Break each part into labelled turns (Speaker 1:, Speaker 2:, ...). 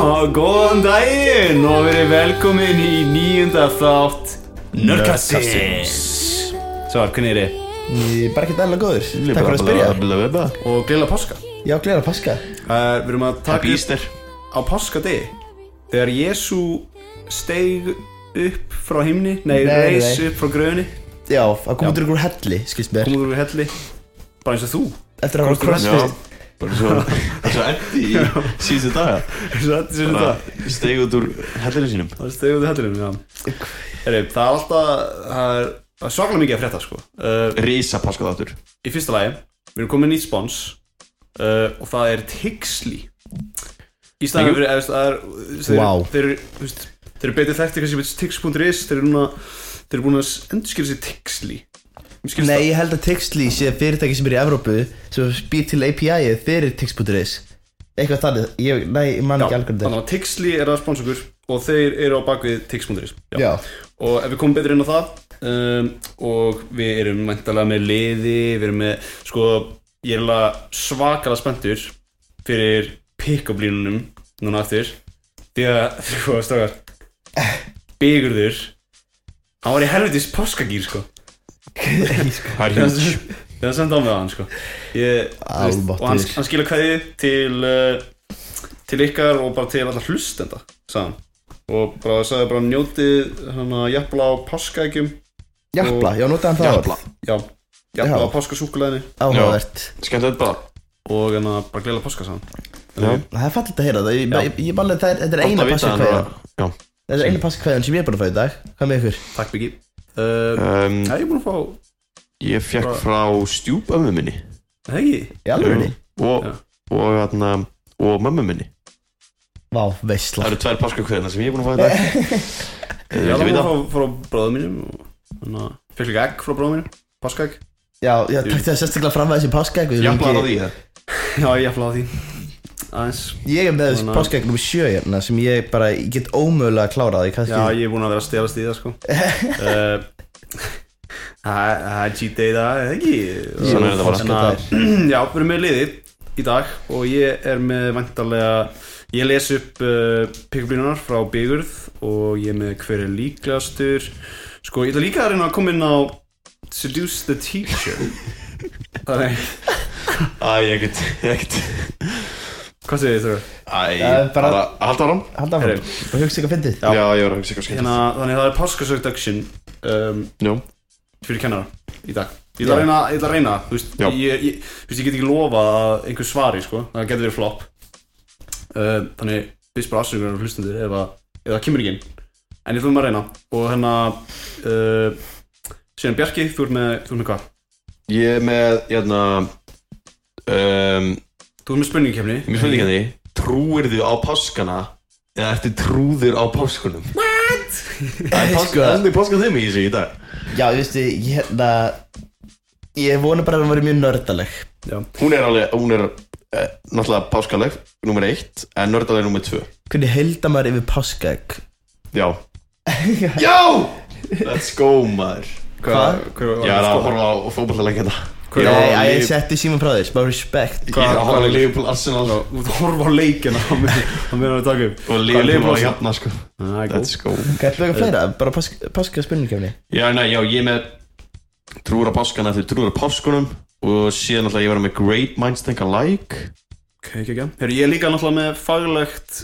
Speaker 1: og góðan daginn og verið velkomin í nýjunda þátt Nörgastins Svar, hvernig er þið?
Speaker 2: Ég er bara ekki dæla góður Takk fyrir að spyrja
Speaker 3: spyrja
Speaker 1: Og glila páska uh,
Speaker 2: Já, glæra paska
Speaker 1: Eh, Við erum að
Speaker 3: Happy
Speaker 1: taka upp
Speaker 3: Easter
Speaker 1: á páskadegi Þegar Jésu steig upp frá himni Nei,
Speaker 2: Nei,
Speaker 1: reis
Speaker 2: nei.
Speaker 1: upp frá gröðinni
Speaker 2: Já, að koma út úr ykkur helli, skilst mér
Speaker 1: Komur úr helli Bara eins og þú
Speaker 2: Eftir að hafa
Speaker 3: Já
Speaker 2: crossfit
Speaker 3: Bara svo bara svo endi í síðustu daga
Speaker 1: Þetta er
Speaker 3: Bara
Speaker 1: þetta
Speaker 3: Steig út úr hellinu sínum
Speaker 1: Það er steguð hellinum, já Heri, Það er alltaf Það er, það er svaklega mikið að frétta, sko uh,
Speaker 3: Rísa páskaðáttur
Speaker 1: Í fyrsta lagi, við erum komin með nýtt spons uh, og það er Tixli Í staðan fyrir, eða, það er, þeir,
Speaker 2: Vá.
Speaker 1: þeir, eru, þú veist, þeir eru betur þekkti kannski með Tix.is, þeir eru núna, þeir eru búin að endurskilja sér Tixli Mér skilst
Speaker 2: Nei, ég held að Tixly sé fyrirtæki sem er í Evrópu sem býr til API-ið fyrir Tix.is Eitthvað þannig, ég, nei, ég man
Speaker 1: Já,
Speaker 2: ekki algjörn
Speaker 1: þannig
Speaker 2: þetta
Speaker 1: að Tixli er að sponsa okkur og þeir eru á bakvið Tix.is
Speaker 2: Já,
Speaker 1: og ef við komum betur inn á það um, og við erum mæntalega með liði, við erum með sko, ég er alveg svakalega spenntur fyrir pick-up línunum núna aftur því að, sko, stakar Bigurður hann var í helvitis páskagýr, sko
Speaker 3: Það er
Speaker 1: þegar hann- þegar hann sendi á mig á hann, sko ég, þú veist, og hann,
Speaker 2: Almáttugur.
Speaker 1: hann skila kveði til uh, til ykkar og bara til allar hlustenda sagðan og bara sagði bara njótið hann að jafnla á páskaegjum
Speaker 2: jafla, já, notaði hann það
Speaker 3: Japla
Speaker 2: orð.
Speaker 1: já, jafnla
Speaker 2: Já.
Speaker 1: á páskasúkuleginni
Speaker 2: Áhugavert
Speaker 3: Skemmt þetta bara
Speaker 1: og hann að bara gleyla páska saman
Speaker 3: Já.
Speaker 2: Það er fallit að heyra það, ég, ég, ég bara, það er, þetta er
Speaker 3: Gott
Speaker 2: eina
Speaker 3: að vita
Speaker 2: paska
Speaker 3: hann
Speaker 2: kvæðan
Speaker 3: Já
Speaker 2: Þetta er eina paska kvæðan sem ég er bara að fá í dag Hvað með ykkur?
Speaker 1: takk byggi uh,
Speaker 3: um,
Speaker 1: ég er búin að fá
Speaker 3: Ég fekk frá stjúpömmu minni
Speaker 1: það ekki
Speaker 2: Í alveg
Speaker 3: Og
Speaker 1: Já.
Speaker 3: Og hérna Og mömmu minni
Speaker 2: Vá,
Speaker 3: Það
Speaker 2: veistla
Speaker 3: eru tvær páskakveðina sem ég er búin að fá í dag Eh,
Speaker 1: ég er
Speaker 3: viltu
Speaker 1: búin
Speaker 3: vita?
Speaker 1: að fá frá bróðum mínum og hann að fekk líka egg frá bróðum mínum páskaegg
Speaker 2: Já, já, takk til að sérstaklega fram að þessi paska
Speaker 3: Japla er á því það
Speaker 1: já, jafnla á því aðeins
Speaker 2: Ég er með þessi
Speaker 1: Þannig að-
Speaker 2: páskaegg nr. 7 hérna sem ég bara, ég get ómögulega að klára því kannski
Speaker 1: já, ég er búin að vera að stelast í það sko uh, það er- það er cheat day það, eða ekki
Speaker 3: Svona er þetta bara.
Speaker 1: En að- já, við erum með liði í dag og ég er með vantarlega ég les upp uh, pikkblínunar frá Bigurð og ég er með hver er líklegastur sko, ég ætla líka að reyna að koma inn á Seduce the Teacher Þannig,
Speaker 3: Æ, ég get Ég get
Speaker 1: hvað segir þið þau?
Speaker 3: Æ,
Speaker 2: Það er Eh, bara-
Speaker 3: bara Hald áram
Speaker 2: Hald af hann,
Speaker 1: Heyrðu.
Speaker 2: bara hugsa ykkur fyndið
Speaker 3: Já, ég var að hugsa eitthvað
Speaker 1: Hérna,
Speaker 3: skemmt
Speaker 1: þannig það er páskasögdagsinn um,
Speaker 3: Jú
Speaker 1: fyrir kennara í dag ég ætla að
Speaker 2: Já.
Speaker 1: reyna, ég ætla að reyna það, þú veist,
Speaker 3: Já.
Speaker 1: ég, ég, þú veist, ég get ekki lofa að einhver svari sko, það getur verið flop uh, þannig byrst bara afsökunar og hlustundur ef, að- ef það kemur ekki inn en ég þurfum að reyna og hérna uh, síðan Bjarki, þú ert með, þú ert með hvað?
Speaker 3: Ég er með, hérna um,
Speaker 1: Þú ert með spurningkefni
Speaker 3: Mér spurði ekki að því Trúir þú á páskana Eða ertu trúður á páskunum? Það er
Speaker 2: Ég
Speaker 3: páska
Speaker 2: sko,
Speaker 3: Það er páskan þeim í þessu í dag
Speaker 2: já, ég veistu, ég hérna Ég vona bara að hann væri mjög nördaleg
Speaker 1: Já,
Speaker 3: Hún er alveg Hún er eh, Náttúrulega páskaleg Númer eitt En nördaleg númer tvö
Speaker 2: Hvernig heldar maður yfir páskaegg?
Speaker 3: Já Já Let's go maður
Speaker 1: hvað? Hvað
Speaker 3: Ég er að horfa á fótballaleik hérna
Speaker 1: Hver-
Speaker 3: Ég
Speaker 2: Nei,
Speaker 3: er
Speaker 2: æ,
Speaker 3: að
Speaker 2: ég
Speaker 3: horfa á Liv-
Speaker 2: setti síma frá þér, smá respekt
Speaker 3: Ég er að horfa á Liverpool
Speaker 1: Já,
Speaker 3: Arsenal
Speaker 1: Þú ert að horfa á leikina á meðan á meðan við takum
Speaker 3: Og Liverpool að jafna sko
Speaker 1: Það er góð
Speaker 3: Let's go
Speaker 2: Gættu eitthvað fleira, bara páska, páska spurningkefni
Speaker 3: Já, nei, já, ég er með trúra páskana eftir trúra páskunum og síðan alltaf ég var með Great Minds Think Alike
Speaker 1: Ok, ekki, ekki Herru, ég er líka náttúrulega með faglegt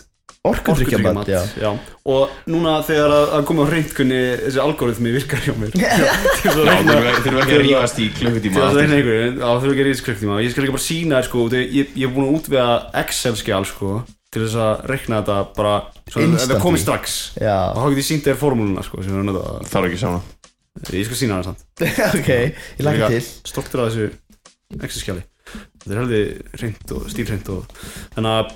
Speaker 2: Orkudryggjamat, já
Speaker 1: já. Og núna þegar að, að koma á reynd hvernig þessi algoritmi virkar hjá mér Já, til þess að
Speaker 3: Já,
Speaker 1: reyna
Speaker 3: þurfum við ekki að rífast í
Speaker 1: Til
Speaker 3: klukkutíma
Speaker 1: þess að reyna einhverjum, á þurfum ekki að reyna skriftíma Ég skal líka bara sína þér sko, út af- ég, ég er búin að útvega Excel-skjál sko Til þess að reykna þetta bara Svo að
Speaker 2: Instantly.
Speaker 1: þetta komi strax
Speaker 2: Já,
Speaker 1: Og þá get ég sínt þér formúluna sko sem er nöðað.
Speaker 3: Þarf ekki saman
Speaker 1: Ég skal sína það samt
Speaker 2: ok, ég lagði til
Speaker 1: Stoltur af þessu Excel-skjali Þetta er heldur reynd og stílreynd og Þannig að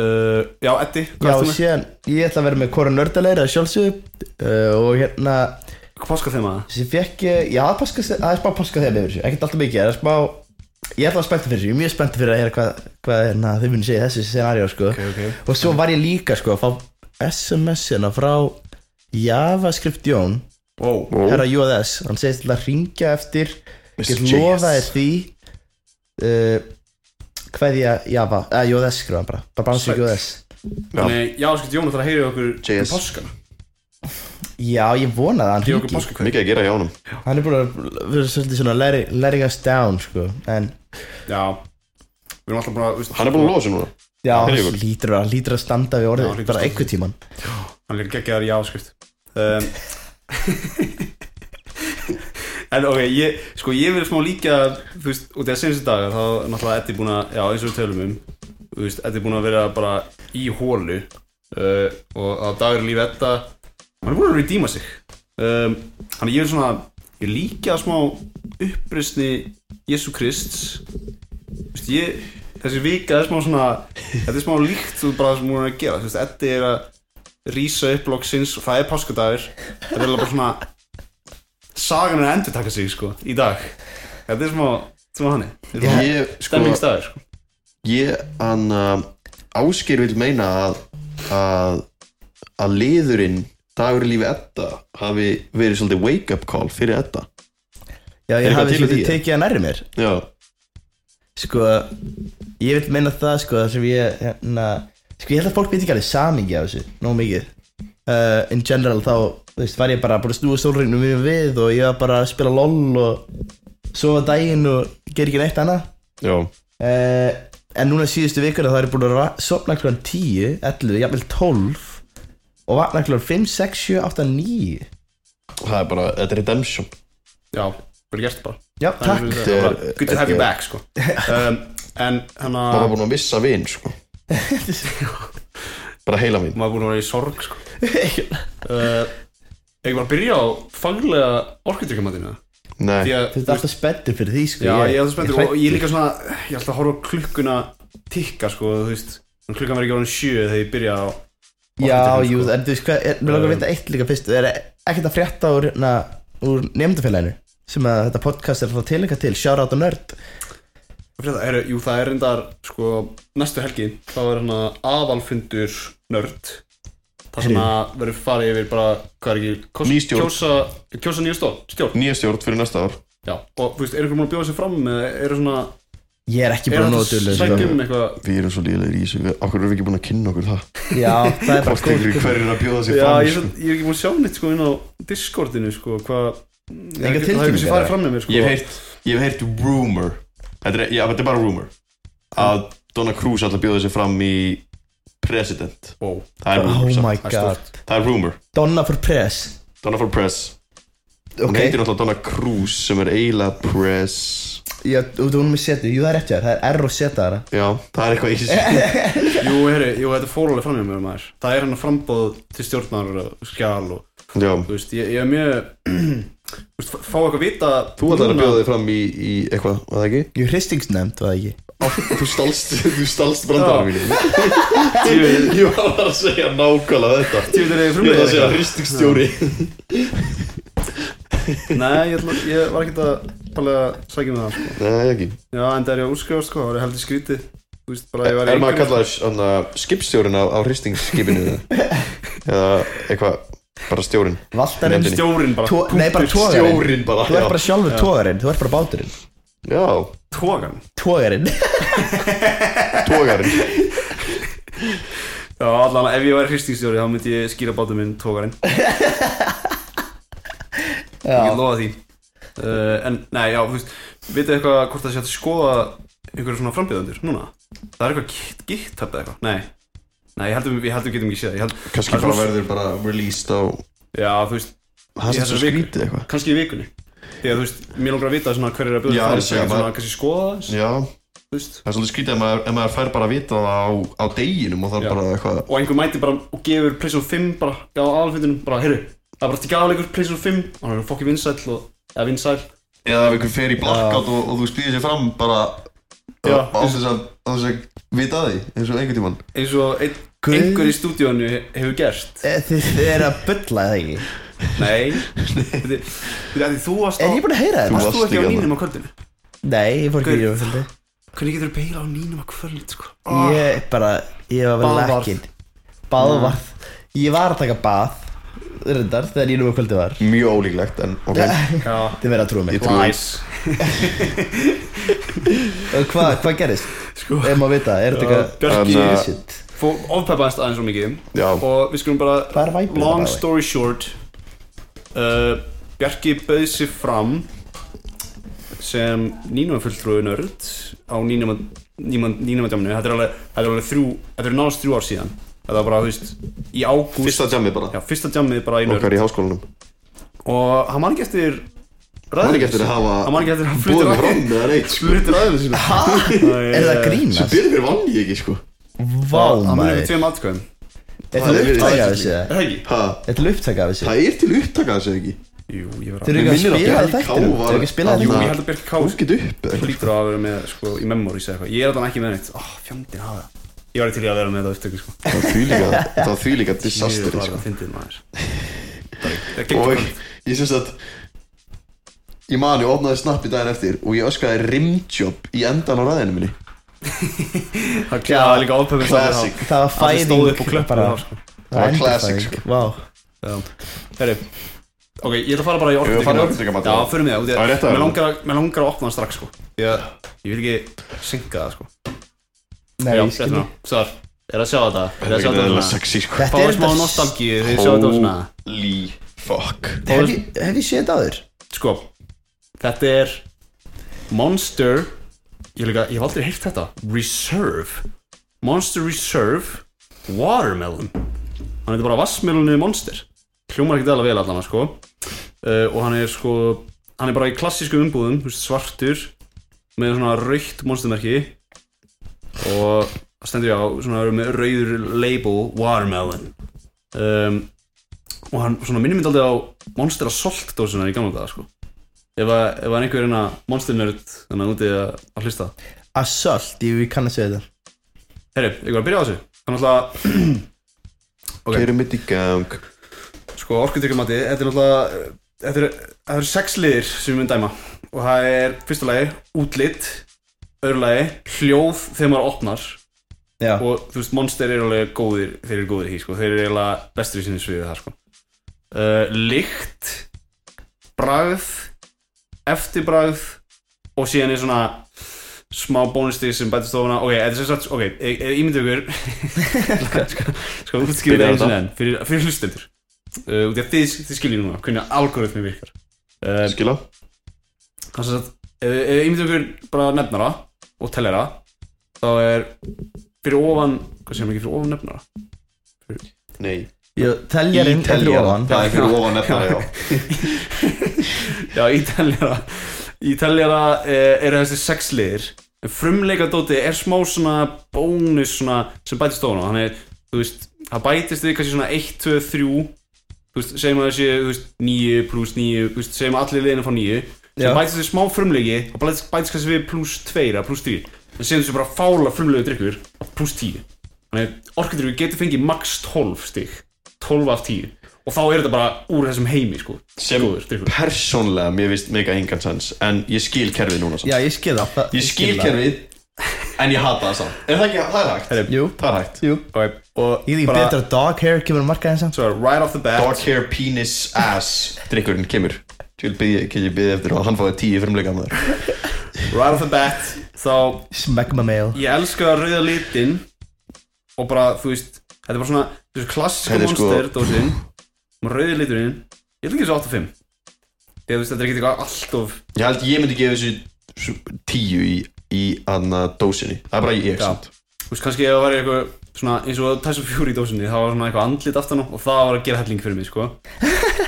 Speaker 1: uh, Já, Eddi,
Speaker 2: Já,
Speaker 1: hvað er þetta með?
Speaker 2: síðan, ég ætla að vera með hvora nördalegri að sjálfsögðu uh, Og hérna,
Speaker 1: Páska þeim að
Speaker 2: Þessi fekk ég, já það er páska, það er smá páska þegar með þessu, ekkert alltaf mikið, það er smá, ég er alltaf spenntið fyrir þessu, ég er mjög spenntið fyrir að heyra hvað, hvað hérna, þau muni segja í þessu scenaríu sko.
Speaker 1: okay.
Speaker 2: Og svo var ég líka sko að fá SMS-ina hérna frá JavaScript Jón,
Speaker 1: Wow
Speaker 2: herra UAS, hann segist til að ringja eftir,
Speaker 3: Mr.
Speaker 2: ég eh,
Speaker 3: JS.
Speaker 2: lofa þér því, eh, uh, hvað ég Java, eða UAS skrifa hann bara, bara bara hans
Speaker 1: Sæll.
Speaker 2: UAS.
Speaker 1: Þannig, já, sko, Jón ætlar að heyra í okkur
Speaker 3: JS.
Speaker 1: um páskana
Speaker 2: Já, ég vona það, hann
Speaker 1: Heyra okkur
Speaker 2: hringi
Speaker 1: páskakveik
Speaker 3: Mikið að gera hjá honum
Speaker 2: Hann er búin að vera svolítið svona letting, letting us down, sko En,
Speaker 1: Já Við erum alltaf búin að, veist,
Speaker 3: Hann er búin að lofa sig núna
Speaker 2: já,
Speaker 3: Hann
Speaker 2: hann
Speaker 3: ykkur.
Speaker 2: lítur að, lítur að standa við
Speaker 1: Já, hann
Speaker 2: orðið
Speaker 1: hlýtur að
Speaker 2: Bara
Speaker 1: standa.
Speaker 2: einhver tíman
Speaker 1: Hann er geggjaðar í áskrift um, En ok, ég, sko ég vil smá líka Þú veist, út í að senstu dagar Þá er náttúrulega Eddi búin að, já eins og við tölum um Þú veist, Eddi búin að vera bara í hólu uh, Og á dagur lífi Edda Hann er búin að redeema sig um, Þannig að ég vil svona Ég líka smá uppreisni Jésu Krists Þú veist, ég, þessi vika er smá svona Þetta er smá líkt og bara sem hún er að gera Þú veist, Eddi er að rísa upp loksins og það er páskadagur þetta er eiginlega bara svona sagan er að endur taka sig sko í dag þetta er smá, smá hann
Speaker 3: Ég, sko,
Speaker 1: stemmingsdagur sko
Speaker 3: ég, hann uh, Ásker vil meina að að, að liðurinn dagur í lífi Edda hafi verið svolítið wake up call fyrir Edda
Speaker 2: Já, ég
Speaker 3: eitthvað
Speaker 2: hafi
Speaker 3: til í
Speaker 2: svolítið
Speaker 3: því?
Speaker 2: tekið hann nærri mér
Speaker 3: Já,
Speaker 2: Sko, ég vil meina það, sko, það sem ég, hérna Sko, ég held að fólk veit ekki alveg samingi af þessu, nóg mikið uh, In general, þá, þú veist, var ég bara búin að snúa sólregnum við við Og ég var bara að spila LOL og sofa daginn og gera ekki neitt annað
Speaker 3: já,
Speaker 2: uh, En núna síðustu vikuna þá er ég búin að ra- sofna klokkan 10, 11, jafnvel 12 Og vakna klokkan 5, 6, 7, 8, 9
Speaker 3: það er bara, þetta er redemption
Speaker 1: já, bara gert bara
Speaker 2: Já,
Speaker 1: Það
Speaker 2: takk
Speaker 1: er-
Speaker 3: Þetta er-
Speaker 1: bara, good to have you back sko um, en hann
Speaker 3: Það var
Speaker 1: að
Speaker 3: búin að missa vin, sko Bara heila vin
Speaker 1: maður búin að vera í sorg sko uh, ekki bara byrja á faglega orkudrykkamatinu
Speaker 3: Nei,
Speaker 1: því að
Speaker 2: Þú ert alltaf spenntur fyrir því, sko
Speaker 1: Já, ég er alltaf spenntur og
Speaker 2: hræddur.
Speaker 1: ég er líka svona Ég er alltaf að horfa á klukkuna tikka sko, þú veist En Klukkan verður ekki orðin sjö þegar ég byrja á
Speaker 2: Já,
Speaker 1: orkudrykkjum,
Speaker 2: jú,
Speaker 1: sko.
Speaker 2: en þú veist hvað, er- mér langar að vita eitt líka fyrst Það er ekkert að frétta úr, na, úr nefndafélaginu Sem að þetta podcast er að fá tilenga til, shout out og nerd
Speaker 1: Fyrir það, heru, jú, það er reyndar sko, næstu helgi, það verður hérna aðalfundur nörd það sem að verður farið yfir bara, hvað er ekki, kos,
Speaker 3: Ný stjórn.
Speaker 1: kjósa, kjósa nýju stjórn,
Speaker 2: Mm.
Speaker 1: stjórn
Speaker 3: nýja stjórn fyrir næsta ár
Speaker 1: Já, og þú veist, er einhver múin að bjóða sér fram eða eru svona,
Speaker 2: Ég er ekki
Speaker 1: er
Speaker 2: búin að
Speaker 1: þetta
Speaker 2: nóða dullu
Speaker 1: sækjum um eitthvað
Speaker 3: Við erum svo líðilegir í þessu, við- okkur erum við ekki búin að kynna okkur það
Speaker 2: Já, það er bara
Speaker 3: Hvort ykkur hverjir er að bjóða sér
Speaker 1: Já, ég,
Speaker 3: fram
Speaker 1: er
Speaker 3: sko.
Speaker 1: svo- ég er ekki múin að sjá neitt sko inn á Discordinu sko, hvað Það er ekki- það er
Speaker 2: tilkynningar,
Speaker 1: ekki sem farið
Speaker 2: eða?
Speaker 1: fram með mér sko
Speaker 3: Ég hef heyrt, ég hef heyrt rumor Þetta er, já, þetta er bara rumor Að Donna Cruz ætla að bjóða sér fram í President
Speaker 1: Wow,
Speaker 3: Það er rumor,
Speaker 2: Oh
Speaker 3: samt.
Speaker 2: my
Speaker 1: Það er
Speaker 2: god
Speaker 1: stórt.
Speaker 3: það er rumor
Speaker 2: Donna for press
Speaker 3: Donna for Press Hún
Speaker 2: Ok.
Speaker 3: heitir náttúrulega Donna Cruz sem er eiginlega Press
Speaker 2: Já, þú þú erum með setu, jú það er rétt hjá þér, það er R og seta þara
Speaker 3: Já, það er eitthvað í þessu
Speaker 1: Jú, heyri, jú, þetta fór alveg fram með mér maður Það er hann að frambóð til stjórnar og skjál og
Speaker 3: Já,
Speaker 1: þú veist, ég, ég er mjög þú veist, fá eitthvað að vita
Speaker 3: þú ætlar að bjóða þig fram í, í eitthvað, var það ekki?
Speaker 2: Jú, hristingsnefnd, var það ekki
Speaker 3: Þú stálst, þú stálst
Speaker 1: Já.
Speaker 3: brandarum mínu
Speaker 1: þig
Speaker 3: Ég var að segja nákvæmlega þetta
Speaker 1: Þú ætlar að
Speaker 3: Ég var að segja
Speaker 1: frumlega
Speaker 3: hristingstjóri
Speaker 1: Nei, ég, ætla, ég var ekkert að tala að sækja með það sko.
Speaker 3: Nei, ekki
Speaker 1: Já, en það er ég að útskrifast sko, það var heldur skrítið Þú veist, bara ég var
Speaker 3: Er maður að kalla þess skipstjórin á, á hristingsskipinu eða eða eitthvað, bara stjórin
Speaker 2: Valtarinn
Speaker 3: Nefndinni.
Speaker 1: Stjórin bara,
Speaker 2: Tó- Nei, bara tógarinn
Speaker 3: Stjórin bara,
Speaker 2: Þú ert bara sjálfur tógarinn, þú ert bara báturinn
Speaker 3: já, já,
Speaker 1: tógan
Speaker 2: Tógarinn
Speaker 3: tógarinn
Speaker 1: Já, allan, ef ég væri hristingsstjóri þá myndi ég skýra bátum minn tógarinn Ég get
Speaker 2: Já,
Speaker 1: lofa því uh, En, nei, já, þú veist Vitið eitthvað hvort það sé hægt að skoða einhverjum svona frambjöðundur, núna Það er eitthvað gitt eða eitthvað, nei Nei, ég heldur, ég heldur getum ekki séð það. Ég held,
Speaker 3: Kannski
Speaker 1: Það er
Speaker 3: bara
Speaker 1: svo-
Speaker 3: verður bara released á
Speaker 1: Já, þú veist,
Speaker 3: Það
Speaker 1: Í
Speaker 3: er svo
Speaker 1: þessari viku.
Speaker 3: skrítið eitthvað
Speaker 1: kannski í vikunni Því að þú veist, mér langar að vita svona hver er að
Speaker 3: Já,
Speaker 1: bjóða
Speaker 3: ég
Speaker 1: það
Speaker 3: segi
Speaker 1: Það er
Speaker 3: bara-
Speaker 1: svona kannski skoða það aðeins,
Speaker 3: Já,
Speaker 1: þú veist
Speaker 3: það er svolítið skrítið ef maður, ef maður fær bara að vita það á, á deginum og
Speaker 1: Já.
Speaker 3: það er bara eitthvað
Speaker 1: Og einhver mæti bara og gefur Prison 5 bara á aðalfundinum Bara, heyrðu, það er bara til gafleikur Prison 5 Og hann er fokki vinsæll og, eða vinsæll
Speaker 3: Eða ef einhver fer í blackout og, og þú skrýðir sér fram bara
Speaker 1: Já,
Speaker 3: á á þess að, á þess að vita því eins og einhvern tímann
Speaker 1: Eins og ein,
Speaker 2: Guð.
Speaker 1: einhver í stúdíónu hefur gert
Speaker 2: Eh, þið þið eru að bulla eða ekki
Speaker 1: Nei Þetta er þetta er því þú varst á
Speaker 2: Er ég búin að heyra þetta?
Speaker 3: Þú-
Speaker 1: Varst þú
Speaker 3: varst
Speaker 1: ekki á
Speaker 3: ekki
Speaker 1: nýnum á kvöldinu?
Speaker 2: Nei, ég fór ekki í
Speaker 1: Guð.
Speaker 2: Eurofundi
Speaker 1: Hvernig getur þú beila á nýnum á kvöld, sko?
Speaker 3: Ah.
Speaker 2: Ég bara, ég var vel
Speaker 1: Baðvarð.
Speaker 2: lakinn Baðvarð
Speaker 3: Mm.
Speaker 2: Ég var að taka bað Rindar, þegar ég nú að kvöldi var
Speaker 3: Mjög ólíklegt en ok
Speaker 1: Já,
Speaker 2: Þið verða að trúa mig
Speaker 3: Ég trúi.
Speaker 2: Og Hvað hva gerist?
Speaker 1: Sko,
Speaker 2: Ef maður vita, er
Speaker 1: Já,
Speaker 2: þetta
Speaker 3: Sko.
Speaker 2: eitthvað
Speaker 1: Bjarki
Speaker 3: Þannig að-
Speaker 2: Shit
Speaker 1: ofpeppast aðeins svo mikið
Speaker 3: Já.
Speaker 1: og við skulum bara
Speaker 2: Hvað er væpið
Speaker 1: long
Speaker 2: það, by the way?
Speaker 1: story short uh, Bjarki bauði sig fram sem nýnumanfulltrúi nörd á nýnumandjáminu þetta er alveg, þetta er alveg þrjú, þetta er náðast þrjú ár síðan þetta var bara, þú veist, í ágúst
Speaker 3: Fyrsta jammi bara
Speaker 1: já, fyrsta djámið bara í nörd
Speaker 3: Okkar í háskólanum
Speaker 1: og hann man ekki eftir ræðinu
Speaker 3: man ekki eftir að
Speaker 1: sinni.
Speaker 3: hafa-
Speaker 1: hann man ekki eftir að
Speaker 3: Búið
Speaker 1: flytta
Speaker 3: fram með það neitt sko
Speaker 1: flytta ræðinu sinni
Speaker 2: Ah, Er það að
Speaker 3: Svo
Speaker 2: grínast?
Speaker 3: byrðir vann ég ekki sko
Speaker 2: Vá,
Speaker 1: hann mun
Speaker 2: maður
Speaker 1: yfir tveim atkvæðum
Speaker 2: Er það upptaka af þessu?
Speaker 1: er það ekki?
Speaker 3: ha,
Speaker 2: Er það upptaka af þessu?
Speaker 3: Það er til upptaka þessu ekki
Speaker 1: Jú, ég var
Speaker 2: Þau
Speaker 1: að
Speaker 2: eru
Speaker 3: Mig
Speaker 2: ekki
Speaker 3: minnir
Speaker 2: að spila þetta
Speaker 3: að Bjarki
Speaker 2: eftir
Speaker 3: Ká
Speaker 2: Þau eru ekki að spila
Speaker 3: var-
Speaker 1: Jú, ég
Speaker 2: þetta eftir
Speaker 1: held að Björk
Speaker 3: Hún
Speaker 1: Kás
Speaker 3: get upp eða eitthvað.
Speaker 1: hlýtur að vera með, sko, í memories eða eitthvað Ég er þarna ekki með neitt, ó, oh, fjandinn hafa það Ég var til í að vera með þetta upptöku, sko
Speaker 3: Það var þvílíka Það var þvílíka
Speaker 1: Ég
Speaker 3: disaster
Speaker 1: var
Speaker 3: sko.
Speaker 1: að fyndið maður Það
Speaker 3: Og
Speaker 1: gengur
Speaker 3: ég syns að Ég mani og opnaði snapp í daginn eftir Og ég öskaði rimjob í endan á ræðinu minni
Speaker 1: Það klæða líka ofpöfum
Speaker 3: Classic
Speaker 2: Það var
Speaker 1: Það stóð upp og
Speaker 2: fæðing
Speaker 1: klöppið
Speaker 2: bara
Speaker 1: það, sko
Speaker 2: Það var
Speaker 3: var classic, sko.
Speaker 2: endurfæðing Vá
Speaker 1: Já. Herri Ok, ég ætla að fara bara í
Speaker 3: Eigum við að fara í
Speaker 1: orkudrykkamat
Speaker 3: orkudrykkamat?
Speaker 1: Já, förum við
Speaker 3: Það er
Speaker 1: það út í-
Speaker 3: rétt að
Speaker 1: Mér
Speaker 3: vera.
Speaker 1: langar að- mér langar að opna það strax sko Ég, ég vil ekki synka það sko
Speaker 2: Nei,
Speaker 1: Já,
Speaker 2: ég skil
Speaker 1: hérna, Svar, er að sjá þetta Er
Speaker 3: Það
Speaker 1: að sjá
Speaker 3: er
Speaker 1: þetta
Speaker 3: eða
Speaker 1: svona
Speaker 3: sexy sko
Speaker 2: Þetta
Speaker 1: Fáðu
Speaker 2: er
Speaker 1: smá
Speaker 2: þetta-
Speaker 1: nostalgíu þegar ég sjá þetta svona
Speaker 3: Holy fuck
Speaker 2: Hef ég- hef ég séð þetta áður?
Speaker 1: Sko, þetta er Monster Ég, líka, ég hef aldrei heyrt þetta Reserve Monster Reserve Watermelon Hann heitir bara Vassmelonu Monster Hljómar ekki dæla vel allan sko. uh, Og hann er sko Hann er bara í klassísku umbúðum þú veist, Svartur Með svona raukt monstermerki Og það stendur ég á Svona með rauður label Watermelon um, og hann svona minnir myndi aldrei á Monster Assault dósina í gamla daga sko. ef, að, ef að einhver er hérna Monster Nerd þannig að úti að, að hlusta
Speaker 2: Assault, ég kann að segja þetta
Speaker 1: herri, ég var að byrja á þessu þannig að Ok.
Speaker 3: Keirum mitt í gang
Speaker 1: sko, orkutrykkjumati, þetta er náttúrulega þetta eru- þetta eru sex liðir sem við mun dæma og það er fyrsta lagi útlit, öðru lagi hljóð þegar maður opnar
Speaker 2: Já
Speaker 1: og þú veist, Monster eru alveg góðir þeir eru góðir í því, sko, þeir eru eiginlega bestur í sinni sviðið það, sko uh, lykt bragð eftirbragð og síðan er svona smá bónustig sem bætist ofuna ok, þetta er sem sagt, ok, e- e- ímyndið ykkur Skal- skal skal útskýra þetta
Speaker 3: Byrja á
Speaker 1: eins og
Speaker 3: þetta.
Speaker 1: enn fyrir, fyrir hlustendur uh, út af því að þið, þið skiljið núna hvernig algoritmi virkar uh,
Speaker 3: Skila
Speaker 1: þannig að ef ef ég myndi okkur bara nefnara og tellera þá er fyrir ofan hvað segir maður ekki fyrir ofan nefnara
Speaker 3: Nei
Speaker 2: Jú, teljarinn er fyrir ofan
Speaker 3: Það er fyrir ofan eftir já
Speaker 1: já í tellera í tellera eh, eru þessi sex liðir en frumleika dóti er smá svona bónus svona sem bætist ofan á þannig þú veist það bætist við kannski svona 1, 2, 3 þú veist segjum að þessi þú veist 9 pluss 9 þú veist segjum að allir liðin að fá 9
Speaker 2: Já.
Speaker 1: sem bætist við smá frumleiki og bætist, bætist kannski við pluss 2 eða pluss 3 en segjum þessi bara fála frumleiku drikkur pluss 10 þannig orkundrykkur getur fengið max 12 stig 12 af 10 og þá er þetta bara úr þessum heimi sko
Speaker 3: Sem-
Speaker 1: góður drykkur
Speaker 3: Persónlega mér vist mega engan sens En ég skil kerfið núna samt
Speaker 2: Já, ég skil það það-
Speaker 3: Ég skil
Speaker 2: það.
Speaker 3: kerfið En ég hata það samt Er það ekki, það er hægt
Speaker 1: Herri,
Speaker 2: Jú,
Speaker 3: Það er hægt
Speaker 2: jú
Speaker 1: okay. og
Speaker 2: Ég veit ekki
Speaker 1: bara-
Speaker 2: betur að dog hair kemur að marka þess
Speaker 1: svo right off the bat
Speaker 3: Dog hair, penis, ass Drikkurinn kemur Ég vil byggja, get ég byggja eftir að hann fáið tíu frumleika maður
Speaker 1: right off the bat þá
Speaker 2: Smack my mail
Speaker 1: ég elska rauða litin og bara þú veist þetta er bara svona þessu klassíska
Speaker 3: Þetta er sko-
Speaker 1: monster dósin með rauði liturinn ég held ekki þessu 8 og 5 þegar þú veist þetta er ekki eitthvað allt of
Speaker 3: Ég held ég myndi gefa þessu s- tíu í, í anna dósinni Það er bara ég
Speaker 1: Já.
Speaker 3: samt
Speaker 1: þú veist kannski ef það væri eitthvað svona eins og Tyson Fury í dósinni það var svona eitthvað andlit aftan á og það var að gera helling fyrir mig sko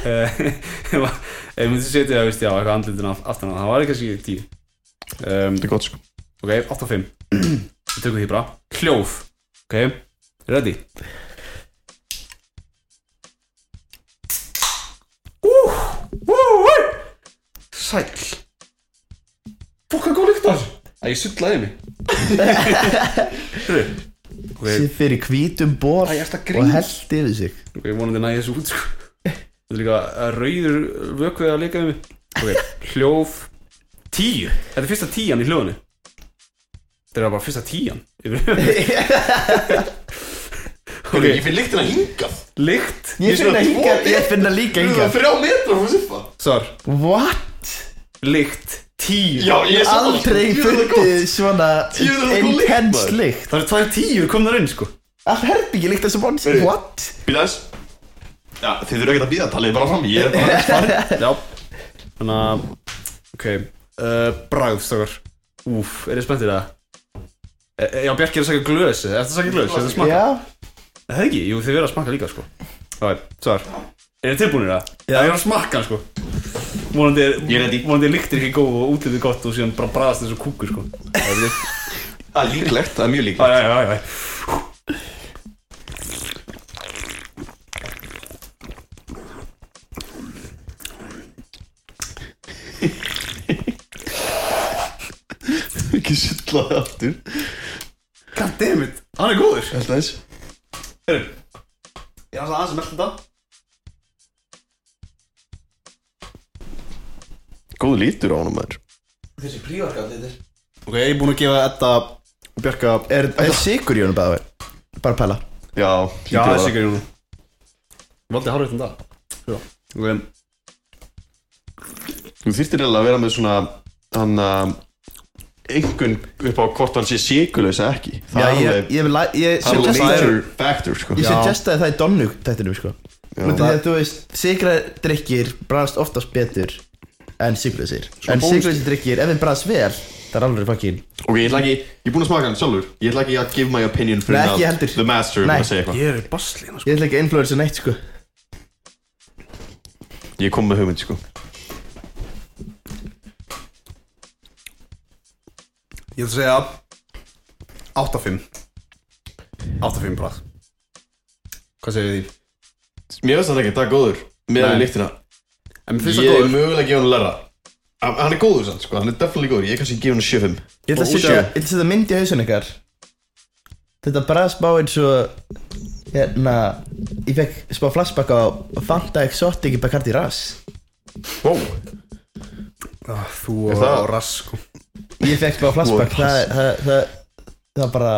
Speaker 1: Eh, ef að- ef ég myndi setja það veist já eitthvað andlitin af- aftan á það var kannski 10 um,
Speaker 3: Þetta er gott sko
Speaker 1: Ok, 8 og 5 Við tökum því bara Hljóð Ok, ready Úh, úh, úh Sæll Fokka góð lykt af þessu Æ, ég sullaði mig Hörru Ok,
Speaker 2: Sitt fyrir hvítum bor
Speaker 1: Æ, ertu að
Speaker 2: Og
Speaker 1: grínast?
Speaker 2: held yfir sig
Speaker 1: ok, vonandi næði þessu út sko Þetta er líka að rauður vökvið að leika við mig Ok, hljóð Tíu, þetta er fyrsta tíjan í hljóðinu Þetta er bara fyrsta tíjan Yfir höfuð.
Speaker 3: okay. Ég finn lyktina hingað
Speaker 1: Lykt
Speaker 2: Ég
Speaker 3: finn
Speaker 2: finna
Speaker 3: að
Speaker 2: hinga
Speaker 3: tvo-
Speaker 2: Ég finna líka
Speaker 3: Það
Speaker 2: hinga
Speaker 3: er þrjá metrar frá siffa
Speaker 1: Svar
Speaker 2: What?
Speaker 1: Lykt Tíu
Speaker 3: Já, ég er sammála.
Speaker 2: Aldrei
Speaker 3: Jú, það er gott.
Speaker 2: fundið svona
Speaker 3: Jú, það er gott lykt,
Speaker 2: Intense
Speaker 3: maður.
Speaker 2: lykt
Speaker 1: Það eru tvær tíur komnar inn sko
Speaker 2: Allt herbyggi líkt þessu bóns
Speaker 3: Heyrðu.
Speaker 2: What?
Speaker 3: Býða þess Já, þið þurfum ekkert að býða, talið bara fram Ég er bara
Speaker 1: Já Þannig að Ok uh, Bragð stokkar Úf, er þið spenntir það? E, e- já, Bjarki er að saka glösi Er það að saka glösi? Er það að smaka?
Speaker 2: Já
Speaker 1: Er Það ekki, jú, þið verða að smaka líka sko Það er, svar Er þið tilbúinir það?
Speaker 2: Já.
Speaker 1: Það er að smaka sko Vonandi er
Speaker 3: Ég er ready.
Speaker 1: Vonandi er lyktir ekki góð og útlitið gott og síðan bara bræðast þessu kúkur sko Það er líkt
Speaker 3: Það er líklegt, það er mjög líklegt
Speaker 1: Já, já, já, já
Speaker 3: Ekki sulla það aftur
Speaker 1: Goddammit Hann er góður
Speaker 3: Held aðeins
Speaker 1: Heyrðu Ég er aðeins að melda þetta
Speaker 3: Góð lítur á honum maður
Speaker 2: Þessi prívarkað þetta er
Speaker 1: Ok, ég er búinn að gefa Edda og Bjarka
Speaker 2: Er, er sigur í honum bara Bara pæla
Speaker 3: Já,
Speaker 1: Já, það
Speaker 3: hlýtur
Speaker 1: er
Speaker 3: að vera.
Speaker 1: sigur Jónu Valdi hárið um það Já Ok,
Speaker 3: Þú þyrftir eiginlega að vera með svona hann að einhvern upp á hvort hann sé síkulegs eða ekki
Speaker 2: Já,
Speaker 3: það er
Speaker 2: ég,
Speaker 3: alveg-
Speaker 2: ég, vil að- ég,
Speaker 3: það er alveg
Speaker 2: suggesta-
Speaker 3: major factor sko.
Speaker 2: ég
Speaker 1: Já.
Speaker 2: suggestaði það í donnu tættinum sko Myndi því að þú veist Sigra drikkir bræðast oftast betur En siglusir En
Speaker 3: bónus-
Speaker 2: siglusir drikkir ef þeim bræðast vel Það er alveg fucking
Speaker 3: ok, ég ætla ekki, ég er búinn að smaka hann sjálfur ég ætla ekki að give my opinion fyrir
Speaker 2: Nei, ekki heldur.
Speaker 3: the master
Speaker 2: Nei.
Speaker 3: að segja eitthvað
Speaker 1: Ég er í baslina sko
Speaker 2: Ég ætla ekki að influensa neitt sko
Speaker 3: ég kom með hugmynd sko
Speaker 1: Ég ætla að segja 8-5 8-5 bræð Hvað segir því?
Speaker 3: mér finnst þetta ekki, það er góður með
Speaker 1: Nei.
Speaker 3: að líktina
Speaker 1: En mér finnst það
Speaker 3: ég er
Speaker 1: góður
Speaker 3: mögulega að gefa hann að læra hann hann er góður sann, sko, hann er definitely góður ég er kannski að gefa hann 7-5
Speaker 2: Ég ætla að
Speaker 3: Og
Speaker 2: setja- ég
Speaker 3: útjáðu.
Speaker 2: ætla að setja mynd í hausin ykkar Þetta bræðast bá eins og Hérna Ég fekk smá flashback á Fanta Exotic í Bacardi Ras
Speaker 3: wow.
Speaker 1: Ah, Þú og
Speaker 3: Er það-
Speaker 1: og rass sko
Speaker 2: Ég fekk smá flashback
Speaker 3: Wow,
Speaker 2: það, það, það, það bara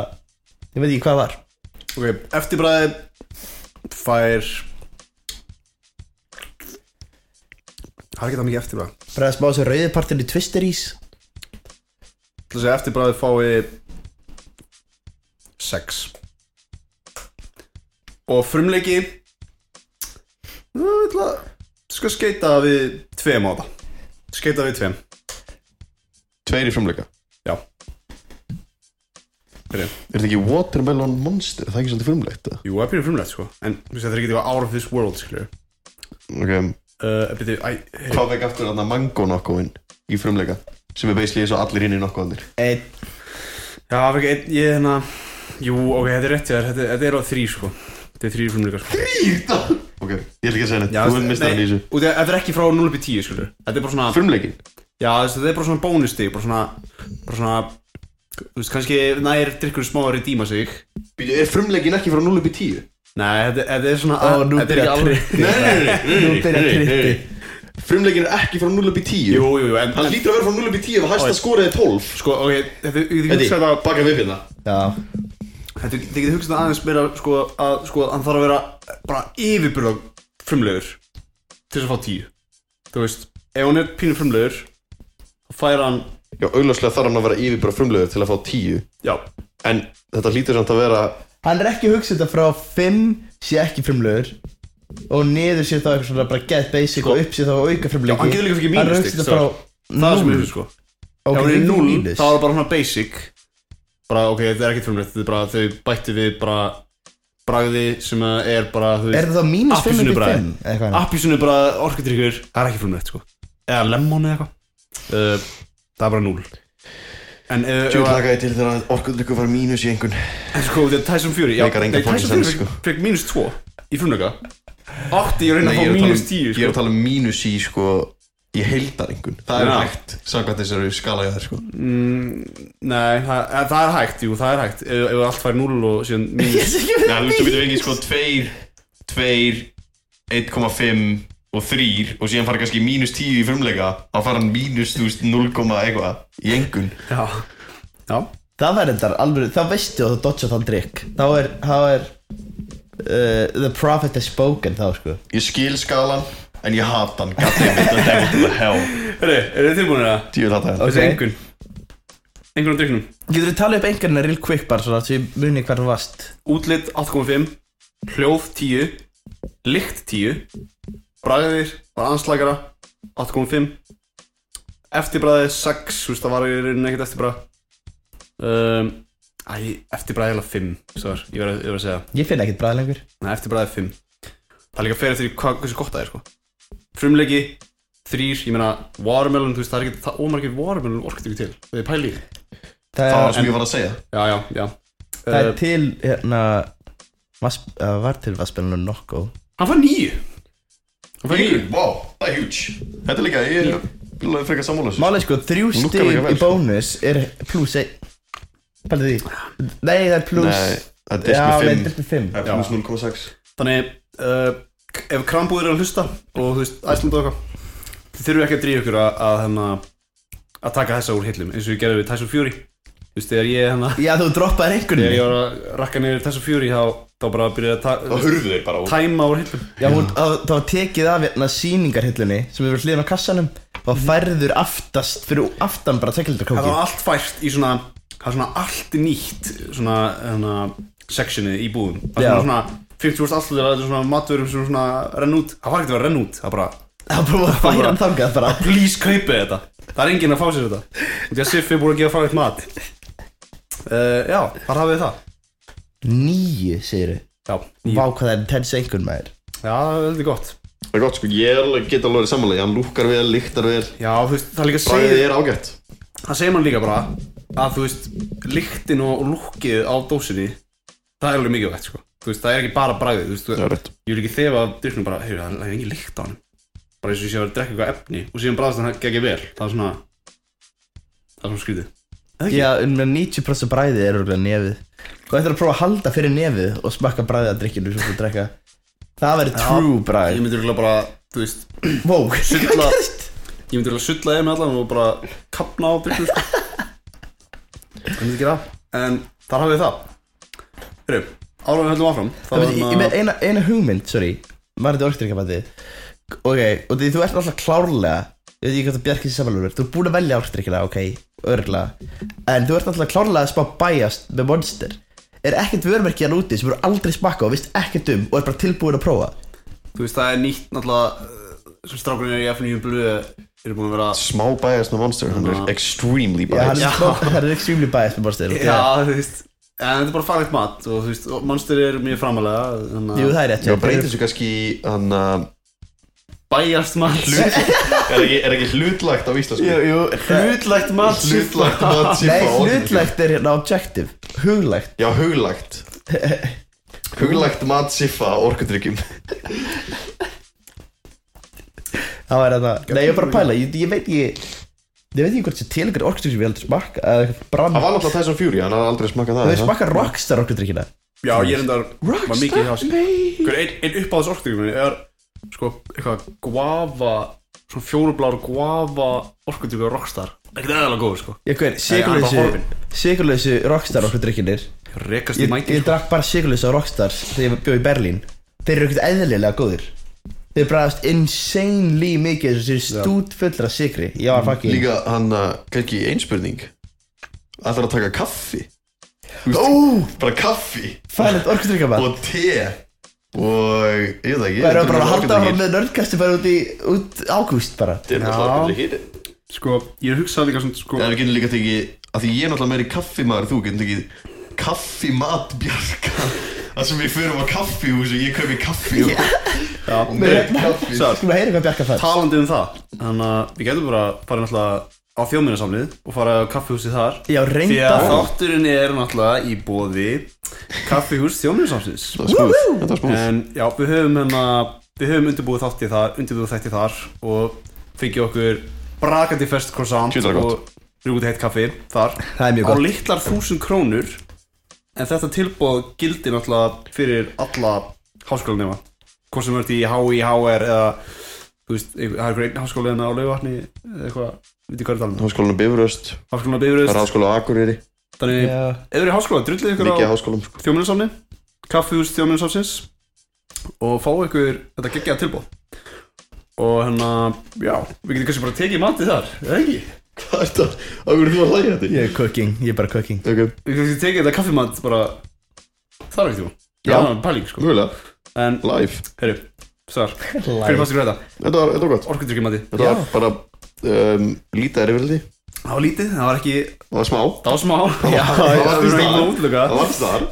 Speaker 2: Ég veit ekki hvað var
Speaker 1: Ok, eftirbræði Fær Það er ekki það mikið eftirbræð
Speaker 2: Bræðast bá þessu rauðipartin í Twisterís
Speaker 1: Ég ætla að segja eftirbræði fái 6 Og frumleiki Ég ætla að Ska skeita við tveim á það Skeita við tveim
Speaker 3: tveir í framleika
Speaker 1: Já Fyrir.
Speaker 3: er þetta ekki watermelon monster, það er ekki svolítið frumlegt eða?
Speaker 1: Jú, það byrjar frumlegt sko En þú veist, þetta er ekki eitthvað out of this world skilur
Speaker 3: ok,
Speaker 1: Uh, byrju, æ, heyrðu.
Speaker 3: hvað vekk aftur þarna mango nokkuðin í frumleika sem er basically eins og allir hinn í nokkuðanir
Speaker 2: Einn
Speaker 1: Já, það er ekki einn, ég hérna Jú, ok, þetta er rétt hjá þér, þetta, þetta er á þrý sko Þetta er þrý frumleika sko
Speaker 3: Ok, ég ætla ekki að segja neitt, þú er mistarinn í þessu
Speaker 1: út af- Þetta er ekki frá 0 upp í 10 skilur Þetta er bara svona
Speaker 3: Frumleikin
Speaker 1: Já, þú veist, þetta er bara svona bónustig bara svona, bara svona þú veist, kannski nær drikkur smá að redíma sig
Speaker 3: Býtu, Er frumleikin ekki frá 0 upp í 10?
Speaker 1: Nei, þetta, þetta er svona
Speaker 2: Ó, nú
Speaker 1: þetta er ekki
Speaker 2: byrja
Speaker 1: alveg-
Speaker 2: trippið.
Speaker 3: Nei, nei, nei, nei,
Speaker 2: Nú byrja trippið.
Speaker 3: Frumleikin er ekki frá 0 upp í 10
Speaker 1: Jú, jú, jú, en,
Speaker 3: Hann
Speaker 1: en
Speaker 3: lítur að vera frá 0 upp í 10 og hæsta skorið er 12
Speaker 1: sko, ok, þetta þið
Speaker 3: Þetta
Speaker 1: getið
Speaker 3: er
Speaker 1: hugsað
Speaker 3: að baka við hérna
Speaker 2: Já
Speaker 1: þetta þið getið hugsað aðeins meira sko, að sko, hann þarf að vera bara yfirbyrða frumlegur til þess að fá 10 þú veist, ef hann er pínu frumlegur þá fær hann,
Speaker 3: Já, augljóslega þarf hann að vera yfir bara frumleigur til að fá 10
Speaker 1: já
Speaker 3: En þetta lítur samt að vera
Speaker 2: Hann er ekki hugsað þetta frá 5 sé ekki frumlegur og niður sé þá eitthvað svona bara get basic og upp sé þá auka
Speaker 1: Sko-
Speaker 2: frumleiki
Speaker 1: Já, hann getur líka fengið
Speaker 2: Hann er
Speaker 1: mínustig,
Speaker 2: hugsað þetta
Speaker 1: stór.
Speaker 2: frá
Speaker 1: það er sem ég
Speaker 2: 0
Speaker 1: finnst sko Ef hún er 0, þá er það bara svona basic bara ok, þetta er ekkert frumlegt þetta er bara, þau bættu við bara bragði sem að er bara þú
Speaker 2: Er það þá mínus 5 upp í
Speaker 1: Appelsínubragði.
Speaker 2: 5? Eitthvað
Speaker 1: appísunu bara orkudrykkur það er ekki frumlegt sko eða lemon eða eitthvað uh, það er bara 0 en ef- ef að-
Speaker 3: lakaði til þegar orkundrykku var mínus í einhvern
Speaker 1: en sko, þetta er Tyson Fury já,
Speaker 3: Meikar engan
Speaker 1: nei, Tyson
Speaker 3: fucking
Speaker 1: Fury
Speaker 3: sens,
Speaker 1: fekk,
Speaker 3: sko.
Speaker 1: fekk mínus 2 í frumleika 8 ég reyna
Speaker 3: Nei,
Speaker 1: að
Speaker 3: ég
Speaker 1: fá
Speaker 3: er að tala
Speaker 1: mínus
Speaker 3: um-
Speaker 1: 10
Speaker 3: Ég er
Speaker 1: sko.
Speaker 3: að tala um mínus í sko Ég heildar einhvern Það er
Speaker 1: Já.
Speaker 3: hægt, samkvæmt þessari skala ég þær sko
Speaker 1: nei, það, eða það er hægt, jú, það er hægt ef, ef allt fær 0 og síðan
Speaker 2: Ég
Speaker 1: mínus
Speaker 2: sé ekki
Speaker 3: Já, þú
Speaker 2: hvað það
Speaker 3: veist, þú getur
Speaker 2: mínus
Speaker 3: fengið sko 2, 2, 1,5 og 3 og síðan fara kannski mínus 10 í frumleika þá fara hann mínus, þú veist, 0, komma eitthvað í engun
Speaker 1: já, já
Speaker 2: Það verður þetta alveg, þá veistu að þú dodja þann drikk Þá er, þá er uh, The prophet has spoken þá sko
Speaker 3: Ég skil skalan, en ég hata hann God damn it, the devil to the hell
Speaker 1: Herri, eru þið tilbúinir að
Speaker 3: Djú, hata hann
Speaker 1: þessi engun einhvern dryknum
Speaker 2: Getur þú talið upp einhverjina real quick bara svona Svo ég muni hvað þú varst
Speaker 1: Útlit 8.5 Hljóð 10 Lykt 10 Bræðir var anslagara 8.5 Eftirbræði 6 Þú veist það var í rauninni ekkert eftirbræð um, Æ, eftirbræði eða 5 Svar, ég verð ég verð að segja
Speaker 2: Ég finn ekkert bræð lengur
Speaker 1: Nei, eftirbræði 5 Það er líka fyrir eftir því hvað, hversu gott það er sko Frumleiki 3, ég meina Watermelon, þú veist það er ekki Það ómargir watermelon orkut ekki til Það er pæli í.
Speaker 2: Það
Speaker 3: Það
Speaker 2: er,
Speaker 3: var sem ég var að segja
Speaker 1: Já, já, já
Speaker 2: það
Speaker 1: uh,
Speaker 2: er til hérna vas, uh, Var til vassbjörnum nokko
Speaker 1: Uh, Hann fær nýju Hann fær nýju
Speaker 3: Vá, það er huge Þetta er líka, ég er alveg frekar sammála þessu
Speaker 2: Málega sko þrjú
Speaker 3: Lukkar
Speaker 2: stig
Speaker 3: líka vel,
Speaker 2: í
Speaker 3: sko.
Speaker 2: bónus er pluss einn Pældu því Nei það er pluss
Speaker 3: Nei, það
Speaker 2: Já,
Speaker 3: er
Speaker 2: nei,
Speaker 3: disk
Speaker 2: delt
Speaker 3: með
Speaker 2: með fimm
Speaker 3: 5 Það er
Speaker 1: Já.
Speaker 3: pluss 0,6
Speaker 1: Þannig, uh, ef krambúðir er að hlusta og þú veist, æsland og eitthvað þið þurfum ekki að dríja ykkur að, að, hérna, að taka þessa úr hillum eins og ég gerði við Tyson Fury Þú veist, þegar ég, hérna,
Speaker 2: Já þú droppaði einhvern
Speaker 1: þegar ég var að rakka niður Tyson Fury þá, þá bara byrjaði að ta
Speaker 3: Það hurfu þeir bara út
Speaker 1: tæma úr hillum
Speaker 2: Já, hún, á, það var tekið af hérna síningarhillunni sem er við hliðin á kassanum og færður aftast fyrir aftan bara
Speaker 1: Það
Speaker 2: tekildarkóki
Speaker 1: var allt fært í svona það var svona allt nýtt svona, hérna, sectionið í búðum það
Speaker 2: Já.
Speaker 1: var svona 50% alltaf það er svona matverum sem svona renn út það var ekkert að vera renn út, það bara
Speaker 2: Það var bara að færa hann þangað bara
Speaker 1: please kaupið þetta það er enginn að fá sér þetta því að Siffi er búin að gefa frá eitt mat uh, já, þar hafið þið það
Speaker 2: Nýju, segir
Speaker 1: já,
Speaker 2: Vá hvað það er intense einhvern maður
Speaker 1: já, það er heldur gott
Speaker 3: Það er gott sko, ég er alveg- get alveg sammála Hann lúkkar vel, líktar vel
Speaker 1: já, þú veist, það líka
Speaker 3: Bræðið
Speaker 1: segir
Speaker 3: er ágætt
Speaker 1: það segir mann líka bara að þú veist, lyktin og og lúkkið á dósinni það er alveg mikilvægt, sko þú veist, það er ekki bara bragðið, þú veist
Speaker 3: Það er rétt
Speaker 1: ég vil ekki þefa af dyrknum bara, heyrðu, það er engin lykt á hann bara eins og ég sé að vera að drekka eitthvað efni og síðan bræðast hann gegn vel það er svona það er svona skrítið ekki?
Speaker 2: Já, um 90% bræði er örgulega nefið Þú ættir að prófa að halda fyrir nefið og smakka bræðið að drikkinu sem þú drekka Það væri true
Speaker 1: ég
Speaker 2: bræði
Speaker 1: myndi örugglega bara, þú veist,
Speaker 2: Wow, hvað
Speaker 1: Sulla-
Speaker 2: gerist?
Speaker 1: Ég myndi alveg að sulla þér með allan og bara kapna á byggjum sko. Ég myndi ekki það En þar hafið þið það Hörru, ára við höldum áfram hérna,
Speaker 2: Það
Speaker 1: Það
Speaker 2: veit, ég- ég með eina, eina hugmynd, sorry Marði orkdrykkabandi Ok, og því þú ert alltaf klárlega Ég veit ekki hvað það bjarkið sér samanlur Þú ert búin að velja orkdrykkina, ok, örgulega En þú ert alltaf klárlega að spá bæjast með monster Er ekkert vörmerki hann úti sem eru aldrei smakka og vist ekkert um og er bara tilbúin að prófa
Speaker 1: Þú veist, það er nýtt náttúrulega uh, sem strákurinn er í FNU blöðu eru búin að vera
Speaker 3: Smá bæjast með monster, hann er extremely
Speaker 2: Já, hann
Speaker 3: bæjast
Speaker 2: er,
Speaker 1: Já.
Speaker 2: smá- hann er extremely bæjast með monster
Speaker 1: Já, þú veist En þetta er bara faglegt mat og þú veist, og monster er mjög framalega þannig
Speaker 2: Jú,
Speaker 1: að
Speaker 2: það er rétt
Speaker 3: Já, breytir svo kannski í hann uh,
Speaker 1: bæjast mat
Speaker 3: er, ekki, er ekki hlutlagt á íslensku?
Speaker 2: jú
Speaker 1: Hlutlegt mat
Speaker 3: Hlutlagt mat
Speaker 2: Nei,
Speaker 3: siffa á orðinu.
Speaker 2: hlutlegt er hérna objective Huglægt
Speaker 3: Já, huglagt Huglagt mat siffa á orkudrykkjum
Speaker 2: Það var þetta Nei, ég er bara að pæla Ég, ég veit ekki Ég veit ekki hvort þessi tilgjör orkustur sem ég heldur smakka eða eitthvað
Speaker 3: Það
Speaker 2: brann
Speaker 3: var náttúrulega Tyson Fury, hann hafði aldrei smakað
Speaker 2: Þau
Speaker 3: það ha?
Speaker 2: smakka rockstar orkustrykkina
Speaker 1: Já, ég er endar, var mikið í hási
Speaker 2: nei
Speaker 1: Hver einn Sko, ein uppáðs orkudrykkur er sko eitthvað guava svona fjólublár guava orkudrykkur rockstar ekkert eðalega góður sko
Speaker 2: Ég hver,
Speaker 1: hann er bara
Speaker 2: sigurleysu
Speaker 1: horfinn.
Speaker 2: Sigurleysu rockstar orkustrykkinir
Speaker 1: rekast í
Speaker 2: Ég,
Speaker 1: mæti
Speaker 2: ég
Speaker 1: sko.
Speaker 2: drakk bara sigurleysu á rockstar þegar ég bjóð í Berlín Þeir eru ekkert eðlilega góður Þeir bræðast insanely mikið þessu stút fullra sigri Ég
Speaker 1: Mm,
Speaker 2: var fucking
Speaker 3: Líka hann, uh, kannski einspurning Það þarf að taka kaffi
Speaker 2: Ó,
Speaker 3: Bara kaffi
Speaker 2: fælið orkustrykkamann
Speaker 3: og te Og ég veit það ekki
Speaker 2: Það eru bara að halda áfram með nördkastu bara út í út ágúst bara
Speaker 3: Þetta er náttúrulega orkudrykkir.
Speaker 1: sko ég hugsaði líka svona sko
Speaker 3: En við getum líka tekið að Því ég er náttúrulega meiri kaffimaður en Þú getum tekið kaffimat bjarga Það sem við förum á kaffihús og ég kaupi kaffi og og með kaffi
Speaker 1: Sá.
Speaker 2: Skulum að heyra hvað Bjarka fann
Speaker 1: talandi um það þannig að við getum bara farið náttúrulega á þjóminarsamlið og farið á kaffihúsið þar
Speaker 2: Já,
Speaker 1: því
Speaker 2: reynda
Speaker 1: að þátturinn er náttúrulega í bóði kaffihús þjóminarsamliðs
Speaker 3: Það var smúð, þetta var smúð
Speaker 1: En já, við höfum hérna Við höfum undirbúið þátti þar Undirbúið þætti þar Og fengið okkur brakandi fest croissant
Speaker 3: Tjútlega gott.
Speaker 1: Og rúgut heitt kaffi þar
Speaker 2: Það er
Speaker 1: Á
Speaker 2: mjög gott.
Speaker 1: litlar þúsund krónur En þetta tilbúið gildi náttúrulega Fyrir alla háskólanema Hvort sem þú ert í HÍ, HR Eða, þú veist, einhver- það er einhver einn háskóla hérna á laugarvatni Eða eitthvað, við veitum hvað er talað um
Speaker 3: Háskólan á Bifuröst,
Speaker 1: Háskólan á Bifuröðust
Speaker 3: Ráðskóla á Akureyri,
Speaker 1: Þannig,
Speaker 2: Já.
Speaker 1: ef þú eru í háskóla, drullið ykkur á
Speaker 3: mikið af háskólum sko.
Speaker 1: þjóminnsafni kaffihús þjóminnsafsins og fá ykkur þetta geggjaða tilbúð og hérna, já, við getum kannski bara tekið matið þar, eða ekki?
Speaker 3: Hvað er þetta? Af hverju ert þú að hlæja þetta?
Speaker 2: Ég er cooking, ég er bara cooking
Speaker 3: Ok,
Speaker 1: Við kannski tekið þetta kaffimat bara þar ekkert tíma
Speaker 3: Já.
Speaker 1: Það er pæling sko
Speaker 3: mögulega,
Speaker 1: En,
Speaker 3: live
Speaker 1: herru, svar Fyrir fastur þetta,
Speaker 3: Þetta var, þetta var gott
Speaker 1: orkudrykkjumati
Speaker 3: Þetta var bara um, lítið erfiðaldi
Speaker 1: Það var lítið, það var ekki
Speaker 3: Það var smá
Speaker 1: Það var smá Já,
Speaker 3: það var
Speaker 1: það var
Speaker 3: fyrst
Speaker 1: ekki
Speaker 3: það.
Speaker 1: að útluka
Speaker 3: Það var þar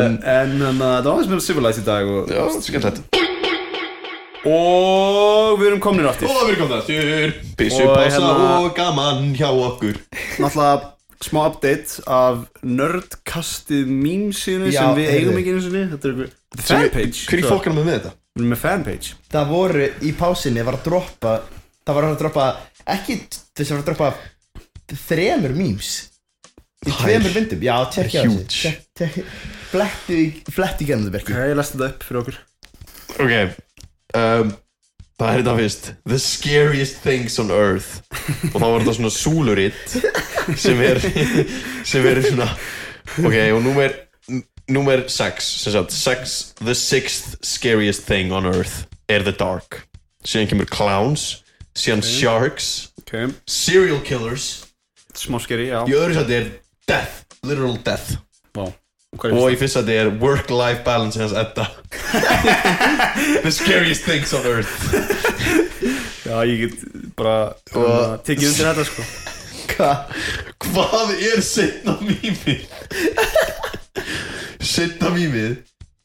Speaker 1: En, en þannig að það var aðeins meira civilized í dag og,
Speaker 3: Já, skemmtilegt
Speaker 1: og við erum komnir aftur
Speaker 3: Og velkomnastur
Speaker 1: Og
Speaker 3: Bissupása
Speaker 1: hérna-
Speaker 3: og gaman hjá okkur
Speaker 1: Náttúrulega smá update af nerdkastið meme-sinu
Speaker 2: Já,
Speaker 1: sem við
Speaker 2: heyrðu.
Speaker 1: eigum ekki einu sinni Þetta er einhver fanpage
Speaker 3: Hvernig fólk er maður með þetta?
Speaker 1: Við erum með fanpage
Speaker 2: Það voru í pásinni var að droppa Það var að droppa Ekki þess að var að droppa Þremur memes Í
Speaker 3: Þær.
Speaker 2: tveimur myndum Já, tjekkja
Speaker 3: Huge.
Speaker 2: þessi Tjekk- tjekk- Fletti Fletti gennum þetta
Speaker 1: Ok,
Speaker 2: berki
Speaker 1: ég lest þetta upp fyrir okkur
Speaker 3: Ok um, Það er þetta fyrst The scariest things on earth Og þá var þetta svona súluritt Sem er Sem er svona Ok og númer Númer 6 Sem sagt sex, The sixth scariest thing on earth Er the dark Síðan kemur clowns Síðan sharks
Speaker 1: Ok,
Speaker 3: Serial killers
Speaker 1: smá skeri, já
Speaker 3: Í öðru sætti er death Literal death
Speaker 1: Vá, hvað
Speaker 3: Og
Speaker 1: er
Speaker 3: í fyrst sætti er work-life balance Hans etta The scariest things on earth
Speaker 1: Já, ég get bara
Speaker 3: Og-
Speaker 1: hérna, tekið undir þetta sko
Speaker 2: Hvað?
Speaker 3: Hvað er setna mýmið? setna mýmið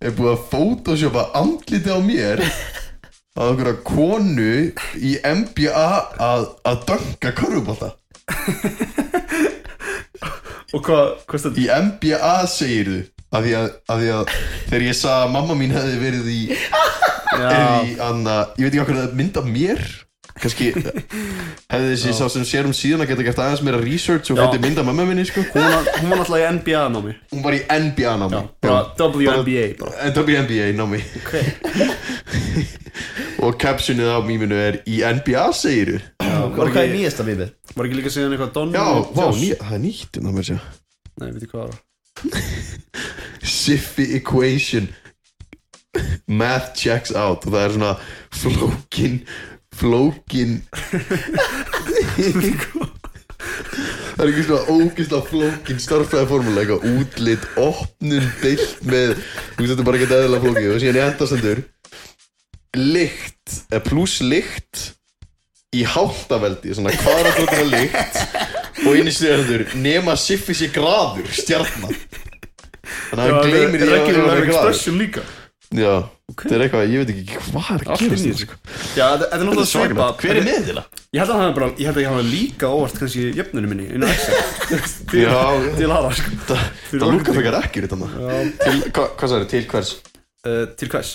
Speaker 3: er búið að photoshopa andliti á mér að okkur að konu í MBA að, að dönga körfubólta
Speaker 1: Og hvað, hvað stendur?
Speaker 3: í MBA segir þú að því að, að því að þegar ég sagði að mamma mín hefði verið í,
Speaker 1: Já,
Speaker 3: verið í anna, ég veit ekki okkur að mynda mér kannski hefði þessi sá sem sér um síðan að geta gert aðeins meira research og
Speaker 1: Já.
Speaker 3: getið mynda mamma minni sko
Speaker 1: hún var, hún var náttúrulega í NBA-námi
Speaker 3: hún var í NBA námi
Speaker 1: Bara WNBA bara.
Speaker 3: WNBA námi og captionið á mýminu er í NBA segir
Speaker 2: Og hvað er nýjasta meme?
Speaker 1: Var ekki líka síðan eitthvað Don
Speaker 3: já,
Speaker 1: og
Speaker 3: vá,
Speaker 1: Josh?
Speaker 3: ný, það er nýtt um það mér sér
Speaker 1: Nei, veitir hvað var
Speaker 3: Siffi equation math checks out og það er svona flókin flókin það er ekki svona ógisla flókin starfræði formúla eitthvað útlit, opnun, deilt með þú veist þetta er bara ekki eðla flókið og síðan í endastendur lykt, eh, pluss lykt í háttaveldi svona hvað er að þetta með lykt og inn í stjörnur nema siffi sér graður stjarnan þannig að hann gleymir því að hann
Speaker 1: Regular
Speaker 3: er graður
Speaker 1: expression líka
Speaker 3: já, þetta er eitthvað, ég veit ekki hvað er að
Speaker 1: Allt
Speaker 3: gera
Speaker 1: inn í
Speaker 3: þetta
Speaker 1: þessu.
Speaker 3: sko.
Speaker 1: Já, þetta þetta er
Speaker 3: Þetta
Speaker 1: náttúrulega
Speaker 3: er svakalegt.
Speaker 1: svipað
Speaker 3: hver er með þetta?
Speaker 1: Ég held að hann hafi bara, ég held að ég hafa líka óvart kannski jöfnunum minni inn á Excel Til-
Speaker 3: Já, já.
Speaker 1: Til aðra sko
Speaker 3: það lúkar frekar ekkert þannig til, hva, hvað sagði, til hvers?
Speaker 1: Uh, Til hvers?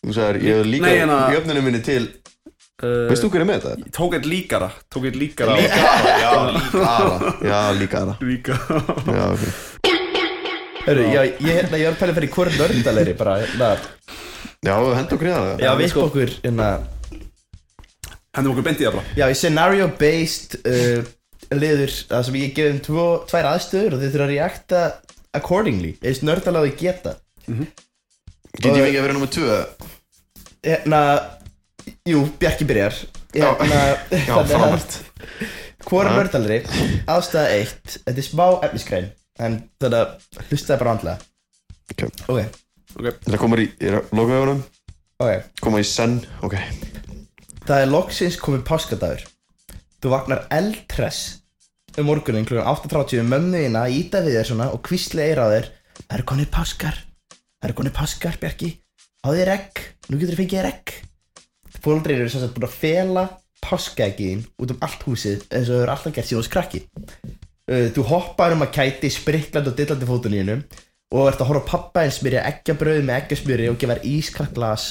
Speaker 3: þú sagði, ég hef líka
Speaker 1: Nei, hérna-
Speaker 3: jöfnunum minni til
Speaker 1: Uh,
Speaker 3: Veist þú hver er með þetta?
Speaker 1: Tók eitt líkara Tók eitt líkara á-
Speaker 3: Líkara, já, líkara Já, líkara
Speaker 1: Líka
Speaker 3: Já, ok
Speaker 2: Hörru, já, ég hérna, ég var að pæla fyrir hvort nördalegri bara hérna
Speaker 3: Já, henda okkur í það
Speaker 2: Já, við sko okkur hérna
Speaker 1: Hendum okkur beint í það bara
Speaker 2: Já, í scenario based uh, liður Það sem ég gefum tvo, tvær aðstöður og þið þurfa að reacta accordingly Eða snördalega þið geta
Speaker 3: Get ég ekki að vera nummer 2?
Speaker 2: hérna Jú, Bjarki byrjar
Speaker 3: Já.
Speaker 2: hérna,
Speaker 3: Já, frábært
Speaker 2: Hvor
Speaker 3: Já.
Speaker 2: er nördalari? Ástæða 1 Þetta er smá efnisgrein En þannig að hlustaði bara andlega
Speaker 3: Ok.
Speaker 2: Ok,
Speaker 3: Þetta komur í, ég er að loka ögunum
Speaker 2: ok
Speaker 3: Koma í senn, ok
Speaker 2: Það er loksins komið páskadagur Þú vagnar eldtress um morgunin kl. 8.30 um mömmuðina að íta við þér svona og kvísla eira á þér Það eru konið páskar Það eru konið páskar, Bjarki Á þér egg, nú getur þú fengið egg Fóldreir eru sem sagt búin að fela páskaeggiðin út um allt húsið eins og þau eru alltaf gert síðan skrakki Uh, Þú hoppar um að kæti spriklandi og dillandi fótunni hennum og ert að horfa á pappa einn smyrja eggjabröð með eggjasmjöri og gefa þér ískalt glas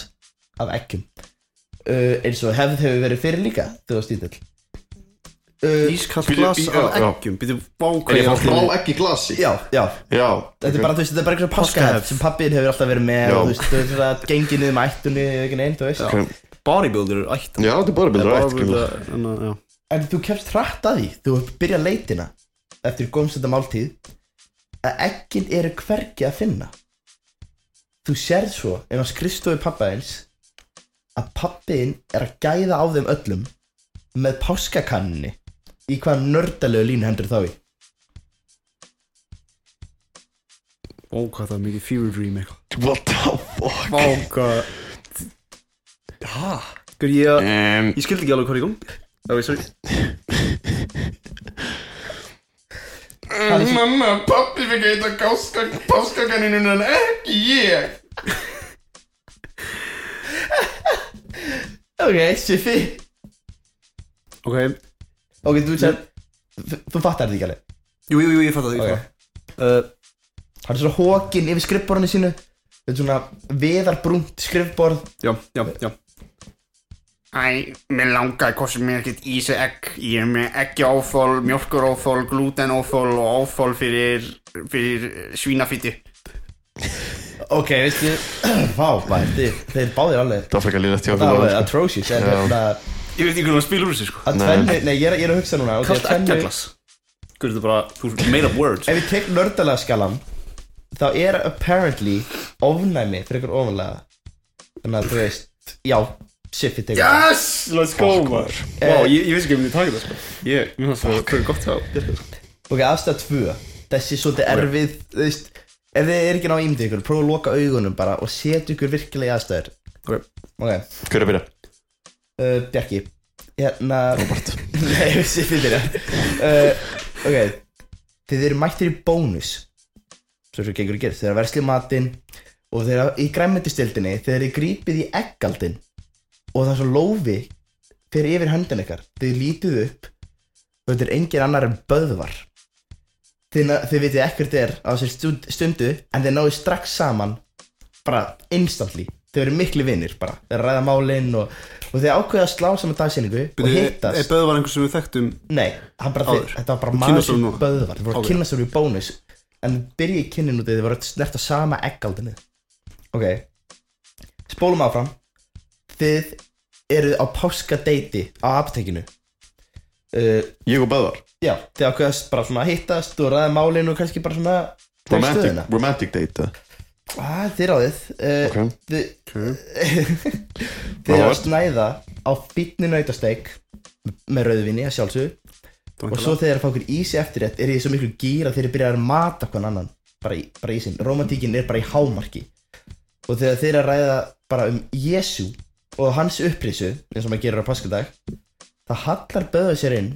Speaker 2: af eggjum uh, eins og hefð hefur verið fyrir líka þú veist ítill uh,
Speaker 1: Ískall
Speaker 3: Bíddu,
Speaker 1: glas
Speaker 3: í- já,
Speaker 1: af
Speaker 3: já.
Speaker 1: eggjum Býtu báka
Speaker 3: Er ég að fá ekki glasi?
Speaker 2: Já, já,
Speaker 3: Já
Speaker 2: þetta er bara, þú veist, þetta er bara eitthvað
Speaker 1: Páskahefð.
Speaker 2: páskahefð sem pappiðin hefur alltaf verið með
Speaker 3: Já.
Speaker 2: og þú veist, þú veist, það er gengið niður með ættunni eða einhvern veginn, þú veist
Speaker 3: okay.
Speaker 1: Bodybuilder ættan
Speaker 3: Já, þetta er bara sko. byrður rætt kemur.
Speaker 1: Já
Speaker 2: En þú kemst hratt að því, þú byrja leitina eftir gómsönda máltíð að eggin eru hvergi að finna. Þú sérð svo ef að skrifstofi pappaðins að pappiðin er að gæða á þeim öllum með páskakannunni í hvað nördalegu línu hendur þá í
Speaker 1: Ó, hvað það er mikið fever dream eitthvað
Speaker 3: What the fuck
Speaker 1: Ó, hvað Hæ? Hver ég að
Speaker 3: um,
Speaker 1: Ég skildi ekki alveg hvað er í gangi Það var ég sorry
Speaker 3: Mamma, pappi fikk að heita páskakaninun en ekki ég
Speaker 2: Ok, Siffi
Speaker 1: Ok,
Speaker 2: Ok, þú sér Þú fattar þetta ekki alveg
Speaker 1: jú, jú, jú, ég fatt að
Speaker 2: Ok.
Speaker 1: það uh,
Speaker 2: Hann er svona hókin yfir skrifborðinu sínu Þetta er svona veðarbrúnt skrifborð
Speaker 1: Já, já, já
Speaker 4: Æ, mér langaði hvort sem mér ekkert ís eða egg. Ég er með eggjaófól, mjölkurófól, glútenófól og ófól fyrir, fyrir svínafýtti.
Speaker 2: Ok, veistu Vá, bara, þeir, þeir báðir alveg
Speaker 3: Það frekar liðast hjá
Speaker 2: Það
Speaker 3: okkur
Speaker 2: var
Speaker 3: báðum,
Speaker 2: atrocious En
Speaker 3: Já.
Speaker 2: hérna
Speaker 1: Ég veit ekki hvernig að spila úr þessu sko
Speaker 2: Að tvennu Nei, ég er, ég er að hugsa núna ok,
Speaker 1: Kasta
Speaker 2: tvennu-
Speaker 1: eggjaglas Hver er þetta bara Þú made up words
Speaker 2: Ef ég tek nördalega skalan Þá er apparently ofnæmi fyrir ykkur ofanlega Þannig að þú veist Já, Siffi tekur það.
Speaker 1: Yes, let's go maður Vá,
Speaker 2: Eh,
Speaker 1: ég, ég veist ekki hvernig ég takið það sko Ég, mér finnst það að það er gott hjá þér, sko.
Speaker 2: Ok, aðstæða tvö Þessi svolítið erfið Þú veist Ef þið er ekki ná ímyndið ykkur Prófa að loka augunum bara Og setja ykkur virkilega í aðstæður
Speaker 1: Ok.
Speaker 2: Ok
Speaker 3: Hver er að byrja?
Speaker 2: uh, Bjarki Hérna
Speaker 3: Robert
Speaker 2: Nei, Siffi byrja uh, Ok Þið eru mættir í bónus Svo svo gengur að gera Þið eru að versli matinn Og þið eru í græmmetistildinni Þið eru grípið í eggaldin Og það er svo lófi Fyrir yfir höndin ykkar Þið lítið upp Og þetta er engin annar en böðvar Þið, na- þið vitið ekkert er á þessari stund, stundu En þið náðu strax saman Bara instantly Þið eru miklu vinnir bara Þið eru að ræða málinn og, og þið ákveða að slá saman dagsýningu Og hittast
Speaker 1: Er Böð var einhver sem við þekktum
Speaker 2: Nei, hann bara,
Speaker 1: Áður.
Speaker 2: þetta var bara
Speaker 1: Þú
Speaker 2: maður
Speaker 1: kynnast
Speaker 2: sem
Speaker 1: honum núna?
Speaker 2: böðvar Þið voru að
Speaker 1: Ok.
Speaker 2: kynna sér í bónus En byrja í kynnin út eða þið voru að snerta sama eggaldinu Ok Spólum áfram Þið eruð á páskadeiti á apotekinu uh,
Speaker 3: Ég og Böðvar
Speaker 2: Já, þið ákveðast bara svona að hittast og ræða málinu og kannski bara svona þau
Speaker 3: Romantic,
Speaker 2: stöðuna.
Speaker 3: romantic date eh?
Speaker 2: Ah, þið ráðið uh,
Speaker 3: Ok.
Speaker 2: Þið,
Speaker 1: okay.
Speaker 2: þið eru að
Speaker 3: Ráðast.
Speaker 2: snæða á fínni nautasteik með rauðvinni að sjálfsögðu og svo þegar þeir fá okkur ísi eftir þetta er ég svo miklu gýr að þeir byrja að mata hvern annan bara, í, bara ísinn, romantíkin er bara í hámarki og þegar þeir eru að ræða bara um Jésu og hans upprisu eins og maður gerir á paskaldag það hallar böðu sér inn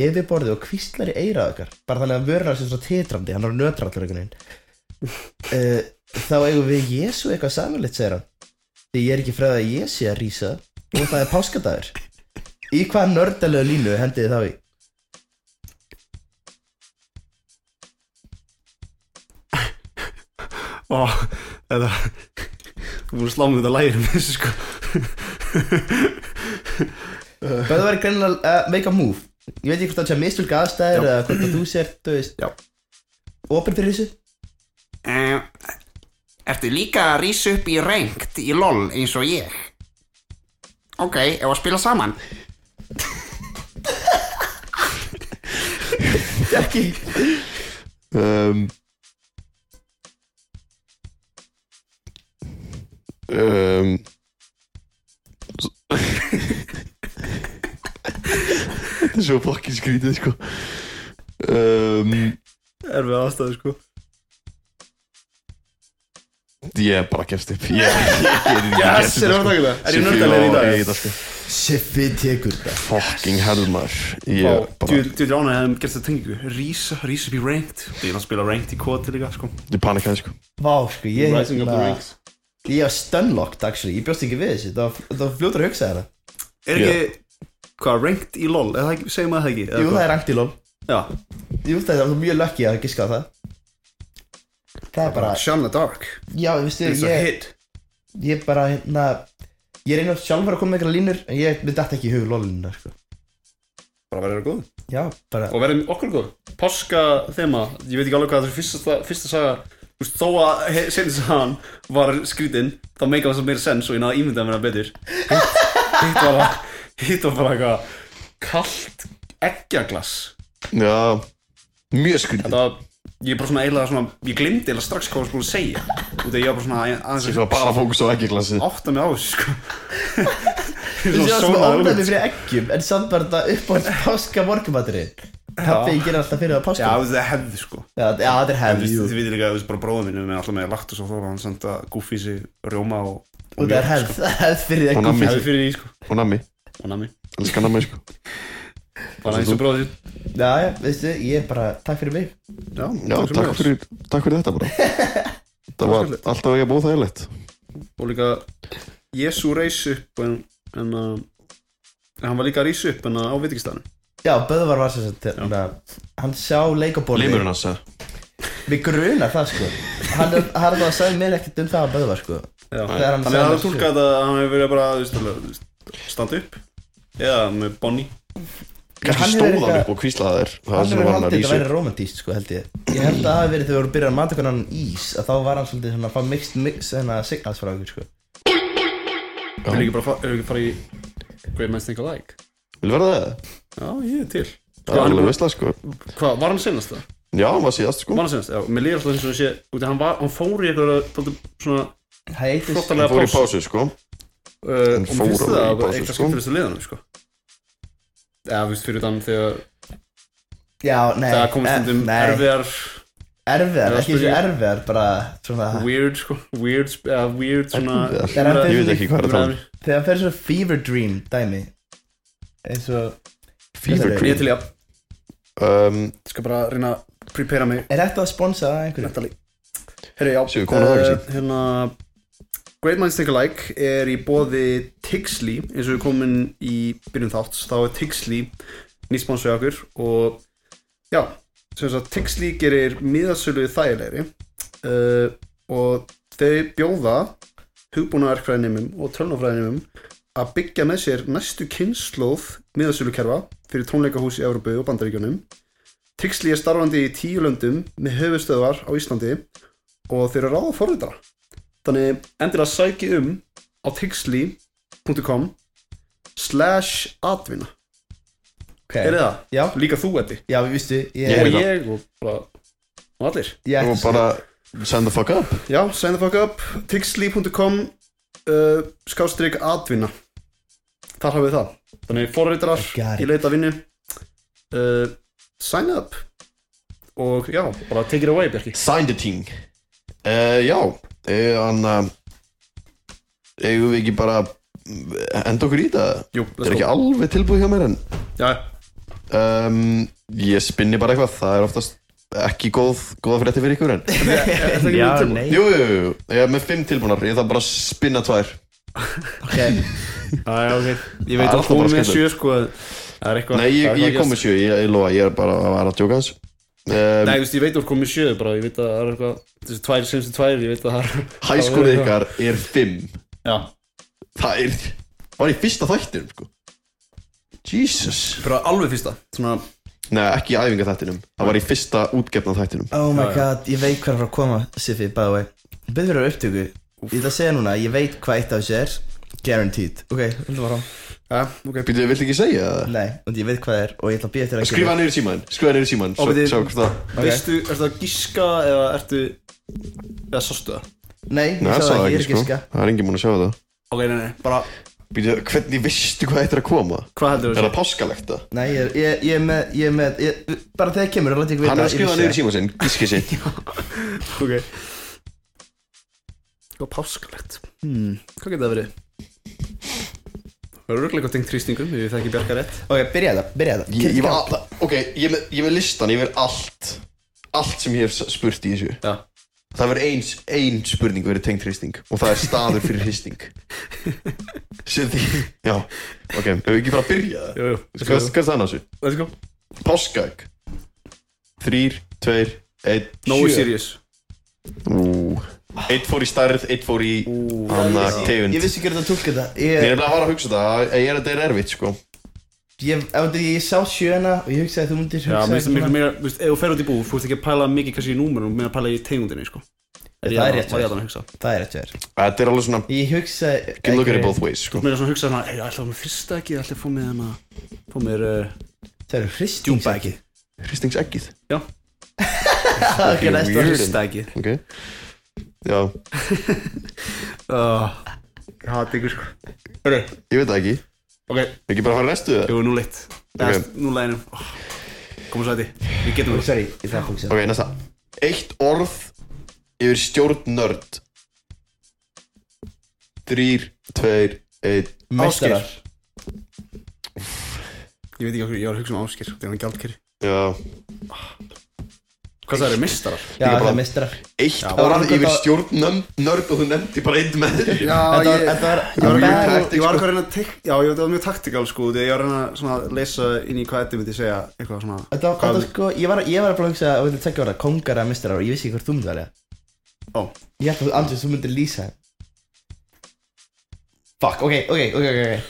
Speaker 2: yfir borðið og kvíslar í eirað okkar bara þannig að vörna sér svo titrandi hann er nötrallur einhvern veginn uh, þá eigum við Jésu eitthvað samverleitt segir hann því ég er ekki fræðið að Jésu að rísa og það er páskadagur í hvað nördalegu línu hendið þið þá í?
Speaker 1: Ó, þetta Þú búin að slá mig þetta lægir með þessu sko
Speaker 2: Böðu væri greinilega að make a move Ég veit ekki hvort það sé að mistulka aðstæður eða hvort að þú sért, þú veist
Speaker 1: Já.
Speaker 2: Opin fyrir þessu?
Speaker 4: Uh, ertu líka að rísa upp í rengt í LOL eins og ég? Ok, ef að spila saman.
Speaker 2: Ekki
Speaker 3: um, um, Þetta er svo fokkin skrítið sko um,
Speaker 1: Erfið aðstæðu sko
Speaker 3: Ég bara gefst upp Ég, ég gerir
Speaker 1: Yes,
Speaker 3: ekki gefst upp, sko.
Speaker 1: erum við að taka það? Er sko. ég nördalegri í dag?
Speaker 3: Ég geta sko
Speaker 2: Siffi tekur það
Speaker 3: Fokking helmar
Speaker 1: Ó,
Speaker 3: Ég bara,
Speaker 1: Þú er ánægði að hefum gert þetta tengingu Rísa, rísa upp í ranked Ég er að spila ranked í koti líka sko
Speaker 3: ég panikaði sko
Speaker 2: Vá, sko, ég
Speaker 1: Rising up the
Speaker 2: hérna-
Speaker 1: ranks
Speaker 2: Ég var stunlocked, actually, ég bjóst ekki við þessu Það var- það var fljótur að hugsa þetta
Speaker 1: Er ekki, hvað, ranked í LOL Er það ekki, segjum maður það ekki eða
Speaker 2: Jú,
Speaker 1: hvað?
Speaker 2: það er rangt í lól
Speaker 1: Já,
Speaker 2: Jú, það er mjög lucky að giska á það Það er bara,
Speaker 1: Shun the Dark
Speaker 2: já, veistu,
Speaker 1: It's a
Speaker 2: ég,
Speaker 1: hit
Speaker 2: ég bara, hérna Ég reyna sjálfur að koma með eitthvað línur En ég, við dætt ekki í hug lólinu, sko
Speaker 1: Bara verður það góð
Speaker 2: Já, bara
Speaker 1: og verðum okkur góð Páska þema, ég veit ekki alveg hvað það er fyrsta, fyrsta saga Þú veist, þó að he- seinni sagan var skrítinn þá meika það sem meira sens og ég náði að ímynda mér það betur Hitt- hitt var bara hitt var bara eitthvað kalt eggjaglas
Speaker 3: Já, mjög skrítið
Speaker 1: þetta var, ég bara svona eiginlega svona ég glimti eiginlega strax hvað það skulle segja út af ég var bara svona aðeins
Speaker 3: Ég var bara að fókusa á ekki glasið
Speaker 1: átta mig á þessu sko
Speaker 2: Þú
Speaker 1: Svona
Speaker 2: séu það sem
Speaker 1: sónaði
Speaker 2: ofnæmi
Speaker 1: út.
Speaker 2: fyrir eggjum En samt var þetta upp á páska morgumaturinn Pappi ég gerir alltaf fyrir það á
Speaker 1: Já,
Speaker 2: páska
Speaker 1: það er hefð sko
Speaker 2: Já, já, þetta
Speaker 1: Þú
Speaker 2: er hefð
Speaker 1: veist,
Speaker 2: jú.
Speaker 1: þið veitir líka að þú veist bara bróðum minn með alltaf með lagt og svo þóra hann senda gúffi sig rjóma og
Speaker 2: Og það er hefð, það er hefð fyrir
Speaker 3: Og
Speaker 2: eggjum
Speaker 3: nammi,
Speaker 1: Hefði fyrir því sko
Speaker 3: og nammi,
Speaker 1: Og nami
Speaker 3: elskar nammi sko
Speaker 1: Bara eins og bróðið
Speaker 2: Já, já, veistu, ég er bara, takk fyrir mig
Speaker 1: Já,
Speaker 3: Já,
Speaker 1: takk
Speaker 3: takk
Speaker 1: fyrir
Speaker 3: fyrir, takk fyrir þetta bara Það var
Speaker 1: Skemmtilegt.
Speaker 3: alltaf ekki að bóða þærlegt
Speaker 1: Og líka Jésu reis upp en, en að Hann var líka að reis upp en að á vitikistanu
Speaker 2: Já, Böðvar var sem sagt, hérna, hann sjá leikaborði
Speaker 3: hans
Speaker 2: Við gruna það, sko Hann er hann er það að segja mér ekkert um það að Böðvar, sko
Speaker 1: Já,
Speaker 2: Þegar hann
Speaker 1: hann er
Speaker 2: sagði
Speaker 1: að
Speaker 2: þessu.
Speaker 1: tólka þetta að hann hefur verið bara þú veist, alveg, þú veist, standa upp Eða með Bonnie
Speaker 3: Kanski
Speaker 2: Hann hefur
Speaker 3: stóð hann
Speaker 2: eitthvað-
Speaker 3: upp og kvíslaði þér Það
Speaker 2: Hann
Speaker 3: sem
Speaker 2: hefur
Speaker 3: var hann
Speaker 2: haldið
Speaker 3: að
Speaker 2: þetta
Speaker 3: rísa
Speaker 2: væri romantíst sko held ég Ég held að það hafi verið þegar við vorum byrjað að mata hvernig hann ís að þá var hann svolítið svona að fá mixed mix hérna signals frá okkur sko
Speaker 1: Hefur ekki bara fa- hefur ekki farið í Great Minds Think Alike
Speaker 3: Vil verða það?
Speaker 1: Já, ég er til
Speaker 3: Það
Speaker 1: Sko, hann
Speaker 3: er
Speaker 1: er
Speaker 3: alveg
Speaker 1: bara-
Speaker 3: veistlega sko
Speaker 1: Hvað, var hann senast það?
Speaker 3: Já, hann var síðast sko
Speaker 1: Var hann senast, já, mér líður alltaf eins og hann sé Útið hann, var- hann fór í eitthvað dálítið svona uh,
Speaker 2: Hætis
Speaker 1: flottalega
Speaker 3: Hann fór í
Speaker 1: pásu
Speaker 3: pásu sko
Speaker 1: uh, og
Speaker 3: fór
Speaker 1: mér finnst
Speaker 3: alveg í
Speaker 1: það bara
Speaker 3: pásu,
Speaker 1: eitt af
Speaker 3: sko.
Speaker 1: skemmtilegustu liðanum sko. eða þú veist fyrir þann þegar
Speaker 2: Já, nei
Speaker 1: það komið
Speaker 2: eh,
Speaker 1: stundum
Speaker 2: nei,
Speaker 1: erfiðar
Speaker 2: Erfiðar,
Speaker 1: Já,
Speaker 2: ekki þessu
Speaker 1: spurning.
Speaker 2: erfiðar bara svona
Speaker 1: weird sko, weird, sp- eða weird svona
Speaker 3: Erfiðar?
Speaker 2: Þegar hann fer
Speaker 3: Ég veit
Speaker 2: svona
Speaker 3: ekki hvað er um. það
Speaker 1: umræður.
Speaker 2: Þegar hann fer svona fever dream dæmi eins og
Speaker 3: Fever
Speaker 1: ég er
Speaker 3: Cream
Speaker 1: til í að
Speaker 3: um,
Speaker 1: skal bara reyna að prepara mig
Speaker 2: Er þetta að sponsa það einhverju?
Speaker 1: mentally herru já
Speaker 3: Séu, komin að það,
Speaker 1: eh, hérna Great Minds Think Alike er í boði Tixley eins og við komin í byrjun þátts þá er Tixley nýsponsu okkur og já, sem sagt Tixley gerir miðasölu þægilegri uh, og þau bjóða hugbúnaverkfræðinimum og tölnafræðinimum að byggja með sér næstu kynnslóð miðasölukerfa fyrir tónleikahús í Európu og Bandaríkjunum Tixley er starfandi í tíu löndum með höfustöðvar á Íslandi og þeir eru ráða forvitara þannig endilega sæki um á tixli.com slash atvinna
Speaker 2: Okay.
Speaker 1: er það?
Speaker 2: Já,
Speaker 1: Líka þú Eddi
Speaker 2: já, við vistu Ég,
Speaker 3: Ég-
Speaker 1: og
Speaker 3: er það.
Speaker 1: ég og bara og allir
Speaker 2: ég ætti
Speaker 3: Og bara send the fuck up
Speaker 1: já, sign the fuck up tixli.com uh, skástrík atvinna þar hafið það þannig forvitarar
Speaker 2: I got it.
Speaker 1: í leita vinnu uh, sign up og já, bara take it away Bjarki
Speaker 3: Sign the thing uh, Já, eh, hann uh, Eigum við ekki bara eh, Enda okkur í þetta
Speaker 1: Jú,
Speaker 3: Það er ekki alveg tilbúið hjá mér en
Speaker 1: já,
Speaker 3: um, Ég spinni bara eitthvað Það er oftast ekki góð, góða frétti fyrir ykkur en
Speaker 1: ekki
Speaker 2: Já,
Speaker 1: mjög tilbúin?
Speaker 2: nei
Speaker 3: Jú, jú, jú, jú. ég er með fimm tilbúnar Ég þarf bara að spinna tvær
Speaker 2: okay.
Speaker 1: Já, já, ok. Ég veit
Speaker 3: Það er
Speaker 1: að
Speaker 3: alltaf
Speaker 1: þú
Speaker 3: bara
Speaker 1: er með
Speaker 3: skemmtilegt.
Speaker 1: sjö, sko. en Það er eitthvað.
Speaker 3: Nei,
Speaker 1: það
Speaker 3: ég,
Speaker 1: er
Speaker 3: ég
Speaker 1: eitthvað
Speaker 3: kom
Speaker 1: að
Speaker 3: með sjö Ég, ég lofa, ég er bara að vara að djóka hans
Speaker 1: gerast.
Speaker 3: um,
Speaker 1: Nei, þú veist, ég veit að þú er komið sjö, bara, ég veit að það er eitthvað, þessi tvær, semstu tvær, ég veit að það er...
Speaker 3: Hæskólið ykkar er fimm
Speaker 1: Já.
Speaker 3: Það er Var í fyrsta þættinum sko. Jesus
Speaker 1: Bara alveg fyrsta. Svona,
Speaker 3: Nei, ekki í æfinga þættinum Það var í fyrsta útgefna þættinum
Speaker 2: Oh
Speaker 1: Já,
Speaker 2: my
Speaker 1: já.
Speaker 2: god, ég veit hvað er að fara að koma Siffi, by the way Ég byrði fyrir upptöku Ég ætla að segja núna, ég veit hvað eitt af þessu er Guaranteed Ok, vildu bara á
Speaker 1: já, ok.
Speaker 3: Býtu, viltu ekki segja það?
Speaker 2: Nei, og ég veit hvað það er og ég ætla að býða þér að
Speaker 3: Skrifa niður í síman Skrifa niður í síman Svo,
Speaker 1: Og bíddu-
Speaker 3: sjá hvort það
Speaker 1: Veistu, ertu að gíska eða ertu... Eða sástu það?
Speaker 2: Nei, ég
Speaker 3: Nei,
Speaker 2: sagði
Speaker 3: það
Speaker 2: það,
Speaker 3: er
Speaker 2: ég er
Speaker 3: ekki
Speaker 2: ekki
Speaker 3: sko
Speaker 2: sko
Speaker 3: Það er engin múin að sjá það
Speaker 1: Ok, nei, nei, bara,
Speaker 3: Býtu, hvernig vistu hvað þetta er að koma?
Speaker 1: hvað heldur
Speaker 3: Er
Speaker 1: þú
Speaker 3: það páskalegt það?
Speaker 2: Nei, ég er, ég, ég er með, ég er með ég, Bara þegar kemur, þá læt ég vita
Speaker 3: Hann er að
Speaker 2: ég
Speaker 3: skrifa
Speaker 2: vissi
Speaker 3: niður í síman sinn Gíski sitt
Speaker 1: þessu? Ok. Eitthvað páskalegt. Hmm, hvað getur það verið? Það eru röglega tengt þrýstingum, ef ég þekki Bjarka rétt.
Speaker 2: það. Ok, byrja það, byrja það
Speaker 3: Ég, ég var alla, ok, ég er með, ég er með listan, ég verð allt Allt sem ég hef s- spurt í þessu
Speaker 1: Já.
Speaker 3: Það verður eins, ein spurning verið tengd hristing Og það er staður fyrir hristing Sér því, já Ok, ef við ekki bara að byrja það
Speaker 1: Jú, jú.
Speaker 3: Hvað hvað er það annars?
Speaker 1: Let's go.
Speaker 3: Páskaegg Þrýr, tveir, einn,
Speaker 1: Nói serious.
Speaker 3: Ú Eitt fór í stærð, eitt fór í Hanna, tegund
Speaker 2: Ég
Speaker 3: Ég
Speaker 2: vissi ekki hvernig að tólka þetta
Speaker 3: er
Speaker 2: Ég,
Speaker 3: nefnilega að fara að hugsa það Ég er að þetta er erfitt, sko
Speaker 2: ég, ég, ég sá sjöna og ég hugsaði að þú myndir
Speaker 1: Já, mér
Speaker 2: hugsa
Speaker 1: finnst það miklu
Speaker 2: svona-
Speaker 1: meira, þú veist, ef þú ferð út í búð, þú ert ekki að pæla mikið kannski í númurinn, meira að pæla í tegundinni, sko.
Speaker 2: Það
Speaker 1: Ég
Speaker 2: er
Speaker 1: að-
Speaker 2: rétt
Speaker 1: Var ég
Speaker 2: hjá
Speaker 1: að það að hugsa.
Speaker 2: Það er eftir
Speaker 3: Þetta er alveg svona
Speaker 2: Ég hugsaði
Speaker 3: Can look at it both ways, sko
Speaker 1: Mér er svona að hugsa svona, hey, ætlaðu mér fyrsta ekki, ætlaðu að fá mér hana, fá mér, uh,
Speaker 2: Það eru hristingsæki
Speaker 3: Hristingseggjið
Speaker 1: já,
Speaker 2: Ok, næsta
Speaker 3: Weird.
Speaker 1: fyrsta ekki.
Speaker 3: Ok Já,
Speaker 2: Ah.
Speaker 1: Uh, Hati ykkur, sko. Hörru,
Speaker 3: ég veit það ekki
Speaker 1: Ok,
Speaker 3: Ekki bara fara restu það
Speaker 1: jú, nú leitt okay. Nú læginum oh. Komum svo að því, við getum það
Speaker 2: Sorry, ég þarf að fókusa
Speaker 3: Ok, næsta Eitt orð yfir stjórnörd Þrýr, tveir, einn
Speaker 2: Meistarar
Speaker 1: Ég veit ekki okkur, ég var að hugsa um áskir Þegar hann gjaldkeri
Speaker 3: Já
Speaker 1: Hvað það eru mistarar?
Speaker 2: Já,
Speaker 3: Líka bara-
Speaker 2: það er meistarar
Speaker 3: Eitt
Speaker 2: bara-
Speaker 3: orð yfir stjórnörd og þú nefndi bara einn með þér
Speaker 1: Já,
Speaker 2: Þetta var-
Speaker 1: ég,
Speaker 2: þetta var-
Speaker 1: ég
Speaker 2: sko.
Speaker 1: var
Speaker 2: þetta
Speaker 1: eitthvað
Speaker 2: var-
Speaker 1: að ég var eitthvað að reyna að tek, já, ég var mjög taktikal sko, því að ég var að reyna svona að lesa inn í hvað Eddi myndi segja, eitthvað svona
Speaker 2: Þetta var, þetta var sko, ég var, ég var bara að hugsa að við tekja orða kongar eða mistarar og ég vissi ekki hvort þú myndir velja
Speaker 1: Ó.
Speaker 2: Ég held að Andrés, þú myndir lýsa þeim. Fuck, ok, ok, ok, ok, ok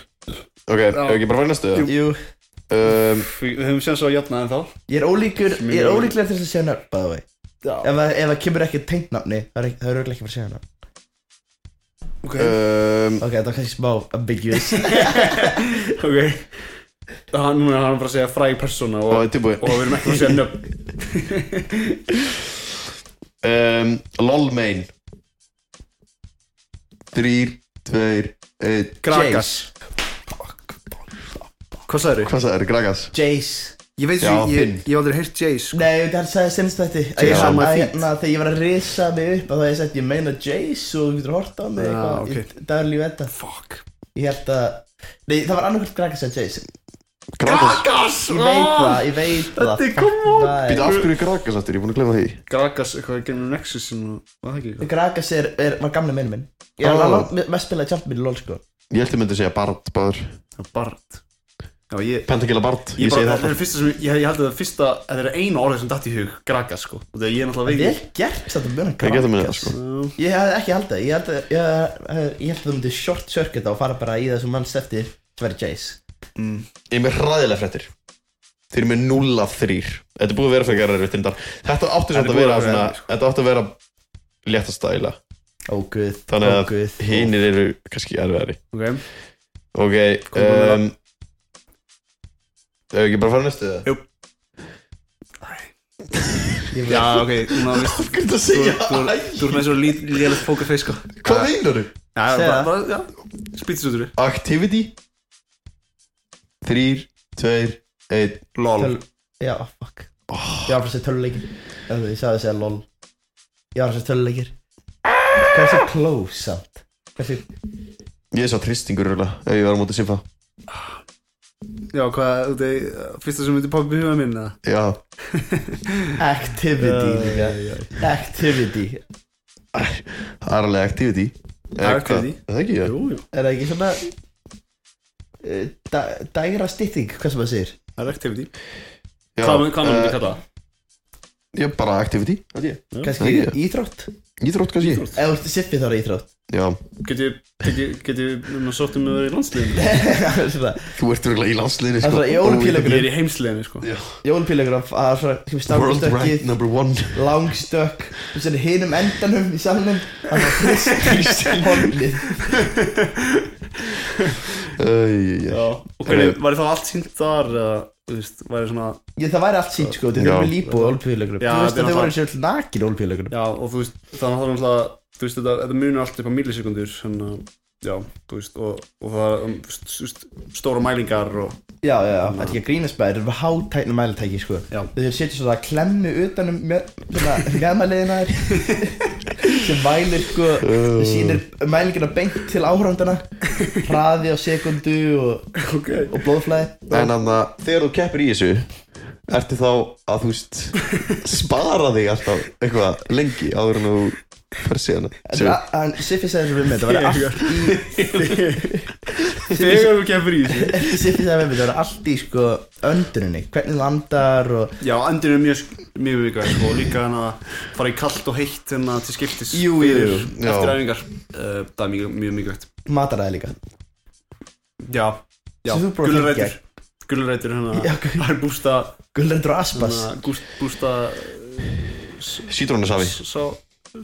Speaker 3: Ok, ef ekki bara fara næstu
Speaker 2: Jú,
Speaker 3: það um,
Speaker 1: Við við höfum séð svo að jafna en þá
Speaker 2: ég er ólíkur, ég er
Speaker 1: Mjög-
Speaker 2: ólíklega til þess að segja nöfn, by the way
Speaker 1: Já,
Speaker 2: Ef það- ef það kemur ekki tengt nafni, það er ekki- það er auðvitað ekki að fara að segja nöfn
Speaker 1: ok,
Speaker 3: um,
Speaker 2: Ok, þetta var kannski smá ambiguous
Speaker 1: ok Hann núna er hann bara að segja fræg persóna
Speaker 3: Og
Speaker 1: og,
Speaker 3: er tilbúið
Speaker 1: og við erum ekki að segja nöfn
Speaker 3: um, Lolmain Þrýr, tveir, einn
Speaker 1: Krakas Hvað sagður
Speaker 3: Hvað það er, Gragas?
Speaker 2: Jace
Speaker 1: Ég veit
Speaker 3: Já,
Speaker 1: svo, ég,
Speaker 3: Finn.
Speaker 1: ég hef aldrei heyrt Jace sko.
Speaker 2: Nei, það sagði senst þetta að
Speaker 1: Jace
Speaker 2: ég-
Speaker 1: on my
Speaker 2: að-
Speaker 1: feet.
Speaker 2: na, Þegar ég var að risa mig upp að það ég sagt ég meina Jace og þú getur horta á mig
Speaker 1: Já,
Speaker 2: eitthvað
Speaker 1: Ah, ok.
Speaker 2: í daglífi þetta
Speaker 1: Fuck
Speaker 2: Ég held að Nei, það var annarkvæmt Gragas eða Jace
Speaker 3: Gragas?
Speaker 1: Krakas Ah!
Speaker 2: Ég veit það, ég veit það
Speaker 1: Þetta er come on.
Speaker 2: Það
Speaker 3: Býta af hverju er Gragas aftur, ég er búin að glemma því
Speaker 1: Krakas, eitthvað genið Nexus sem var það ekki
Speaker 2: er Gragas er, er, var gamli minn minn Ég var
Speaker 1: Ah.
Speaker 3: Ó.
Speaker 2: oh. langt mest spilaði tjátt minn í LOL sko
Speaker 3: Ég held að myndi að segja Bard, Bard
Speaker 1: Það var Bart Já, ég
Speaker 3: Pentakilla Bard,
Speaker 1: Ég,
Speaker 3: ég, segi
Speaker 1: bara,
Speaker 3: það
Speaker 1: þetta er
Speaker 3: alltaf
Speaker 1: fyrsta sem, ég, ég held að það er fyrsta, þetta er eina orðið sem datt í hug, graga sko og þegar ég er náttúrulega
Speaker 2: Vel
Speaker 1: veit
Speaker 2: gert þetta mjög
Speaker 3: Ég geta minni það
Speaker 2: Gragas
Speaker 3: sko
Speaker 2: Ég hef ekki held það, ég held að Ég, ég, ég held að þú myndi short circuit á og fara bara í það sem manns eftir Það verið Jace
Speaker 3: Ég er með hræðilega fréttir Þeir eru með 0 af 3 Þetta er búið að vera frekar erfitt reyndar. Þetta
Speaker 1: Þetta
Speaker 3: átti
Speaker 1: er
Speaker 3: samt að
Speaker 1: búið að
Speaker 3: vera
Speaker 1: vera
Speaker 3: svona
Speaker 1: erfitt, sko.
Speaker 3: Þetta átti að vera léttast dæla
Speaker 2: Ó guð, ó
Speaker 3: Þannig að
Speaker 2: guð
Speaker 3: hinir eru kannski erfiðari
Speaker 1: Ok,
Speaker 3: Ok
Speaker 1: Kom að vera.
Speaker 3: um, Ef ekki bara fara næstu það?
Speaker 1: jú
Speaker 2: Ég veit-
Speaker 1: Já, ok, núna veist
Speaker 3: Hvað er þetta að
Speaker 1: Þú
Speaker 3: segja?
Speaker 1: þú- þú ert með svo lélegt pókerfeis sko Já,
Speaker 3: Hvað meinar þú?
Speaker 1: bara,
Speaker 2: Segðu það.
Speaker 1: bara, já, spýtis út úr því
Speaker 3: Activity 3, 2, 1
Speaker 1: LOL
Speaker 2: Töl, já, fuck Ég var bara að segja töluleikir Ef þú- Ég sagði að segja lol Ég var að segja töluleikir Hversu close samt Hversu
Speaker 3: Ég er svo tristingur röglega Ef ég var á móti simfa
Speaker 1: Já, hvað, þú veit, fyrsta sem myndi poppa í huga minn eða?
Speaker 3: Já
Speaker 2: activity líka Activity
Speaker 3: Það er alveg activity Eða hvað?
Speaker 1: Activity.
Speaker 3: Er Það ekki, já
Speaker 1: Jú, jú,
Speaker 2: Er það ekki svona eh, dæ- Dægra stytting, hvað sem það segir
Speaker 1: það er activity
Speaker 3: Já,
Speaker 1: Hvað mun- hvað mun myndi
Speaker 3: eh,
Speaker 1: kalla það?
Speaker 3: Já, bara activity held ég.
Speaker 2: Kannski
Speaker 3: Já.
Speaker 2: íþrótt
Speaker 3: Íþrótt kannski
Speaker 1: Íþrótt.
Speaker 2: Ef þú ert sippið þá er það íþrótt
Speaker 3: Já
Speaker 1: Getur, getur, getur, núna sóttum við um að vera í landsliðinu
Speaker 2: Það er svona
Speaker 3: Þú ert röglega í landsliðinu sko.
Speaker 2: Það er svona í
Speaker 1: Ég
Speaker 2: ólipílegur
Speaker 1: er í heimsliðinu sko
Speaker 2: Jólpílegur Það er svona kemur
Speaker 3: World
Speaker 2: stangstökkið
Speaker 3: rank number one
Speaker 2: langstökk og sér hinum endanum í salnum hann var hrist í holnið
Speaker 3: Æ,
Speaker 1: Já, og hvernig, var það allt sínt þar eða, þú veist, var svona
Speaker 2: ég, það væri allt sínt sko, þetta
Speaker 3: Já.
Speaker 2: er með líbú og olpíðulegurum
Speaker 1: Já,
Speaker 2: þú veist
Speaker 1: þetta er
Speaker 2: að þau voru
Speaker 1: náttúrulega-
Speaker 2: sér nakin olpíðulegurum
Speaker 1: Já, og þú veist, þannig að það er þú veist, þetta, þetta munir allt upp á millisekundur þannig að, já, þú veist og, og það er, um, st- st- stóra mælingar og,
Speaker 2: já, já, já, þetta er ekki að grínast með þetta er hátækna mælitæki sko
Speaker 1: Já.
Speaker 2: þau setja svona að klemmu utan um mjö- svona hljámalegina þær sem vælir sko
Speaker 3: Oh.
Speaker 2: þau sýnir mælingina beint til áhrandana hraði á sekundu og,
Speaker 1: ok,
Speaker 2: og blóðflæði
Speaker 3: En þannig að þegar þú keppir í þessu Ertu þá að þú veist Spara þig alltaf eitthvað lengi Áður en þú fer síðan
Speaker 2: en en Siffi segði þessu við mig, þetta væri allt
Speaker 1: þegar þú kemur í þessu
Speaker 2: Ekki sippið það með mig, það var allt í sko önduninni, hvernig þú andar og
Speaker 1: Já, andur er mjög, mjög vikar sko, og líka hann að fara í kallt og heitt hérna til skiptis
Speaker 2: Jú, jú, jú.
Speaker 1: fyrir-
Speaker 3: Já.
Speaker 1: eftir æfingar, uh, það er mjög, mjög mikilvægt
Speaker 2: mataræði líka
Speaker 1: Já, já,
Speaker 2: Sem þú bara
Speaker 1: gulrætur
Speaker 2: fengir.
Speaker 1: gulrætur
Speaker 2: Já,
Speaker 1: hérna,
Speaker 2: gul-
Speaker 1: það er bústa
Speaker 2: Gulrendur og aspas
Speaker 1: hérna, gúst- bústa
Speaker 3: Sítrónusafi
Speaker 1: sá,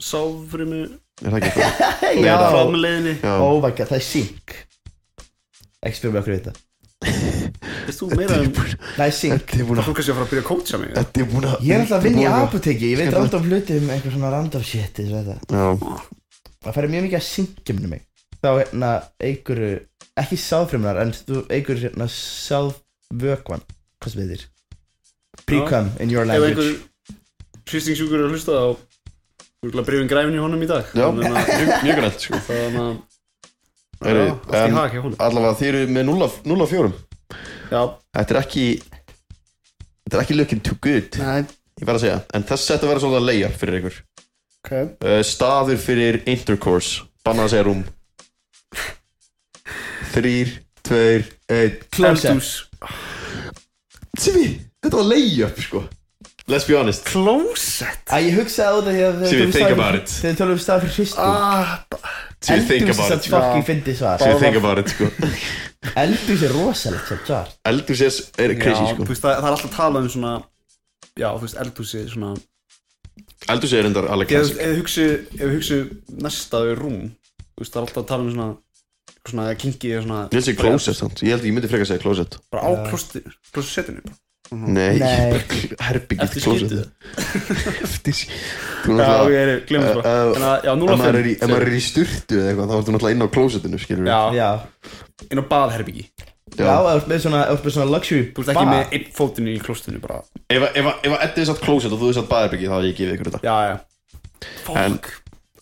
Speaker 1: sáfrimu
Speaker 3: Er það ekki eitthvað?
Speaker 2: Já,
Speaker 1: framleiðinni,
Speaker 3: Já
Speaker 2: óvægja, það er sink Ekki spyrja mig okkur við þetta
Speaker 1: veist þú meira um
Speaker 2: Nei, sink
Speaker 3: Þið er búin að
Speaker 1: Þú kannski að fara að byrja að kótsa mig
Speaker 3: Þetta er búin að
Speaker 2: Ég er alltaf að vinna í
Speaker 3: Þið er búin
Speaker 2: apoteki, ég veit
Speaker 3: Skemmtilegt.
Speaker 2: random hluti um einhver svona random shit eins og þetta
Speaker 3: Já
Speaker 2: um Það færi mjög mikið að sinkja minni mig Þá hérna einhverju ekki sáðfrumunar en þú eigur hérna sáðvökvan hvað sem heitir precum in your
Speaker 1: Ef
Speaker 2: language
Speaker 1: einhver hristingssjúkur er að hlusta á Úrlega breyfin græfin í um honum í dag
Speaker 3: Já,
Speaker 1: Þannig að
Speaker 3: mjög, mjög grænt sko.
Speaker 1: Þannig að
Speaker 3: Heyrðu,
Speaker 1: Já, allt í
Speaker 3: em,
Speaker 1: hag hjá honum
Speaker 3: Allavega þið eru með 0 af- 0 af 4
Speaker 1: Já,
Speaker 3: Þetta er ekki Þetta er ekki looking too good
Speaker 1: nei,
Speaker 3: Ég verð að segja En þess þetta verður svolítið að leiða fyrir ykkur
Speaker 1: ok
Speaker 3: uh, Staður fyrir intercourse Bannað að segja rúm Þrýr, tveir, einn
Speaker 1: Klósdús
Speaker 3: Simi, þetta var layup sko Let's be honest
Speaker 1: Klósett
Speaker 2: að ég hugsaði á þetta þegar
Speaker 3: See,
Speaker 2: þegar við
Speaker 3: think
Speaker 2: tölum
Speaker 3: about
Speaker 2: stað-
Speaker 3: it.
Speaker 2: þegar við tölum stað fyrir hristing
Speaker 1: Ah,
Speaker 3: See, think
Speaker 2: eldús er
Speaker 3: about it
Speaker 2: satt
Speaker 3: sko.
Speaker 2: fucking fyndi svar
Speaker 3: See, think about it sko
Speaker 2: eldús er rosalegt samt svar
Speaker 3: Eldus er, er
Speaker 1: Já,
Speaker 3: crazy
Speaker 1: þú
Speaker 3: sko
Speaker 1: veist, það, það er alltaf talað um svona Já, þú veist, eldhúsi svona
Speaker 3: Eldus er endar alveg
Speaker 1: Ég, þú veist, ef
Speaker 3: classic
Speaker 1: við hugsi, ef við hugsi næstaðu rúm Þú veist, það er alltaf að tala um svona Svona kinky og svona
Speaker 3: Ég held sér closet samt Ég held ég myndi frekar að segja closet
Speaker 1: Bara á klósettinu Klósettinu
Speaker 3: Nei,
Speaker 2: Nei.
Speaker 3: herbyggið
Speaker 1: Mhm. Eftir
Speaker 3: closet
Speaker 1: skyndið.
Speaker 3: Eftir skýttu
Speaker 1: Já, ok, er, glemum
Speaker 3: Eh,
Speaker 1: það
Speaker 3: eh,
Speaker 1: Þannig að, já,
Speaker 3: Ef maður er í-
Speaker 1: 05
Speaker 3: ef maður er í sturtu eða eitthvað þá ertu náttúrulega inn á closetinu skilur við
Speaker 1: Já,
Speaker 2: já
Speaker 1: inn á baðherbyggi
Speaker 2: já ef þú ert með svona ef þú ert með svona luxury
Speaker 1: Þú veist ekki með einn fótinn í klóstinu bara
Speaker 3: Ef að- ef að ef að Eddi er satt closet og þú er satt baðherbyggi þá hef ég gefið ykkur þetta
Speaker 1: Já, já
Speaker 3: En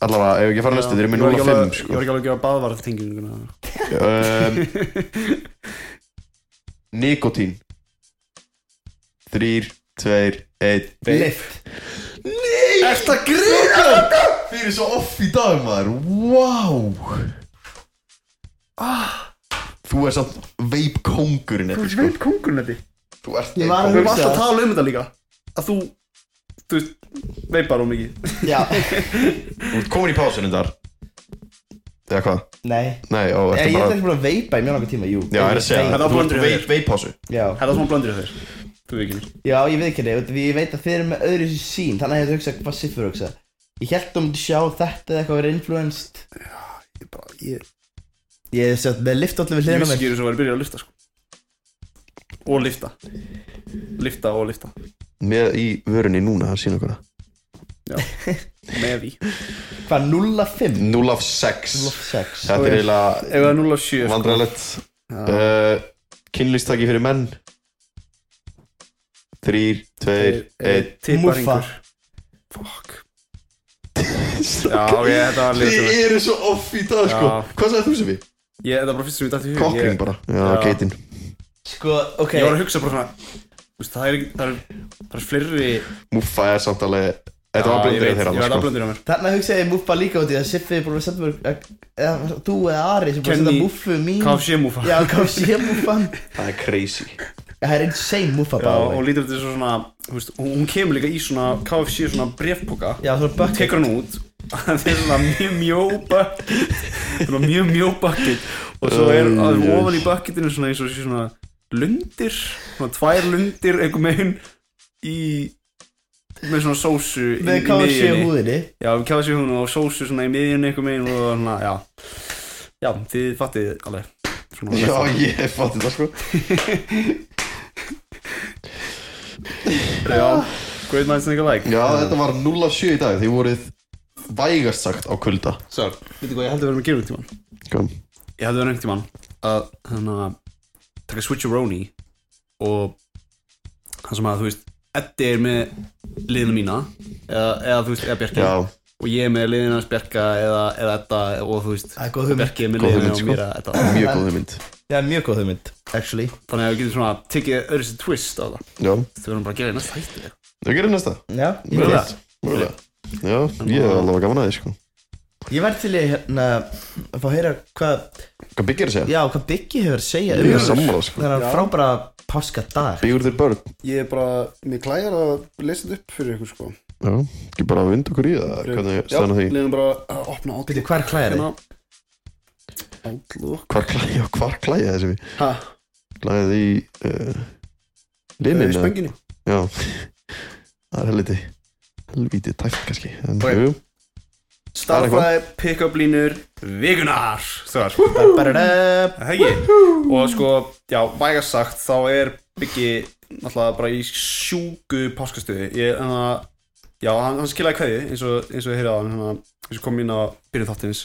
Speaker 3: allavega ef ég fara næstu þeir eru með 0.5
Speaker 1: Ég
Speaker 3: sko
Speaker 1: var ekki alveg að gera baðvarðtenginguna
Speaker 3: um, Nikotín Þrýr, tveir, einn
Speaker 2: lift
Speaker 3: Nei
Speaker 1: Ertu að grína?
Speaker 3: Þið eru svo off í dag maður Wow ah.
Speaker 1: Ah.
Speaker 3: Þú er samt veip kongurinn Eddi sko
Speaker 1: veit kongurinn þetta
Speaker 3: Þú ert
Speaker 2: Ég var að
Speaker 1: Við erum
Speaker 2: hugsa-
Speaker 1: alltaf að tala um þetta líka Að þú, þú veist, veipar hún mikið
Speaker 2: já
Speaker 3: Þú ert komin í pásunum þar Eða hvað?
Speaker 2: nei
Speaker 3: Nei, ó,
Speaker 2: Ég ég
Speaker 3: ertu
Speaker 2: er
Speaker 3: bara
Speaker 2: ekki búin að veipa í mjög langar tíma, jú
Speaker 3: Já, það er að segja
Speaker 1: Það
Speaker 3: Þú
Speaker 1: var
Speaker 3: ert
Speaker 1: blöndur í
Speaker 3: veip, veip pásu
Speaker 2: Já,
Speaker 1: Það er svona blandir þér Þú veikir
Speaker 2: já ég veit ekki neitt, því ég veit að þið eru með öðru sér sín Þannig að ég hefði hugsað hvað Siffur hugsa Ég held að þú myndi sjá þetta eða eitthvað verið influenced
Speaker 1: Ég bara, ég
Speaker 2: Ég hef sett með lift allir við
Speaker 1: Ég
Speaker 2: hliðina á
Speaker 1: vissi
Speaker 2: mér
Speaker 1: ekki þess að vera að byrja að lifta sko Og lifta Lifta og lifta
Speaker 3: Með í vörunni núna, það sína okkur það
Speaker 1: Já Með í
Speaker 2: Hvað, 0,5?
Speaker 3: 0 af 6
Speaker 2: 0,6
Speaker 3: Þetta er eiginlega
Speaker 1: Ef það er 0 af 7
Speaker 3: vandræðilegt uh, Kynlýstaki fyrir menn 3, 2, 1
Speaker 2: Muffa.
Speaker 1: Tipparingur Fuck Já, ég, þetta var
Speaker 3: Þið
Speaker 1: liðsum
Speaker 3: eru svo off í dag sko
Speaker 1: Já.
Speaker 3: Hvað sagði þú sem við?
Speaker 1: Ég, þetta var bara fyrst sem ég dætti í hug
Speaker 3: Kokking
Speaker 1: Ég-
Speaker 3: bara Já,
Speaker 1: Já.
Speaker 3: geitin
Speaker 2: Sko, ok
Speaker 1: Ég var að hugsa bara svona þú veist, Það er, það er, það er fleiri
Speaker 3: Múffa er samt alveg Þetta var
Speaker 1: Já, ég
Speaker 3: blöndur
Speaker 1: veit,
Speaker 3: þeirra
Speaker 1: Ég veit
Speaker 3: annars,
Speaker 1: að
Speaker 3: sko.
Speaker 1: blöndir á mér
Speaker 2: Þarna hugsaði ég múffa líka út í það Siffi er búin að senda mér eða Þú eða Ari sem búin að
Speaker 1: Kenny-
Speaker 2: senda múffu mín
Speaker 1: KFC múfa
Speaker 2: Já, KFC múffan
Speaker 3: Það er crazy
Speaker 2: Það er insane múffa
Speaker 1: Já,
Speaker 2: bara
Speaker 1: og lítur þetta svo svona, þú veist, hún hún kemur líka í svona KFC svona brefpoka
Speaker 2: Já, svona bucket.
Speaker 1: Tekur hann út Það er svona mjög mjó bucket Svona mjög mjó bucket Og svo er
Speaker 3: Æ,
Speaker 1: að
Speaker 3: jés.
Speaker 1: ofan í bucketinu svona eins og sé svona lundir Svona tvær lundir einhver megin í með svona sósu í-
Speaker 2: Með
Speaker 1: í
Speaker 2: KFC
Speaker 1: miðjunni.
Speaker 2: húðinni
Speaker 1: Já, við kjáðum sér hún og sósu svona í miðjunni einhver megin og svona, já Já, þið fattið alveg svona,
Speaker 3: Já, ég fatti þetta sko
Speaker 1: já Great minds think alike
Speaker 3: Já, þetta var 0 af 7 í dag Þið voruð vægast sagt á kulda
Speaker 1: Svar, veitu hvað ég held að vera með að gera um tíman
Speaker 3: Kom.
Speaker 1: Ég held að vera um tíman að þannig að taka switcheroni og hann sem að þú veist Eddi er með liðinu mína eða, eða þú veist, eða Bjarki
Speaker 3: Já,
Speaker 1: og ég er með liðinu hans Bjarka eða, eða Edda og þú veist
Speaker 2: Það er góð hugmynd
Speaker 1: Bjarki er með
Speaker 3: Góð
Speaker 1: liðinu
Speaker 3: hugmynd,
Speaker 1: og
Speaker 3: sko.
Speaker 1: mér að Edda
Speaker 3: mjög góð mynd
Speaker 2: Já, mjög góð hugmynd, actually
Speaker 1: Þannig að við getum svona tekið öðru sér twist á það
Speaker 3: Já,
Speaker 1: Þau verðum bara að gera í næsta hættu
Speaker 3: þau gerir næsta
Speaker 2: Já, ég
Speaker 1: Mögulega.
Speaker 2: veit.
Speaker 3: Mögulega Já, ég er alveg gaman að því sko
Speaker 2: Ég verð til í hérna að fá að heyra hvað,
Speaker 3: Hvað byggir það segja?
Speaker 2: já, hvað Biggi hefur að segja um
Speaker 3: Ég er
Speaker 2: þennan-
Speaker 3: sammála sko
Speaker 2: þennan frábæra páskadag
Speaker 3: Byggur þér börn
Speaker 4: Ég er bara, mér klæjar að lesa þetta upp fyrir ykkur sko
Speaker 3: Já, ekki bara að vinda okkur í það Hvernig stæna því?
Speaker 4: leiðum bara að opna
Speaker 2: Býttu,
Speaker 4: Outlook
Speaker 2: hvað er klæðið?
Speaker 1: Hérna.
Speaker 4: Outlook
Speaker 3: Hvar klæja, hvar klæja þessi við?
Speaker 4: Ha,
Speaker 3: Klæja í uh,
Speaker 4: það er í
Speaker 1: Eh,
Speaker 3: Linnina
Speaker 4: spönginni
Speaker 3: Já Það er helviti Helviti tæft kannski En
Speaker 4: Ok.
Speaker 3: jú
Speaker 1: Starfræði, pick-up línur, vikunar Svar
Speaker 2: Bararab.
Speaker 1: Það ekki Og sko, já, vægast sagt þá er Biggi náttúrulega bara í sjúku páskastuði Ég, hann að Já, hann, hann skilaði kveði eins og, eins og ég heyrði á hann eins og kom inn á byrjun þáttins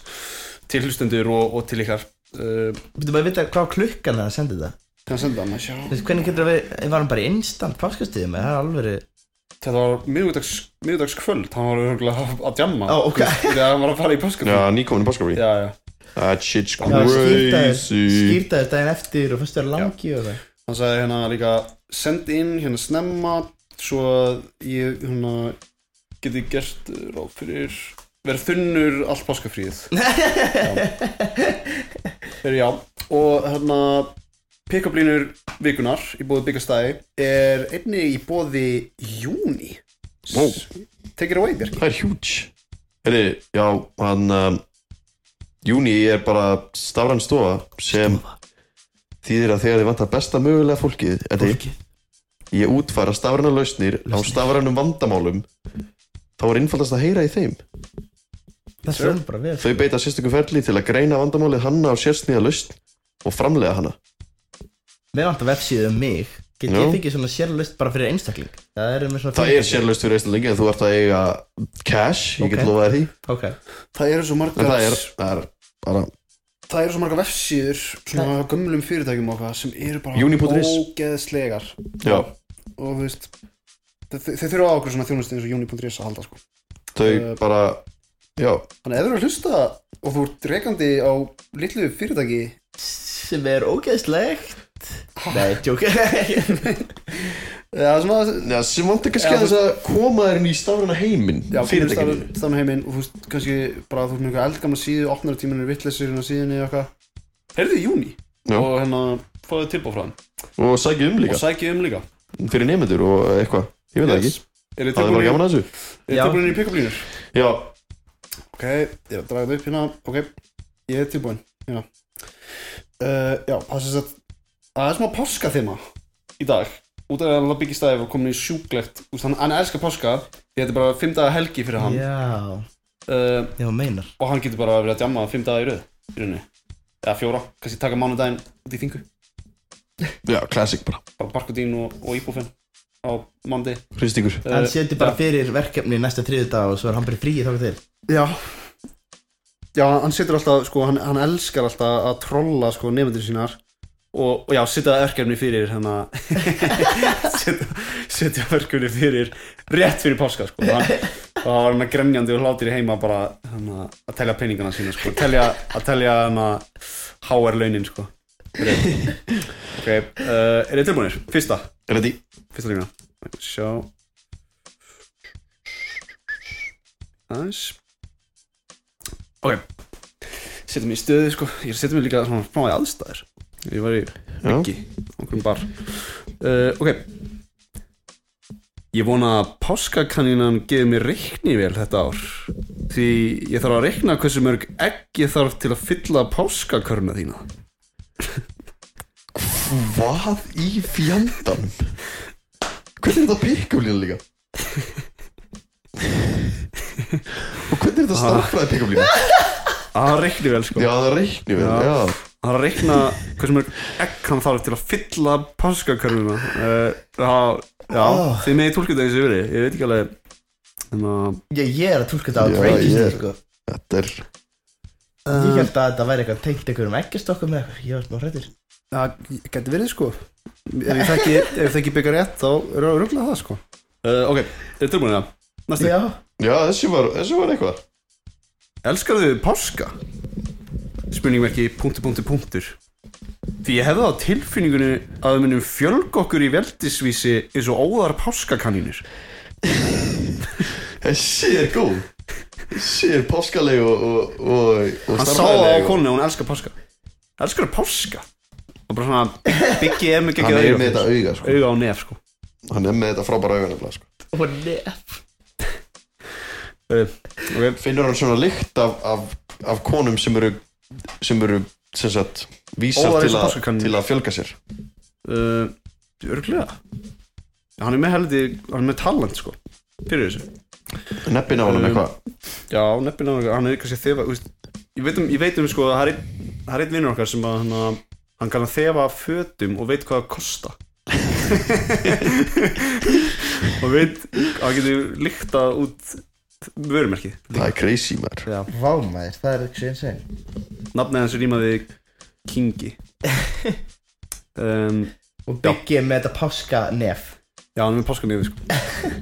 Speaker 1: til hlustendur og, og til ykkar uh,
Speaker 2: Þú maður vita hvað klukkan er að senda þetta
Speaker 1: Kan ég senda hann að sjá
Speaker 2: Þú veist, Hvernig getur það verið, var hann bara í instant páskastíðum eða það er alveg
Speaker 1: Þetta var miðugdags, miðugdagskvöld Hann var örgulega að djamma
Speaker 2: Ó, ok.
Speaker 1: Þegar hann var að fara í pöskun
Speaker 3: Já, nýkomin í páskafrí
Speaker 1: já, já
Speaker 3: That shit's crazy
Speaker 2: Skýrtaður daginn eftir og fyrst verið langi og það
Speaker 1: Hann sagði hérna líka Send inn hérna snemma Svo að ég hérna Geti gert uh, ráð fyrir Verð þunnur allt páskafríð Já Þegar já Og hérna Pickuplínur vikunar í bóði byggastæði Er einni í bóði júni
Speaker 3: Wow.
Speaker 1: Take it away Björk
Speaker 3: Það er huge Heri, já, hann um, Júni er bara stafrann stofa sem þýðir að þegar þið vantar besta mögulega fólkið Þetta
Speaker 2: Fólkið.
Speaker 3: ég útfæra stafrannar lausnir á stafrannum vandamálum þá er innfaldast að heyra í þeim
Speaker 2: Það hljóðum bara vel sko.
Speaker 3: Þau beita sérstökum ferli til að greina vandamálið hanna á sérsnýða lausn og framlega hanna
Speaker 2: Mér vant að vefsíðu um mig Get
Speaker 3: Nú.
Speaker 2: ég fengið svona sérlust bara fyrir einstakling Það er með svona
Speaker 3: Það er sérlaust fyrir einstaklingi en þú ert að eiga cash, ég get
Speaker 2: Ok.
Speaker 3: lofað þér því
Speaker 2: Ok
Speaker 1: Það eru svo
Speaker 3: en
Speaker 1: margar
Speaker 3: það er, það er bara
Speaker 1: það eru svo margar vefsíður svona gömlum fyrirtækjum og hvað sem eru bara
Speaker 3: Uni.is.
Speaker 1: ógeðslegar
Speaker 3: já,
Speaker 1: og þú veist þe- þe- þeir þurfa á okkur svona þjónustu eins og Juni.is að halda sko.
Speaker 3: þau
Speaker 1: Eh,
Speaker 3: bara já,
Speaker 1: Þannig að ef þú eru að hlusta og þú ert rekandi á litlu fyrirtæki
Speaker 2: Sem er ógeðslegt Nei, tjók
Speaker 1: eða svona
Speaker 3: já sem vant ekki
Speaker 1: Já,
Speaker 3: að þess að koma þér inn í stafranna heiminn
Speaker 1: Já,
Speaker 3: fyrirtækinu
Speaker 1: Þannig heiminn og þú veist kannski bara þú ert með eitthvað eldgamla síðu opnar tíminir vittleysir hérna á síðunni eða eitthvað Heyrðu í Júni
Speaker 3: Já.
Speaker 1: og hérna fáðu tilbúð frá hann
Speaker 3: og sækja um
Speaker 1: og
Speaker 3: líka
Speaker 1: sækið um líka
Speaker 3: fyrir nefnendur og eitthvað, ég veit það ekki
Speaker 1: Er þið
Speaker 3: það er bara gaman að þessu
Speaker 2: Já.
Speaker 1: tilbúinir í pick-up-línur?
Speaker 3: já,
Speaker 1: Ok, ég er að draga þetta upp hérna Ok, ég er tilbúin hérna. uh, Já, það sem sagt Það er smá páska þema Í dag, út af að hann byggist aðeins og komin í sjúklegt Úst, hann, hann elskar páska Ég þetta er bara fimm daga helgi fyrir hann
Speaker 2: Já
Speaker 1: uh,
Speaker 2: Já, þú meinar
Speaker 1: Og hann getur bara verið að djamma fimm daga í röð í rauninni. Eða fjóra, kannski taka mánudaginn út í þingu
Speaker 3: já, classic bara
Speaker 1: Bara barkudín og, og íbúfinn á Eh, mándi
Speaker 3: hristingur
Speaker 2: Hann setur bara fyrir verkefni næsta þriðu dag og svo er hann bara frí í þáka til
Speaker 1: Já Já, hann setur alltaf, sko, hann, hann elskar alltaf að trolla, sko, nefndir sínar og, og já, setja örkefni fyrir hérna setja, setja örkefni fyrir rétt fyrir páska, sko og hann, og hann var hann að grenjandi og hlátir í heima bara, hérna, að telja peningana sína, sko telja, að telja, hérna HR launin, sko Ok, uh, er þið tilbúinir? Fyrsta,
Speaker 3: er þetta í
Speaker 1: fyrsta lína Sjá Aðeins Ok Setja mig í stöðu sko Ég setja mig líka svona smá í aðstæður Ég var í
Speaker 3: já,
Speaker 1: ekki Okkur bar uh, Ok Ég vona að páskakanínan gefi mér reikni vel þetta ár Því ég þarf að reikna hversu mörg egg ég þarf til að fylla páskakörna þína
Speaker 3: hvað í fjandan hvernig er þetta pick-up-lína líka og hvernig er þetta
Speaker 1: Ah.
Speaker 3: starffræði pick-up-lína
Speaker 1: Það er reikni vel sko
Speaker 3: já, það reiknum við já,
Speaker 1: Það er að reikna hversu mörg egg hann þarf til að fylla páskakörfuna uh, Já, já
Speaker 2: Ah.
Speaker 1: þið meði tólkið það eins og yfir Ég veit ekki alveg Þannig að
Speaker 2: Já, ég er að tólka þetta á
Speaker 3: Já,
Speaker 2: crazy
Speaker 3: ég-
Speaker 2: yeah. sko
Speaker 3: þetta er
Speaker 2: Ég held að þetta væri eitthvað tengt einhverjum ekkistokkum eða eitthvað, ég var smá hrættur
Speaker 1: Það getur verið sko Ef ég þekki, ef ég þekki byggja rétt þá er það röglega það sko uh, Ok, er tilbúin það? Næstu,
Speaker 2: Já,
Speaker 3: Já, þessi var, þessi var eitthvað
Speaker 1: elskarðu páska? Spurningum ekki punktur, punktur, punktur Því ég hefði á tilfinningunni að við munum fjölg okkur í veldisvísi eins og óðar páskakanínur
Speaker 3: Þessi er góð Þessi er páskaleg og, og, og, og
Speaker 1: hann sá það á
Speaker 3: og-
Speaker 1: konu og hún elskar páska elskar það páska og bara svona byggi ef mikið
Speaker 3: Hann er með þetta auga sko.
Speaker 1: auga á nef sko
Speaker 3: Hann er með þetta frábæra auga nefnilega sko.
Speaker 2: og nef
Speaker 1: uh, okay.
Speaker 3: Finnur hann svona lykt af, af, af konum sem eru sem eru sem sagt vísar
Speaker 1: Óðar
Speaker 3: til,
Speaker 1: eins og
Speaker 3: að-
Speaker 1: páskakanínur.
Speaker 3: til að fjölga sér
Speaker 1: uh, örglega hann er með heldi, hann er með talent sko fyrir þessu
Speaker 3: Neppin á hann
Speaker 1: Um,
Speaker 3: eitthvað
Speaker 1: já, nefnilega hann- hann er kannski þefa úst, ég, veit um, ég veit um sko að það er einn- það er einn vinnur okkar sem að hann, að- hann kann að þefa af fötum og veit hvað það kosta og veit hann getur líkta út vörumerkið
Speaker 3: Það er crazy maður
Speaker 2: Vá maður, það er ekki eins og einn
Speaker 1: nafnið hans rýmaði Kingi um,
Speaker 2: Og Biggi er með þetta páska nef
Speaker 1: Já, hann er með páskanefið sko Hann er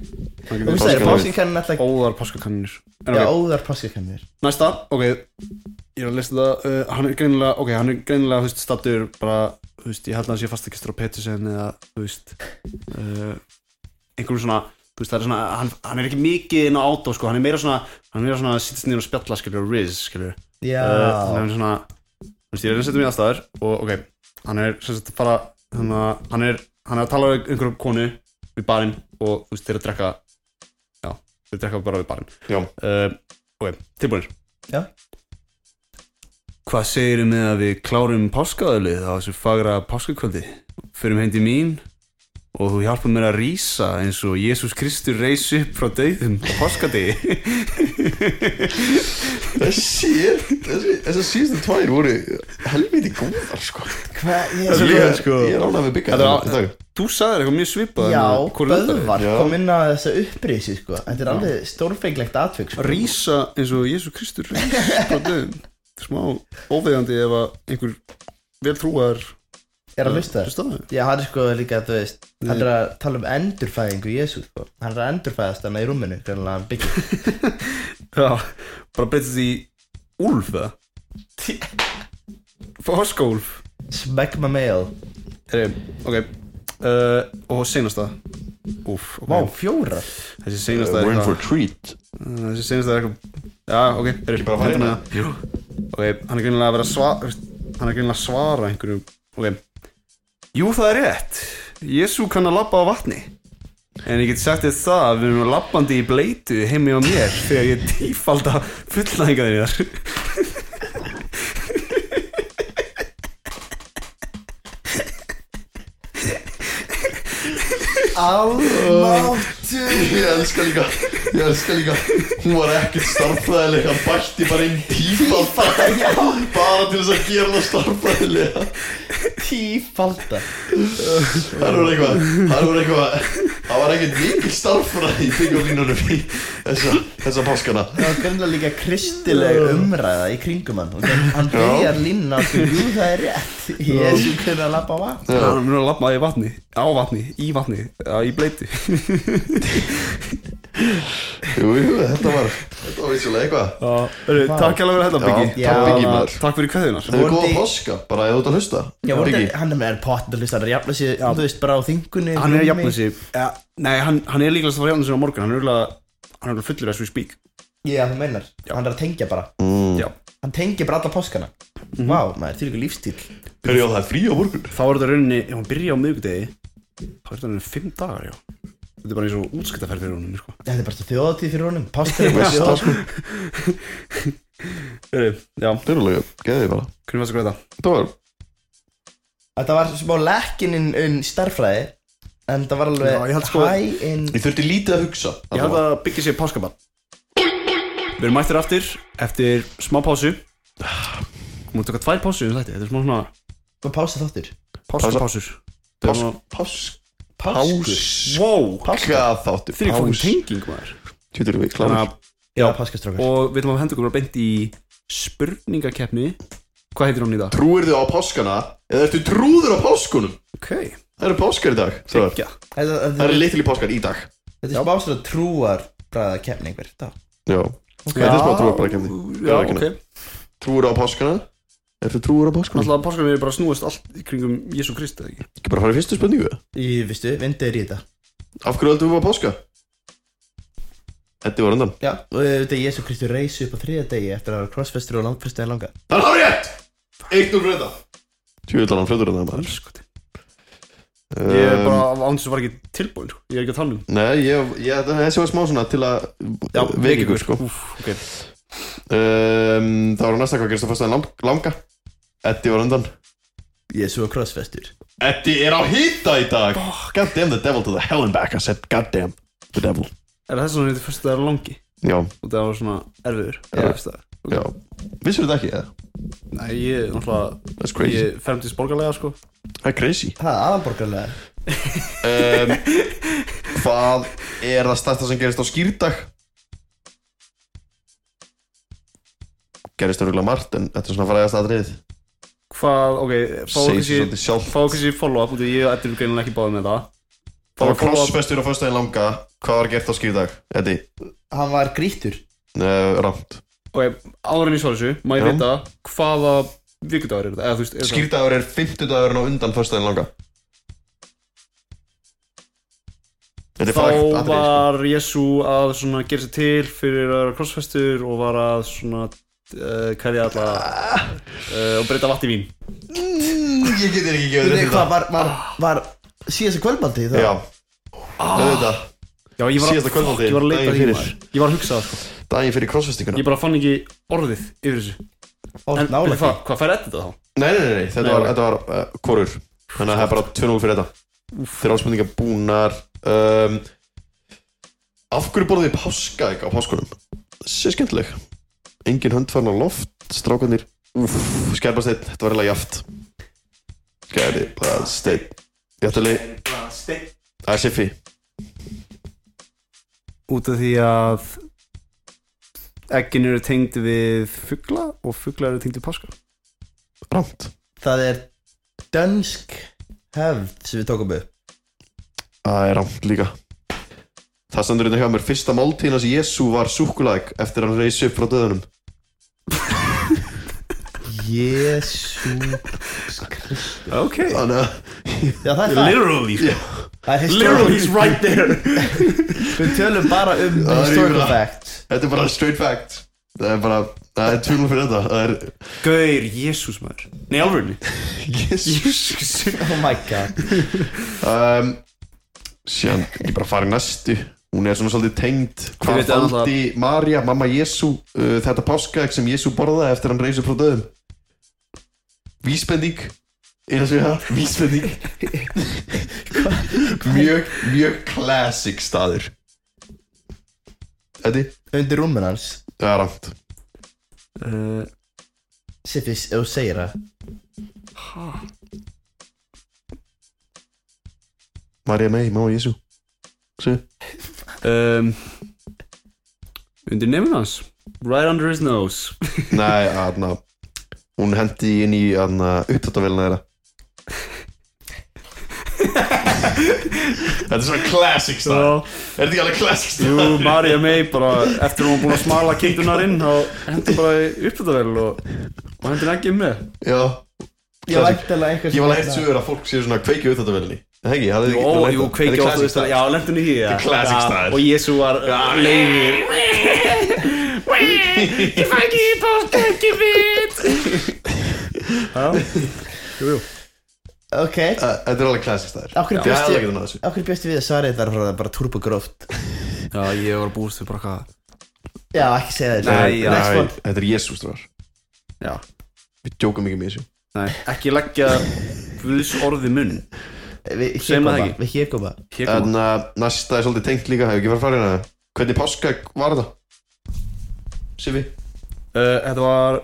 Speaker 2: Þú
Speaker 1: með
Speaker 2: sagði
Speaker 3: páskanef.
Speaker 2: páskakannin alltaf
Speaker 1: Óðar páskakannir En
Speaker 2: Já,
Speaker 1: ok,
Speaker 2: óðar páskakannir
Speaker 1: næsta, ok Ég er að lesa það uh, Hann er greinilega, ok, hann er greinilega, þú veist, stattur bara, þú veist, ég held að hann sé fastakistur á Petersen eða, þú veist uh, einhverjum svona þú veist, það er svona, hann, hann er ekki mikið inn á átó, sko, hann er meira svona hann er meira svona að sittast niður og spjalla, skilur, og riz, skilur
Speaker 2: Já
Speaker 1: uh, hann er
Speaker 2: Eh,
Speaker 1: svona þú veist, ég er að setja mig í aðstæður og ok, hann er sem sagt bara hann, hann, er, hann er að tala við einhverjum konu við barinn og þú veist, þeir eru að drekka já, þeir eru að drekka bara við barinn
Speaker 3: Já.
Speaker 1: uh, ok, tilbúinir
Speaker 2: Já.
Speaker 1: hvað segir um að við klárum páskaðalið á þessu fagra páskakvöldi förum heim til mín og þú hjálpar mér að rýsa eins og Jésús Kristur reys upp frá dauðum á páskadegi
Speaker 3: Þessi er, þessi, þessi síðustu tvær voru helviti góðar sko
Speaker 2: Hvað,
Speaker 3: Ég
Speaker 2: ég
Speaker 3: er, ég er ánægð með byggja
Speaker 1: Þetta var- Þú sagðir eitthvað mjög svipað
Speaker 2: Já,
Speaker 1: en hvor er þetta?
Speaker 2: Böðvar
Speaker 3: Já.
Speaker 2: kom inn á þessa upprisi sko Þetta er alveg stórfenglegt atvik sko.
Speaker 1: Rísa eins og Jésu Kristur frá döðum Smá óvegandi ef að einhver vel trúar
Speaker 2: Er að hlusta þér
Speaker 1: hlusta á það
Speaker 2: Já, hann er sko líka, þú veist Hann er að tala um endurfæðingu Jésu sko Hann er að endurfæðast hann í rúminu Hvernig hann byggir
Speaker 1: Já, bara breytist í Úlf það Foskólf
Speaker 2: Smegma mail
Speaker 1: Herri, ok uh, Og seinasta Úf, ok
Speaker 2: Vá, fjórar
Speaker 1: Þessi seinasta er
Speaker 3: We're in for
Speaker 1: eitthvað
Speaker 3: a treat
Speaker 1: Þessi seinasta er eitthvað Já, ok, herri
Speaker 3: bara að fara í
Speaker 1: hérna. Jú. Ok, hann er greinilega að vera að svara Hann er greinilega að svara einhverju Ok Jú, það er rétt Jésu kann að labba á vatni En ég get sagt þér það að við erum labbandi í bleitu heimi á mér þegar ég tífalda fullnæðingar þér
Speaker 2: Almáttu
Speaker 3: Ég elska líka, ég elska líka Hún var ekkert starffræðilega Hann bætti bara inn tíma Bara til þess að gera það starffræðilega
Speaker 2: Tífalda
Speaker 3: Það var eitthvað Það var eitthvað Það var ekkert mikil starffræði í byggjarlínunum í þessa, þessa páskana
Speaker 2: Það var greinlega líka kristileg umræða í kringum hann og hann byrjar línna á sko, jú það er rétt Jésu kunni að lappa á vatn
Speaker 1: Hann er að labba í vatni, á vatni, í vatni, á, í bleitu
Speaker 3: Jú, jú, þetta var Þetta var vissulega eitthvað
Speaker 1: Hörru, Takk alveg fyrir þetta, Biggi
Speaker 3: Já, takk, Biggi, maður.
Speaker 1: Takk fyrir kveðunar
Speaker 3: Það er góða
Speaker 2: Vondi-
Speaker 3: páska, bara ef þú ert að hlusta
Speaker 2: Já, voru
Speaker 3: Biggi.
Speaker 2: þetta- hann er með pott að hlusta, hann er að jafna sig, þú veist, bara á þingunni
Speaker 1: Hann er að
Speaker 2: rúmi.
Speaker 1: jafna sig ja, Nei, hann, hann er líklegast að fara að jafna sig á morgun Hann er örugglega- hann er örugglega fullur as we speak
Speaker 2: Já, þú meinar, hann er að tengja bara
Speaker 3: Mm.
Speaker 1: Já
Speaker 2: Hann tengja bara alla páskana
Speaker 1: Mhm.
Speaker 2: Vá, maður, því líka lífstíl
Speaker 3: Hörru, já, það er frí á morgun
Speaker 1: þá er þetta rauninni, ef hann byrja á miðvikudegi þá er þetta rauninni fimm dagar, já þetta er bara eins og útskiptaferð fyrir honum, sko
Speaker 2: Þetta er bara þjóðatíð fyrir honum, páskar er bara
Speaker 3: Já.
Speaker 2: þjóðatíð
Speaker 1: Heri, já,
Speaker 3: Það er alveg, geði þig bara
Speaker 1: hvernig fannst þér þetta?
Speaker 3: Þetta var
Speaker 2: Þetta var smá lekkin inn um starfræði En það var
Speaker 1: Já, ég held
Speaker 2: alveg
Speaker 1: sko-
Speaker 2: high in
Speaker 3: Ég þurfti lítið að hugsa
Speaker 1: Ég held að byggja sér páskabann Við erum mættir aftur eftir smá pásu Við mútum taka tvær pásu um þetta, þetta er smá svona
Speaker 2: Og pása þáttur
Speaker 1: pásur,
Speaker 3: Pása.
Speaker 1: pásur
Speaker 3: Pás,
Speaker 1: Páska.
Speaker 3: pás,
Speaker 2: Páskur
Speaker 1: Wow,
Speaker 3: Páska þáttur
Speaker 1: þeir eru fórum tenging maður
Speaker 3: Tjóttur við
Speaker 1: Þannig
Speaker 3: kláður
Speaker 1: að-
Speaker 2: Já, páskastrákur
Speaker 1: og við ætlum að henda okkur að beint í spurningakeppni Hvað heitir hún í dag?
Speaker 3: Trúir þið á páskana eða ertu trúður á páskunum?
Speaker 1: Ok,
Speaker 3: Það eru páskar í dag Þrjóðar.
Speaker 1: ekki
Speaker 2: Þetta
Speaker 3: Það
Speaker 2: þetta-
Speaker 3: eru litli páskar í dag
Speaker 2: þetta er smá svona trúar bræða keppni einhver Þetta
Speaker 3: Já Það er smá trúar bara kemni
Speaker 1: Já, ok
Speaker 3: Trúir á páskana Ertu trúður á páskunum?
Speaker 1: Alltaf að páskarnir eru bara snúist allt í kringum Jésu Kristi, eða ekki?
Speaker 3: Ekki bara fara í fyrstu spurningu
Speaker 2: Í, vistu, vindur í þetta
Speaker 3: Af hverju heldum við á páska? Þetta var undan
Speaker 2: Já, og þetta er Jésu Kristur reysi upp á þriða degi eftir að vera crossfestur og langfestur en langa
Speaker 3: Það er hár rétt! Eitt úr fyrir þetta Tjóðlan hann fljóður en það maður
Speaker 1: Sko, ég
Speaker 3: Um,
Speaker 1: er bara án þess að var ekki tilbúin, sko. ég er ekki að tala um
Speaker 3: Nei, ég, ég, þessi var smá svona til að
Speaker 1: Já,
Speaker 3: vekja ykkur sko
Speaker 1: Úf, ok
Speaker 3: Um, það var á næsta hvað gerist á fyrstaðin lang, langa Eddi var undan
Speaker 2: Jésu og crossfestur
Speaker 3: Eddi er á hýta í dag God damn the devil to the hell and back I said god damn the devil
Speaker 1: Er það svona þetta fyrst að það er langi?
Speaker 3: Já,
Speaker 1: Og það var svona erfiður
Speaker 3: Já.
Speaker 1: erfiðstaður.
Speaker 3: já Vissur þetta ekki það?
Speaker 1: Nei, ég, náttúrulega,
Speaker 3: That's crazy
Speaker 1: ég ferm til sporgarlega, sko
Speaker 3: Það er crazy
Speaker 2: Það er aðalborgarlega
Speaker 3: um, Hvað er það stærsta sem gerist á skýrdag? Gerist örgulega margt en þetta er svona fræðast aðrið
Speaker 1: hvað, ok, fá okkur
Speaker 3: Segir sig
Speaker 1: sér
Speaker 3: svolítið sjálf
Speaker 1: fá okkur sér follow-up, út af ég og Eddur greinilega ekki báði með það fá
Speaker 3: Það var
Speaker 1: follow-up,
Speaker 3: crossfestur á föstudaginn langa Hvað var gert á skýrdag? Eddi,
Speaker 2: Hann var grítur
Speaker 3: uh, rámt
Speaker 1: ok, áður en ég svara þessu má ég
Speaker 3: Já.
Speaker 1: vita hvaða vikudagur er þetta, eða þú veist, er það
Speaker 3: Skýrdagur er 50 dagurinn á undan föstudaginn langa Þetta er frækt
Speaker 1: þá
Speaker 3: atriði, sko.
Speaker 1: var Jésu að svona gera sér til fyrir að vera krossfestur og var að svona uh, kæði alla uh, og breyta vatn í vín
Speaker 3: Ég get þér ekki gefið
Speaker 2: Þú
Speaker 3: rétt
Speaker 2: veit
Speaker 3: í
Speaker 2: hvað
Speaker 3: það
Speaker 2: var, var, var síðasta kvöldmaldi það
Speaker 3: sko. Já
Speaker 1: Ah.
Speaker 3: Auðvitað,
Speaker 1: Já, ég var,
Speaker 3: Síðasta
Speaker 1: fuck,
Speaker 3: kvöldmáltíðin,
Speaker 1: ég var að leita
Speaker 3: daginn
Speaker 1: því
Speaker 3: fyrir.
Speaker 1: maður. Ég var að hugsa það sko.
Speaker 3: daginn fyrir crossfestinguna
Speaker 1: Ég bara fann ekki orðið yfir þessu
Speaker 2: og
Speaker 1: En
Speaker 2: nálega
Speaker 1: veitir hvað, hvað fær þetta þá?
Speaker 3: Nei, nei, nei, nei, þetta
Speaker 1: Nei,
Speaker 3: var,
Speaker 1: ok.
Speaker 3: þetta var uh, korur Þannig að það er bara 2-0 fyrir þetta Þeir áspendingar búnar um, Af hverju borðið þið páska ekki á páskunum? Sér skemmtileg Engin hönd farin á loft Strákanir Skærbasteinn, þetta var eiginlega jaft Skærbasteinn Jættuleg Það er Siffi
Speaker 1: Út af því að Eggin eru tengd við fugla og fugla eru tengd við páska
Speaker 3: Ramt
Speaker 2: Það er dönsk hefð sem við tókum upp
Speaker 3: Það er ramt líka Það standur hérna hjá mér Fyrsta máltíðin hans Jésu var súkulæk Eftir að hann reysi upp frá döðunum
Speaker 2: Jésu
Speaker 1: Ok
Speaker 3: Þannig að
Speaker 2: Já það er það
Speaker 1: Literally
Speaker 3: Já.
Speaker 2: Það er
Speaker 1: Literally
Speaker 2: historical
Speaker 1: he's right there
Speaker 2: Við tölum bara um
Speaker 3: er
Speaker 2: historical
Speaker 3: yfirlega.
Speaker 2: fact
Speaker 3: Þetta er bara straight fact Það er bara, það er tvunum fyrir þetta Það er,
Speaker 1: Gauðir, jésús maður Nei, alvörni
Speaker 3: yes
Speaker 1: Jésús
Speaker 2: Oh my god
Speaker 3: um, Síðan, ég bara farið næstu Hún er svona svolítið tengd
Speaker 1: Þið
Speaker 3: Hvað
Speaker 1: vitið annað
Speaker 3: faldi Marja, mamma Jésu uh, Þetta páskaegg sem Jésu borðaði eftir hann reysið frá döðum Vísbending Eina sem ég það, vísbending Mjög, mjög classic staður Þetta,
Speaker 2: Undir rúmur hans
Speaker 3: það er rangt
Speaker 1: uh,
Speaker 2: Siffis, ef þú segir það
Speaker 3: Marja mei, mamma Jésu Sér
Speaker 1: um, Undir nefnum hans Right under his nose
Speaker 3: Nei, aðna Hún hendi inn í aðna upptöndavélina þeirra Þetta er svona classic stað
Speaker 1: Já.
Speaker 3: Er þetta ekki alveg classic stað?
Speaker 1: Jú, Marja May bara eftir að hún var búin að smala kindurnar inn þá hendur bara upptöðavel og, og hendur ekki með
Speaker 3: Já
Speaker 2: Ég
Speaker 3: classic.
Speaker 2: væntanlega einhvers
Speaker 3: Ég var hérna. leitt sögur að fólk séu svona kveikið upptöndavélni Hegi, það er ekki
Speaker 1: Ó, jú, kveikja á
Speaker 3: Þetta
Speaker 1: þú
Speaker 3: er
Speaker 1: Já, lendur niður í því, já.
Speaker 3: er
Speaker 1: Já,
Speaker 3: classic staður.
Speaker 1: Og Jésu var uh, leiðir
Speaker 4: Ég fæ ekki í bótt, ekki mitt
Speaker 2: Ok
Speaker 3: Æ, Þetta er alveg classic staður
Speaker 2: Af hverju
Speaker 3: Já, það er
Speaker 2: bjóstu
Speaker 3: ekki þannig að þessu
Speaker 2: Af hverju bjóstu við að svara þetta Það er bara turbogróft
Speaker 1: Já, ég var búist við bara hvað
Speaker 2: Já, ekki segja þetta
Speaker 1: Nei, já.
Speaker 2: Next one
Speaker 3: Þetta er Jésús þar
Speaker 1: Já,
Speaker 3: Við djókum ekki með þessu
Speaker 1: nei, ekki leggja Guðs orði munn
Speaker 2: Við hér
Speaker 1: Segjum það
Speaker 2: koma
Speaker 1: ekki.
Speaker 2: Við hér koma
Speaker 1: Hér kom
Speaker 3: En uh, næsta er svolítið tengt líka Hefur ekki farið að fara hérna Hvernig páska var þetta? Sifi?
Speaker 1: Uh, þetta var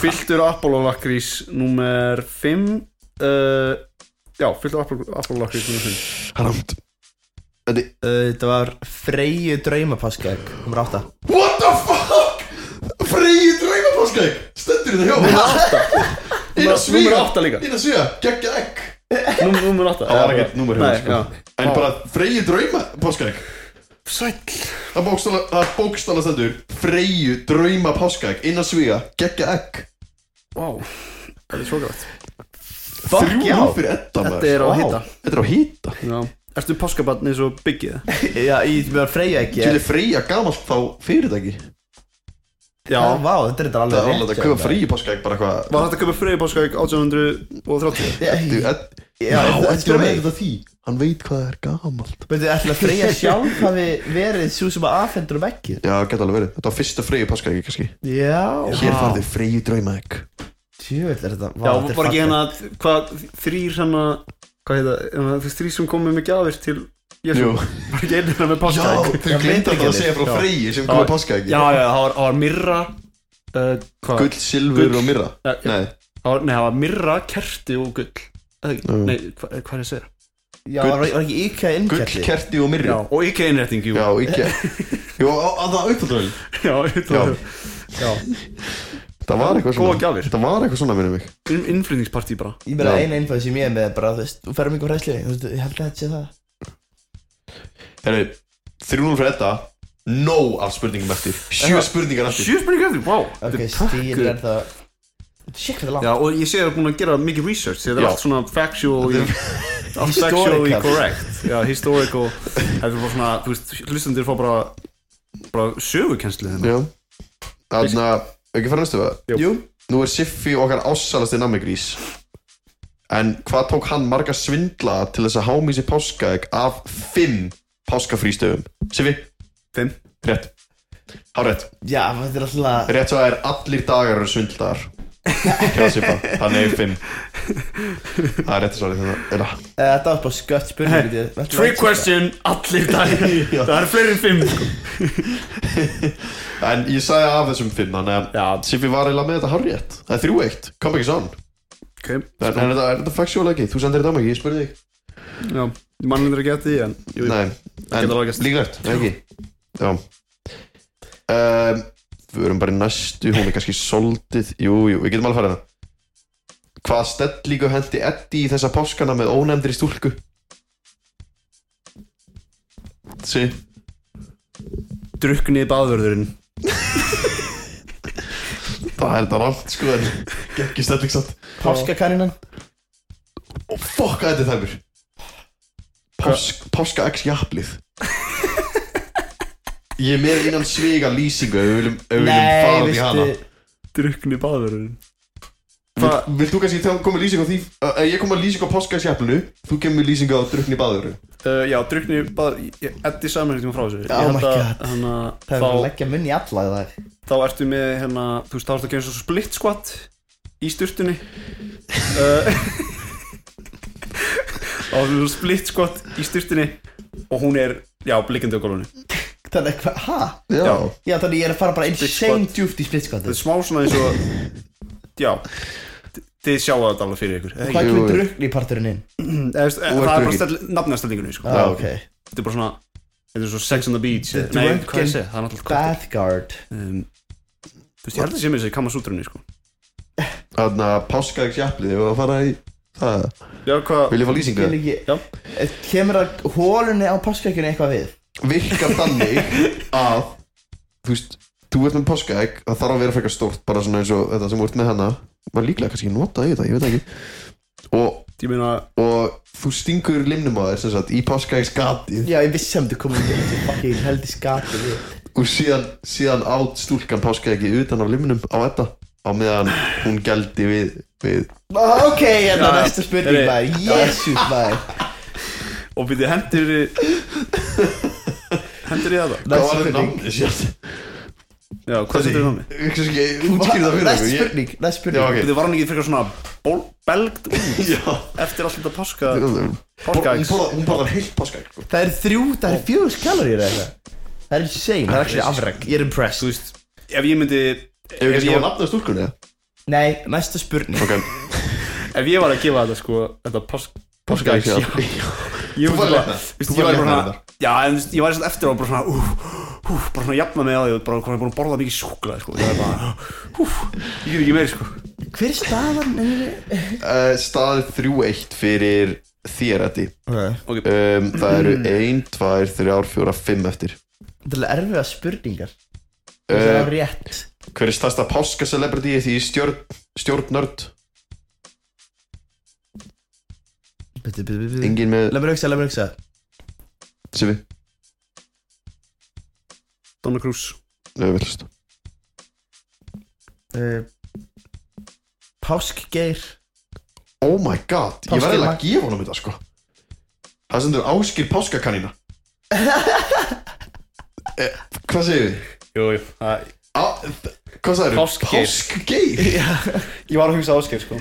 Speaker 1: fylltur Apollo-lakrís Númer 5 uh, Já, fylltur Apollo- Apollo-lakrís Númer 5
Speaker 3: Haramt
Speaker 2: Uh, Þetta var Freyju draumapaskæk Númer 8
Speaker 3: What the fuck? Freyju draumapáskaegg Stendur þetta hjá mér Inn að svíja
Speaker 1: Númer 8 líka
Speaker 3: Inn að svíja Gekka egg
Speaker 1: Númer, númer 8
Speaker 3: Það var ekkert númer hjá mér, sko. En
Speaker 1: Já.
Speaker 3: bara Freyju draumapáskaegg
Speaker 1: Sæll
Speaker 3: Það bókstala, það bókstala stendur Freyju draumapáskaegg Inn að svíja Gekka egg
Speaker 1: Vá, þetta er svo gætt
Speaker 2: Fuck
Speaker 3: Þrjú
Speaker 2: já
Speaker 3: nú fyrir etta
Speaker 1: Þetta
Speaker 3: maður
Speaker 1: er á
Speaker 2: Vá.
Speaker 1: hita
Speaker 3: Þetta er á hýta
Speaker 1: Já Ertu páskabarn eins og byggið?
Speaker 2: Já, ég var Freyja ekki
Speaker 3: Þetta er Freyja gamalt þá fyrirtæki
Speaker 1: Já
Speaker 2: Já, vá, þetta er þetta
Speaker 3: Það er
Speaker 2: alveg hérna.
Speaker 3: alveg að köpa Freyju páskaegg Bara hvað
Speaker 1: Var þetta að köpa freyja páskavík 1830?
Speaker 3: Þú,
Speaker 2: Já,
Speaker 3: Ed-
Speaker 2: þetta
Speaker 3: Eddi
Speaker 2: er
Speaker 3: var
Speaker 2: alveg
Speaker 3: þetta því Hann veit hvað það er gamalt
Speaker 2: Veitu, ætla að Freyja sjálf hafi verið svo sem að afhendur um ekki
Speaker 3: Já, geta alveg verið Þetta var fyrsta Freyju páskaeggi kannski
Speaker 2: Já,
Speaker 3: Hér farði Freyju draumapáskaegg
Speaker 2: tjöfell er þetta
Speaker 1: Já, var ekki hérna Hvað, þrýr hérna Hvað heita, hérna, þessi þrýr sem komið með gjafir til Jésu
Speaker 3: Jú.
Speaker 1: Var ekki einn hérna með
Speaker 3: Já,
Speaker 1: páskavík?
Speaker 3: þau glemt alltaf að segja frá
Speaker 1: Já.
Speaker 3: Freyju sem kom að páska ekki
Speaker 1: Já, já, það var, það var mirra uh, Hvað?
Speaker 3: Gull, silfur
Speaker 1: Gull.
Speaker 3: og myrra
Speaker 1: Já, já.
Speaker 3: Nei,
Speaker 1: Það var, nei, það var mirra, kerti og gull Eða ekki?
Speaker 3: Jú.
Speaker 1: Nei, hva, eh, hvað er að segja?
Speaker 2: Já, var var ekki íkja
Speaker 3: gull,
Speaker 2: innkjalli
Speaker 3: kerti og
Speaker 1: Já,
Speaker 3: myrri
Speaker 1: og ekki einrætting, jú
Speaker 3: Já, ekki Jú, á- á það upptaldur
Speaker 1: Já, já,
Speaker 3: Já.
Speaker 1: já.
Speaker 3: Það var eitthvað
Speaker 1: Góða
Speaker 3: svona
Speaker 1: gjafir.
Speaker 3: Það var eitthvað svona, minnum mig
Speaker 1: In- Innflutningspartí bara
Speaker 2: Ég meina
Speaker 3: Já.
Speaker 2: eina info sem ég er með er bara, þú veist, þú ferðum ykkur hræsli Þú veist, ég held að þetta sé það
Speaker 3: Herru, 3-0 fyrir þetta Nóg af spurningum eftir Sjö spurningar eftir
Speaker 1: Sjö spurningar eftir, vá
Speaker 2: Ok,
Speaker 1: þetta er
Speaker 2: stíl
Speaker 1: pökkuð.
Speaker 2: er það Sjekk hvað það er langt
Speaker 1: Já, og ég sé að það er búin að gera mikið research Þetta er
Speaker 3: Já.
Speaker 1: allt svona factually allt Factually
Speaker 2: Historical.
Speaker 1: correct Já, historical Þetta er bara svona, þú veist, hlustandir fá bara bara hérna. sögukenslu þennan
Speaker 3: Já Þannig að, ekki fara næstu það
Speaker 1: Jú.
Speaker 3: Nú er Siffi okkar ássalasti nammigrís En hvað tók hann marga svindla til þess að hámísi páskaegg af fimm páskafrístöfum? Siffi,
Speaker 1: Fimm
Speaker 3: rétt Hárétt,
Speaker 2: Já, þetta er alltaf
Speaker 3: rétt svo er allir dagar eru svindlaðar Hjá Siffa, þannig er fimm Það er rétt svo er þetta
Speaker 2: Eh, Þetta var bara skött spurning veit ég. Þetta er
Speaker 1: Trick
Speaker 2: langt-
Speaker 1: question, allir dagir Það er fleiri en fimm
Speaker 3: En ég sagði af þessum fimm Þannig
Speaker 1: Já.
Speaker 3: að Siffi var eiginlega með þetta hárétt Það er þrjú eitt, kom ekki sann
Speaker 1: okay.
Speaker 3: En er þetta, er þetta factual ekki? Þú sendir þetta á mig, ég spurði þig
Speaker 1: Já, mannum er ekki eftir því en jú,
Speaker 3: Nei, en
Speaker 1: getur alveg gerst.
Speaker 3: líklegt, ekki Já um, Við verum bara í næstu, hún er kannski soldið Jú, jú, við getum alveg farið hana Hvað stellíku hendi Eddi í þessa páskana með ónefndri stúlku? Sí,
Speaker 1: Drukni baðvörðurinn
Speaker 3: það er þetta rátt sko en ekki stellík satt
Speaker 2: Páskakanínan
Speaker 3: Og fokk að þetta er þæmur Pásk, Páska x jafnlið Ég er með innan sviga lýsingu ef við viljum, ef við viljum fara út í hana
Speaker 1: Drukni baðvörðurinn
Speaker 3: Vilt, vilt þú kannski tjá- koma með lýsingu á því uh, Ég kom með lýsingu á páskaðsjafninu Þú kemur með lýsingu á drukni baður
Speaker 1: uh, Já, drukni baðvörðurinn Eddi saman hérna frá þessu Ég
Speaker 2: Oh
Speaker 1: held
Speaker 2: my
Speaker 1: að-
Speaker 2: God.
Speaker 1: Þannig
Speaker 2: Það
Speaker 1: að
Speaker 2: er bara að
Speaker 1: þá-
Speaker 2: leggja munni í alla í dag
Speaker 1: þá ertu með hérna, þú veist, þá ertu að gera eins og split squat í styrtunni uh, þá ertu með split squat í styrtunni og hún er, já, blikkandi á gólunni
Speaker 2: Þannig að hvað, hæ?
Speaker 3: Já,
Speaker 1: Já.
Speaker 2: Já, þannig ég er að fara bara insane
Speaker 1: squat.
Speaker 2: djúpt í split squat
Speaker 1: það er smá svona eins og já, þi- þið sjáu þetta alveg fyrir ykkur
Speaker 2: Hvað
Speaker 1: eða ekki?
Speaker 3: Jú,
Speaker 2: kemur
Speaker 3: jú.
Speaker 2: drukni í parturinn inn?
Speaker 1: Eða, veist, það
Speaker 3: Þú
Speaker 1: er
Speaker 3: ert
Speaker 1: bara
Speaker 3: drukkin.
Speaker 1: stell, nafnastellingunni sko.
Speaker 2: Ah,
Speaker 3: Já,
Speaker 2: ok
Speaker 1: þetta er bara svona, þetta er svo sex on the beach eh,
Speaker 2: The
Speaker 1: nei, hvað
Speaker 2: drunken
Speaker 1: ég segi, það er náttúrulega kort
Speaker 2: Bathguard
Speaker 1: um, þú veist, ég held að sé með þessi kammasútrunni sko.
Speaker 3: þannig að páskaðsjafnið Við varum að fara í það
Speaker 1: já, hvað,
Speaker 3: Vil ég fá lýsingu?
Speaker 2: Skil ekki
Speaker 1: Já.
Speaker 2: Eh, Kemur að hólunni á páskakjunni eitthvað við?
Speaker 3: Virkar þannig að Þú veist, þú ert með páskaegg Það þarf að vera frekar stórt Bara svona eins og þetta sem þú ert með hana Var líklega kannski notað í þetta, ég veit það ekki Og
Speaker 1: ég meina
Speaker 3: og þú stingur limnum á þér sem sagt í páskaegsgatið
Speaker 2: Já, ég vissi að þú komið í þessu fucking heldi skati við
Speaker 3: og síðan, síðan átt stúlkan páskaegið utan af limnum á þetta á meðan hún gældi við, við
Speaker 2: Ah, Ok, hérna
Speaker 1: Já,
Speaker 2: næsta spurning
Speaker 1: heyrðu.
Speaker 2: maður Jésu maður
Speaker 1: og byrði hendur hendur í það
Speaker 3: Hvað var
Speaker 2: Næsta
Speaker 3: þetta
Speaker 2: spurning
Speaker 3: námið sér?
Speaker 1: Já, hvað setur þú námi?
Speaker 3: Ég kannski ekki útskýrði það fyrir
Speaker 2: Næsta
Speaker 3: okkur ég-
Speaker 2: spurning, næsta
Speaker 3: Já,
Speaker 2: spurning
Speaker 3: ok
Speaker 1: Þetta var hann ekki frekar svona ból- belgd út
Speaker 3: Já.
Speaker 1: eftir allt þetta páska
Speaker 3: Hún
Speaker 1: páskaeggs
Speaker 3: borðar- hún borðar heilt páskaegg sko.
Speaker 2: Það er þrjú, það
Speaker 1: Oh.
Speaker 2: er fjögur kaloríur eða eitthvað Það er insane, það er ekki afreg Ég er
Speaker 1: Þú
Speaker 2: impressed
Speaker 1: veist, ef ég myndi
Speaker 3: Ef
Speaker 1: ef
Speaker 3: við kannski
Speaker 1: ég,
Speaker 3: var nafnað stúlkunni eða?
Speaker 2: Nei, næsta spurning
Speaker 3: Ok,
Speaker 1: ef ég var að gefa þetta sko þetta pásk
Speaker 3: páskaegg
Speaker 1: páskaeggs
Speaker 3: já.
Speaker 1: já, ég
Speaker 3: Þú
Speaker 1: myndi
Speaker 3: var
Speaker 1: bara-
Speaker 3: léttnar.
Speaker 1: veist,
Speaker 3: Þú
Speaker 1: ég
Speaker 3: var
Speaker 1: væri bara
Speaker 3: léttnar
Speaker 1: svona- Já, en þú veist, ég var svona eftir á bara svona úf, úf, bara svona jafna með á því og bara hvað er búin að borða mikið súklaði sko ég er bara, úf, ég get ekki meir sko
Speaker 2: Hver er staðan?
Speaker 3: Uh, Staðið 3-1 fyrir þér Eddi
Speaker 2: Þetta
Speaker 3: um, Það eru 1, 2, 3, 4, 5 eftir
Speaker 2: er alveg erfiða spurningar Það
Speaker 3: Eh,
Speaker 2: er rétt
Speaker 3: Hver er stærsta páskaselebrity því stjórn, stjórnörd?
Speaker 2: Bitti, bitti, bitti
Speaker 3: Engin með
Speaker 2: Leð mér hugsa, leð mér hugsa
Speaker 3: Sifi
Speaker 1: Donna Cruz
Speaker 3: Nei, villast
Speaker 2: Eh, Páskgeir
Speaker 3: Oh my god, ég
Speaker 2: Páskamann.
Speaker 3: verði að gefa honum þetta sko Það sendur áskil páskakanina eh, Hvað segir við?
Speaker 1: Jú, jú, það-
Speaker 3: Á, hvað sagður?
Speaker 1: Páskgeir.
Speaker 3: Páskgeir
Speaker 1: ég var að hugsa ásker sko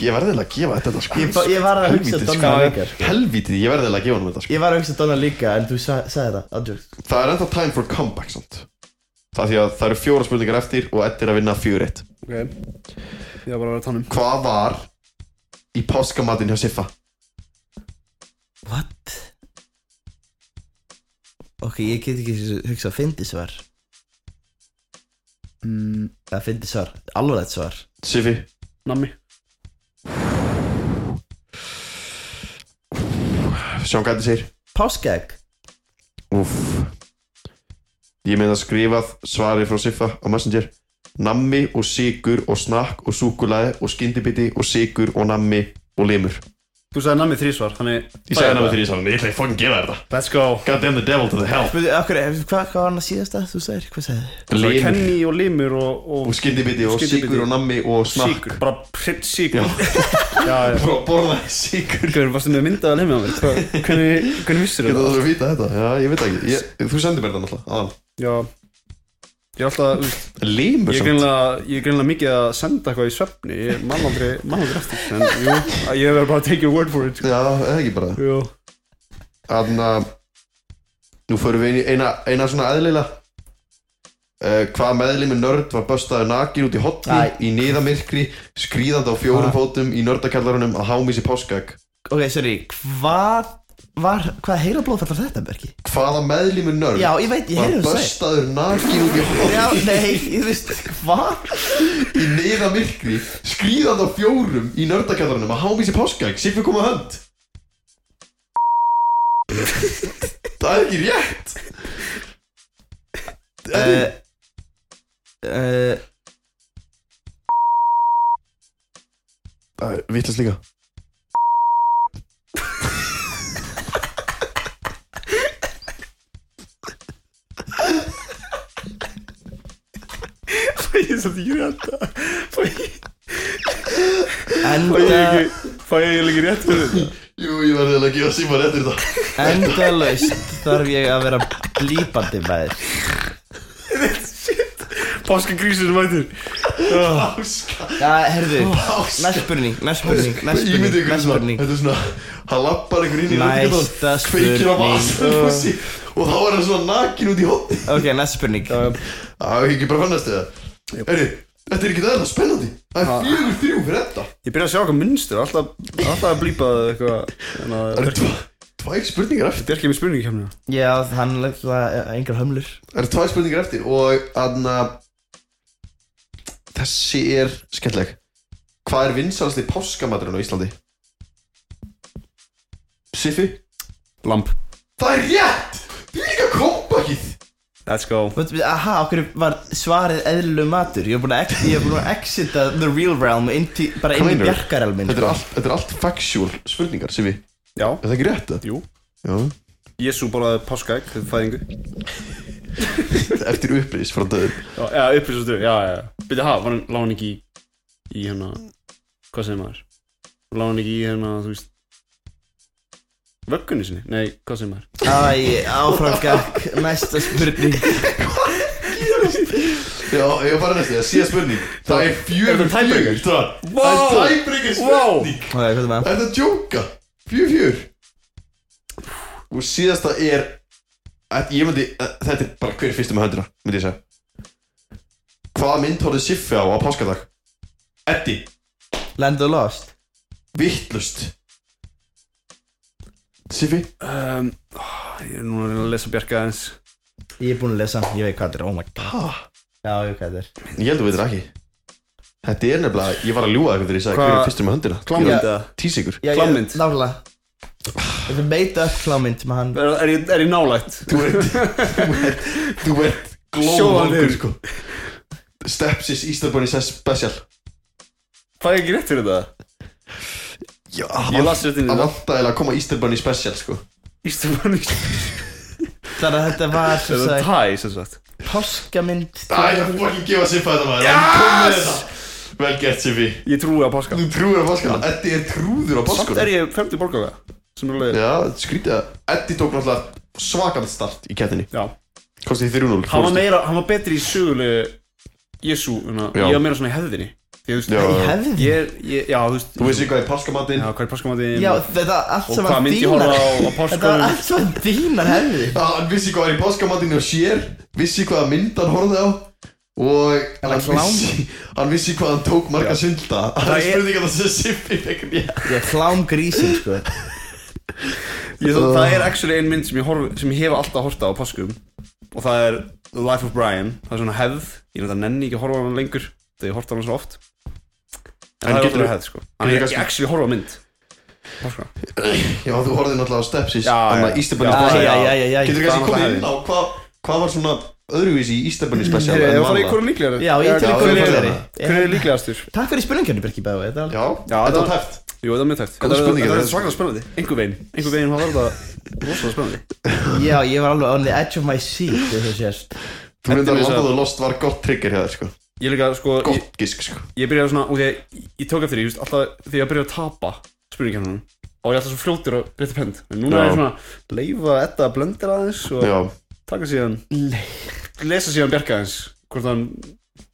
Speaker 3: Ég verði að gefa þetta þetta sko
Speaker 2: Ég, ba- ég var að hugsa
Speaker 3: Helvítið,
Speaker 2: Donna
Speaker 1: sko.
Speaker 2: líka sko.
Speaker 3: Helvítið, ég verði að gefa honum þetta sko
Speaker 2: Ég var að hugsa Donna líka en þú sa sagði það Andrew.
Speaker 3: Það er ennþá time for comeback samt Það er því að það eru fjóra spurningar eftir og Eddi er að vinna fjör eitt
Speaker 1: ok, ég var bara að tannum
Speaker 3: Hvað var í páskamatinn hjá Siffa?
Speaker 2: What? Ok, ég get ekki hugsa að fyndi svar
Speaker 4: mm,
Speaker 2: Það fyndi svar, alvarlegt svar
Speaker 3: Siffi
Speaker 1: Nammi
Speaker 3: Sjáum hvað þetta segir
Speaker 2: Páskaegg
Speaker 3: Úff Ég meina skrifað svarið frá Siffa á Messenger Nammi og sigur og snakk og súkulaði og skyndibiti og sigur og nammi og limur
Speaker 1: Þú sagði nammi þrísvar, þannig
Speaker 3: Ég sagði nammi þrjú saman, ég ætla ekki fucking gefa þér þetta
Speaker 1: Let's go
Speaker 3: God damn the devil to the hell
Speaker 2: Hvað hva hvað var hann að síðasta? Þú sagðir, hvað sagðir?
Speaker 1: Svo
Speaker 3: Limur
Speaker 1: Kenny og limur og, og,
Speaker 3: og skyndibiti og
Speaker 1: Skyndibiti.
Speaker 3: sigur og nammi og snakk
Speaker 1: síkur Bara pritt síkur Já, já
Speaker 3: Frá borðaði sigur
Speaker 1: Hvernig varstu með myndaðal heim á mér? Hvað- Hvernig, hvernig vissir
Speaker 3: Þetta
Speaker 1: þú það?
Speaker 3: þarf að vita þetta Já, ég veit það ekki ég, Þú sendir mér þetta náttúrulega aðan.
Speaker 1: Já Ég er alltaf, þú veist,
Speaker 3: Limur
Speaker 1: ég er
Speaker 3: samt
Speaker 1: greinlega, ég er greinlega mikið að senda eitthvað í svefni Ég man aldrei, man aldrei eftir En jú, ég verður bara að take your word for it sko.
Speaker 3: Já, eða ekki bara
Speaker 1: Jú
Speaker 3: Þannig að Nú förum við inn í eina, eina svona eðlilega uh, Hvað meðlimi nörd var böstaður nakin út í hotni
Speaker 2: Æ.
Speaker 3: Í niðamirkri, skríðandi á fjórum
Speaker 2: Ha.
Speaker 3: fótum Í nördakjallarunum að hámísi páskag
Speaker 2: Ok, sorry, hvað var, hvað heila blóðfall var þetta, Berki?
Speaker 3: Hvaða meðlimi nörd
Speaker 2: Já, ég veit, ég
Speaker 3: var
Speaker 2: heyrði þú sagði
Speaker 3: böstaður nakin út í hotni
Speaker 2: Já, nei, ég veist, hvað?
Speaker 3: Í niðamirkri, skríðandi á fjórum Í nördakjallarunum að hámísi páskag Siffi kom að hönd Það er ekki rétt Það er
Speaker 2: Uh, uh,
Speaker 3: Það er vittlust líka
Speaker 1: Fæ ég samt ekki rétt Fæ ég
Speaker 2: enda,
Speaker 1: ekki Fæ ég ekki rétt fyrir þetta?
Speaker 3: Jú, ég verði eiginlega að gefa síma rétt fyrir þetta
Speaker 2: endalaust þarf ég að vera blípandi með þér
Speaker 1: Páskagrísinu mætur
Speaker 3: Páska
Speaker 2: Já, heyrðu,
Speaker 3: Páska.
Speaker 2: næst spurning, næst spurning, næst
Speaker 3: Ég myndi
Speaker 2: spurning,
Speaker 3: ykkur
Speaker 2: næst
Speaker 3: svona
Speaker 2: spurning
Speaker 3: Þetta er svona Hann lappar ykkur inn í
Speaker 2: Næsta
Speaker 3: röntgenhóll, Kveikir á
Speaker 2: spurning.
Speaker 3: vasaljósi Og þá er hann svona nakin út í hótt
Speaker 2: Ok, næst spurning
Speaker 3: Það er ekki bara fannast eða Herri, þetta er ekki það spennandi Það er fjögur þrjú fyrir þetta
Speaker 1: Ég byrja að sjá eitthvað munstur, alltaf, alltaf að blípa það eitthvað Þannig að
Speaker 3: Það
Speaker 1: þetta
Speaker 3: eru tva- tvær spurningar eftir
Speaker 1: er ekki með spurningi kemni
Speaker 2: Já, hann lefða engar hömlur
Speaker 3: Það eru tvær spurningar eftir Og aðna Þessi er skemmtileg Hvað er vinsalasti páskamaturinn á Íslandi? Siffi?
Speaker 1: Lamp
Speaker 3: Það er rétt! Líka kompakið!
Speaker 1: Let's go
Speaker 2: But, aha, okkur var svarið eðlilegu matur Ég er búin að ex- ég er búin að exita the real realm inti, bara inn í
Speaker 3: Kleinur.
Speaker 2: bjarkarelmin
Speaker 3: Þetta er allt, þetta er allt factual spurningar sem við
Speaker 1: Já,
Speaker 3: Er það ekki rétt það?
Speaker 1: jú
Speaker 3: Já
Speaker 1: Jésu borðaði páskaegg til fæðingu Já,
Speaker 3: Eftir uppreis frá döðum
Speaker 1: já, upplýsastu, já, já, já Byrja, ha, var hann, lá hann ekki í, í hérna Hvað segir maður? Lá hann ekki í hérna, þú veist Vöggunni sinni? Nei, hvað segir maður?
Speaker 2: Æ, áfram gakk, næsta spurning
Speaker 3: Já, ég var bara næstu, það sé spurning Það er
Speaker 1: Er
Speaker 3: fjögur
Speaker 1: það tiebreaker?
Speaker 3: fjögur Það það
Speaker 1: Vá!
Speaker 3: er tæbreykir spurning
Speaker 2: Ok, hvað er maður?
Speaker 3: Er það djóka? Fjögur fjögur Og síðasta er að Ég myndi, að- þetta er bara hver fyrstu með höndina Myndi ég segja Hvaða mynd horfði Siffi á á páskadag? Eddi,
Speaker 2: Land of Lost
Speaker 3: vittlust Siffi
Speaker 1: Um, ég er núna að reyna að lesa Bjarka aðeins
Speaker 2: Ég er búin að lesa, ég veit hvað þetta er, oh my god
Speaker 3: Hæ?
Speaker 2: Já, ég veit hvað þetta
Speaker 3: Ég held að við þetta ekki Þetta er nefnilega, ég var að ljúga eitthvað þegar ég sagði
Speaker 1: Hva-
Speaker 3: hver er fyrstur með höndina
Speaker 1: Klámynd
Speaker 3: Ég er
Speaker 1: eða?
Speaker 3: Tísigur
Speaker 2: er
Speaker 1: Klámmynd.
Speaker 2: Nála Þetta er made up klámynd með hann
Speaker 1: Er, er, ég- er ég nálægt?
Speaker 3: Þú ert, þú ert, þú ert
Speaker 1: Sjóðanlegur.
Speaker 3: glóðvangur sko Stepsis Ístabunni Sess Special
Speaker 1: Fæ ég ekki rétt fyrir þetta?
Speaker 3: Já,
Speaker 1: Ég las þetta inn í það
Speaker 3: Það vantaði eiginlega að koma Ístabunni Special sko
Speaker 1: Ístabunni
Speaker 2: Þannig að þetta var sem
Speaker 1: Þetta er
Speaker 2: sagt
Speaker 1: tæ, sem sagt
Speaker 2: Poskamynd
Speaker 3: Æ, ég er fucking gefa Siffa þetta maður Hann kom með þetta Vel gert Siffi
Speaker 1: Ég trúi á páska
Speaker 3: Þú trúir á páskana Eddi er trúður á
Speaker 1: Samt er
Speaker 3: páskana
Speaker 1: ég femti borgara Sem er leiðir
Speaker 3: Já, skrítið að Eddi tók náttúrulega svakan start í kettinni
Speaker 1: Já
Speaker 3: Kostið 3-0
Speaker 1: Hann var
Speaker 3: fórstu.
Speaker 1: meira, hann var betri í sögulegu Jésu, hérna
Speaker 3: Já.
Speaker 1: Ég var meira svona í hefðinni Því að þú
Speaker 3: Já.
Speaker 1: veist
Speaker 2: Í hefði
Speaker 1: Ég er, ég, já, þú veist
Speaker 3: Þú veist hvað er páskamatinn
Speaker 1: Já, hvað er páskamatinn
Speaker 2: Já, þetta var allt
Speaker 1: Og
Speaker 2: sem
Speaker 1: hvað
Speaker 2: var
Speaker 1: myndi ég
Speaker 2: þínar
Speaker 1: horfa á, á
Speaker 2: Þetta var
Speaker 1: páskanum
Speaker 2: allt sem var þínar hefði
Speaker 3: Já, hann vissi hvað er í páskamatinu og sér Vissi hvaða mynd hann horfði á Og
Speaker 2: Hann
Speaker 3: hann
Speaker 2: var klám.
Speaker 3: vissi, hann vissi hvað hann tók marga
Speaker 1: Já.
Speaker 3: synda
Speaker 1: er-
Speaker 3: Það er spurning að það sé Siffi fekk rétt
Speaker 2: Ég klám grísin sko
Speaker 1: Ég- Það er actually ein mynd sem ég, horf, sem ég hef alltaf horta á páskum Og það er The Life of Brian Það er svona hefð Ég náttúrulega nenni ekki að horfa á hann lengur Þegar ég horfa á hann svo oft En
Speaker 3: En
Speaker 1: það er
Speaker 3: getur-
Speaker 1: alltaf hefð sko En ég
Speaker 3: kannski-
Speaker 1: ekki actually horfa á mynd Það sko
Speaker 3: Já, þú horfði náttúrulega á Stepsis
Speaker 1: Já, já.
Speaker 3: Þannig að Ístefanni
Speaker 1: Já,
Speaker 3: special
Speaker 2: já, já, já, já.
Speaker 3: Getur
Speaker 1: Það
Speaker 3: kannski
Speaker 1: var
Speaker 3: komið
Speaker 1: það Mm.
Speaker 3: inn á hvað Hvað var svona öðruvísi í Ístefanni special en
Speaker 1: Ég var
Speaker 3: Vala?
Speaker 1: í hverju líklegri
Speaker 2: Já, ég til
Speaker 3: já,
Speaker 2: ykkur
Speaker 3: já,
Speaker 2: líklegri
Speaker 1: Hverju er líklegastur?
Speaker 2: Takk fyrir spurningarnir, Birki Bæði Þetta er
Speaker 3: Já,
Speaker 1: Já,
Speaker 3: þetta
Speaker 1: það-
Speaker 3: var tæft
Speaker 1: Jú, það er mjög tæft
Speaker 3: Góð spurning,
Speaker 1: Það
Speaker 3: þetta
Speaker 1: er
Speaker 3: er-
Speaker 1: svaklega spennandi Einhver veginn Einhver veginn hvað var þetta Róslega spennandi
Speaker 2: alveg- Já, ég var alveg on the edge of my seat Þess að sést
Speaker 3: Þú
Speaker 1: Þetta er
Speaker 3: reyndar að
Speaker 1: eins og-
Speaker 3: landa þú lost var gott trigger hér sko.
Speaker 1: Ég líka sko ég,
Speaker 3: Gott gisk sko.
Speaker 1: ég byrjaði svona Ok, ég- ég tók eftir því just, Alltaf þegar ég byrjaði að tapa Spurningkjarnanum Og ég er alltaf svo fljótur að breyta pend En núna
Speaker 3: Já.
Speaker 1: er ég svona Leifa þetta að blöndir aðeins og
Speaker 3: Já,
Speaker 1: taka síðan lesa síðan Bjarka hans hvort hann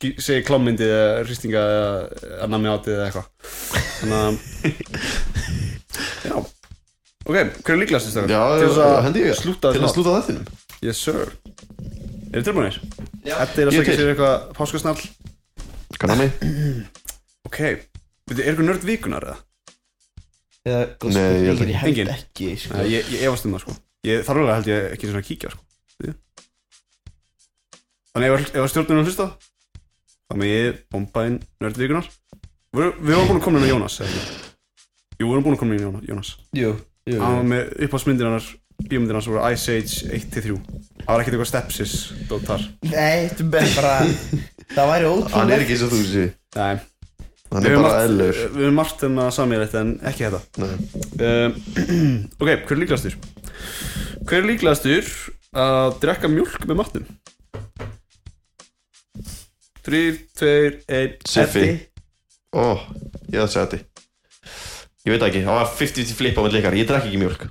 Speaker 1: gi- segir klámyndi eða rýstinga eða að nami átið eða eitthvað þannig að já ok, hver er líklegast þess að
Speaker 3: já
Speaker 1: til þess að
Speaker 3: hendi ég
Speaker 1: slúta
Speaker 3: Til að
Speaker 1: þess nátt
Speaker 3: slúta þettinum
Speaker 1: yes sir eru þið tilbúinir? þetta er að
Speaker 3: Ég er
Speaker 1: segja
Speaker 3: til.
Speaker 1: sér eitthvað páskasnall
Speaker 3: Kannami
Speaker 1: ok, veitu, er eitthvað nörd vikunar eða?
Speaker 2: Eða, góð
Speaker 3: Nei, ég held
Speaker 2: spurning, ég held
Speaker 1: Engin.
Speaker 2: ekki sko.
Speaker 1: Nei, ég, ég efast um það sko ég, þar alveg held ég ekki svona að kíkja sko Þið? þannig ef, ef stjórnum að hlusta þá með ég bomba inn nördvíkunar við, við vorum búin að koma inn á Jónas eða ekki? jú, við vorum búin að koma inn á Jóna- Jónas
Speaker 2: Jú, jú,
Speaker 1: hann
Speaker 2: jú.
Speaker 1: var með uppáhaldsmyndir hannar bíómyndir hans voru Ice Age 1-3 það var ekkert eitthvað stepsis dótt þar
Speaker 2: Nei, þetta er bara Það væri
Speaker 3: Hann er
Speaker 2: ótrúlega
Speaker 3: ekki eins og þú sé
Speaker 1: nei
Speaker 3: Hann
Speaker 1: við
Speaker 3: er
Speaker 1: höfum
Speaker 3: bara
Speaker 1: margt-
Speaker 3: eðlur
Speaker 1: við höfum margt en að samíðrætt en ekki þetta
Speaker 3: Nei.
Speaker 1: Um, ok, hver er líklegastur? Hver er líklegastur að drekka mjólk með matnum? 3, 2, 1
Speaker 3: Siffi
Speaker 2: Eddi.
Speaker 3: Ó, ég ætla að segja þetta Ég veit það ekki, það var 50-50 flip á með leikar Ég drekk ekki mjölk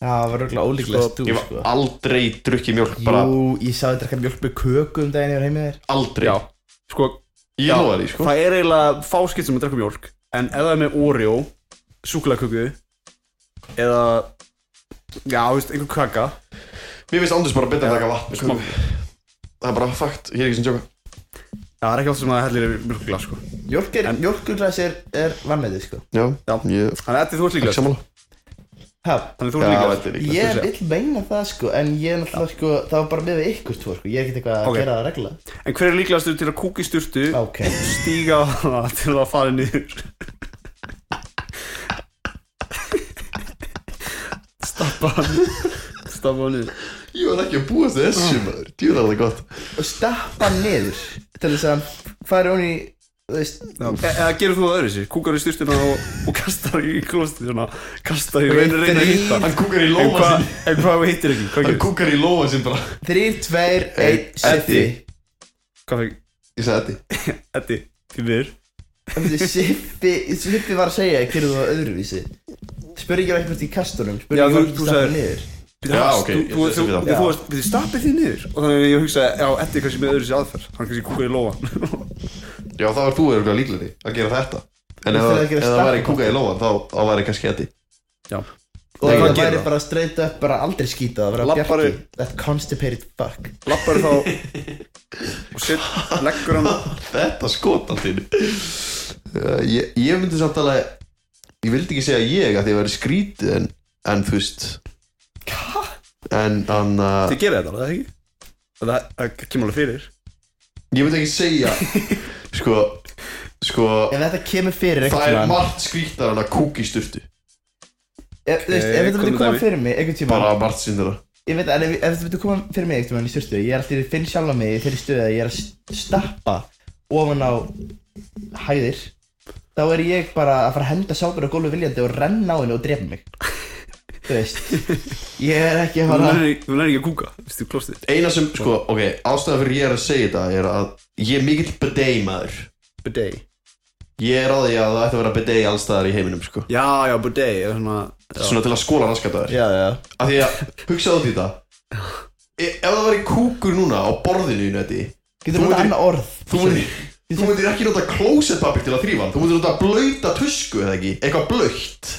Speaker 2: Það var röglega ólíklegast þú
Speaker 3: Ég var
Speaker 2: sko
Speaker 3: aldrei drukkið mjölk Bara
Speaker 2: Jú, ég sá þetta eitthvað mjölk með köku um daginn Ég var heimið þér
Speaker 3: aldrei
Speaker 1: Já, sko,
Speaker 3: Ég lofa því, sko
Speaker 1: það er eiginlega fáskilt sem að drekka mjólk En ef það er með Oreo, súkulaköku Eða, já, þú veist, einhver kaka
Speaker 3: Mér finnst Andrés bara betra að taka vatn sko.
Speaker 1: smá.
Speaker 3: Það er bara fakt, ég er ekki sem tjóka
Speaker 1: Það er ekki alltaf sem að hellir er mjólkglas, sko
Speaker 2: Mjölk er, mjölkuglas er, er vannmeðið sko
Speaker 3: Já,
Speaker 1: Já.
Speaker 3: ég
Speaker 1: Þannig að Eddi, þú ert
Speaker 3: ekki
Speaker 1: líklegast
Speaker 3: sammála
Speaker 2: Ha,
Speaker 1: Þannig að þú
Speaker 3: Já,
Speaker 1: ert líklegast
Speaker 3: þetta er líka
Speaker 2: Ég vil meina það sko En ég er náttúrulega sko Það var bara með við ykkur tvo sko Ég er ekkert eitthvað að
Speaker 1: Ok.
Speaker 2: gera það regla
Speaker 1: En hver er líklegastur til að kúka í sturtu
Speaker 2: Ok
Speaker 1: Stíga á hana til að fara niður Stappa hann Stappa hann niður
Speaker 3: Ég var ekki að búast við þessu maður Djú, það er það gott
Speaker 2: Og stappa hann niður Til þess að hann fari hún í Þú veist
Speaker 1: E Eða gerir þú það öðru sér Kúkar í sturtuna og, og kastar í klostið svona Kastar í
Speaker 2: Ok,
Speaker 1: reynir reynir að hitta
Speaker 3: Hann kúkar í
Speaker 1: En
Speaker 3: lófa
Speaker 1: hvað
Speaker 3: sinn
Speaker 1: en hvað ef þú hittir ekki? Hvað
Speaker 3: Hann
Speaker 1: gerir?
Speaker 3: kúkar í lófa sinn bara
Speaker 2: Þrýr, tveir, einn,
Speaker 3: Einn,
Speaker 2: siffi
Speaker 3: Eddi.
Speaker 1: Hvað fekk?
Speaker 3: Ég sagði þetta
Speaker 1: Eddi, því miður
Speaker 2: Þetta Siffi Siffi var að segja Gerðu það öðruvísi Spurði ekki eitthvað í kastunum Spurði
Speaker 1: Já, þú- þú sagðir-
Speaker 2: ekki hvort stappa hann niður
Speaker 1: Bíddu,
Speaker 3: Já,
Speaker 1: hans,
Speaker 3: ok,
Speaker 1: þú-
Speaker 3: ég
Speaker 1: Þú
Speaker 3: sé
Speaker 1: þú-
Speaker 3: það.
Speaker 1: þú- þú varst, byrju, stappið þið niður Og þannig að ég hugsaði, já, Eddi er kannski með öðru sér aðferð Hann er kannski kúkar í lófa
Speaker 3: Já, þá er þú örgulega líklegri að gera þetta En ef
Speaker 2: Þú þarf
Speaker 3: það
Speaker 2: að gera
Speaker 3: ef það
Speaker 2: stappa.
Speaker 3: væri kúkað í lófan þá, þá væri kannski hætti
Speaker 2: Og
Speaker 3: Nei,
Speaker 2: það
Speaker 3: hvað gerir
Speaker 2: væri
Speaker 3: það?
Speaker 2: bara straight up bara aldrei skýtað að vera
Speaker 1: Labbar
Speaker 2: bjarki
Speaker 1: upp.
Speaker 2: That constipated fuck
Speaker 1: Lappar þá Og set, leggur hann
Speaker 3: Þetta skot allt þínu Uh, ég, ég myndi samt alveg Ég vildi ekki segja ég að því að væri skrítið en, en þú veist En hann uh,
Speaker 1: Þið gera þetta alveg, ekki? Það, það kemur alveg fyrir
Speaker 3: Ég myndi ekki segja Sko Sko
Speaker 2: Ef þetta kemur fyrir
Speaker 3: Það
Speaker 2: einhvern
Speaker 3: er
Speaker 2: tímann
Speaker 3: margt skrítar en að kúka í sturtu
Speaker 2: Ef þú veist, ef þetta myndi
Speaker 1: komum
Speaker 2: koma
Speaker 1: dæmi.
Speaker 2: fyrir mig einhvern tímann
Speaker 3: Bara margt sinn þeirra
Speaker 2: Ég veit, en ef, ef þetta myndi koma fyrir mig einhvern tímann í styrstu Ég er alltaf í finn sjálf á mig í þeirri stöðu að ég er að st- stappa ofan á hæðir Þá er ég bara að fara að henda sápur á gólfi viljandi og renna á henni og drepa mig Þú veist Ég er ekki að
Speaker 1: Þú
Speaker 2: fara
Speaker 1: lærið ekki, þú lærið ekki að kúka, veist þú klostið
Speaker 3: Eina sem, sko, ok, ástæðan fyrir ég er að segja þetta er að ég er mikill bedei maður
Speaker 2: Bidet
Speaker 3: Ég er á því að það ætti að vera bedei allstaðar í heiminum, sko
Speaker 1: Já, já, budei, eða svona
Speaker 3: Svona til að skóla raskat að þér
Speaker 2: Já, já
Speaker 3: Af því að, hugsaðu út í þetta E- Ef það væri kúkur núna á borðinu í nöti
Speaker 2: Getur
Speaker 3: Þú
Speaker 2: þú
Speaker 3: myndir-
Speaker 2: annað orð
Speaker 3: Þú myndir, þú myndir ekki nota klósettpapir til að þrýfa hann Þú myndir nota blöyta tusku, eða ekki? Eitthvað blöytt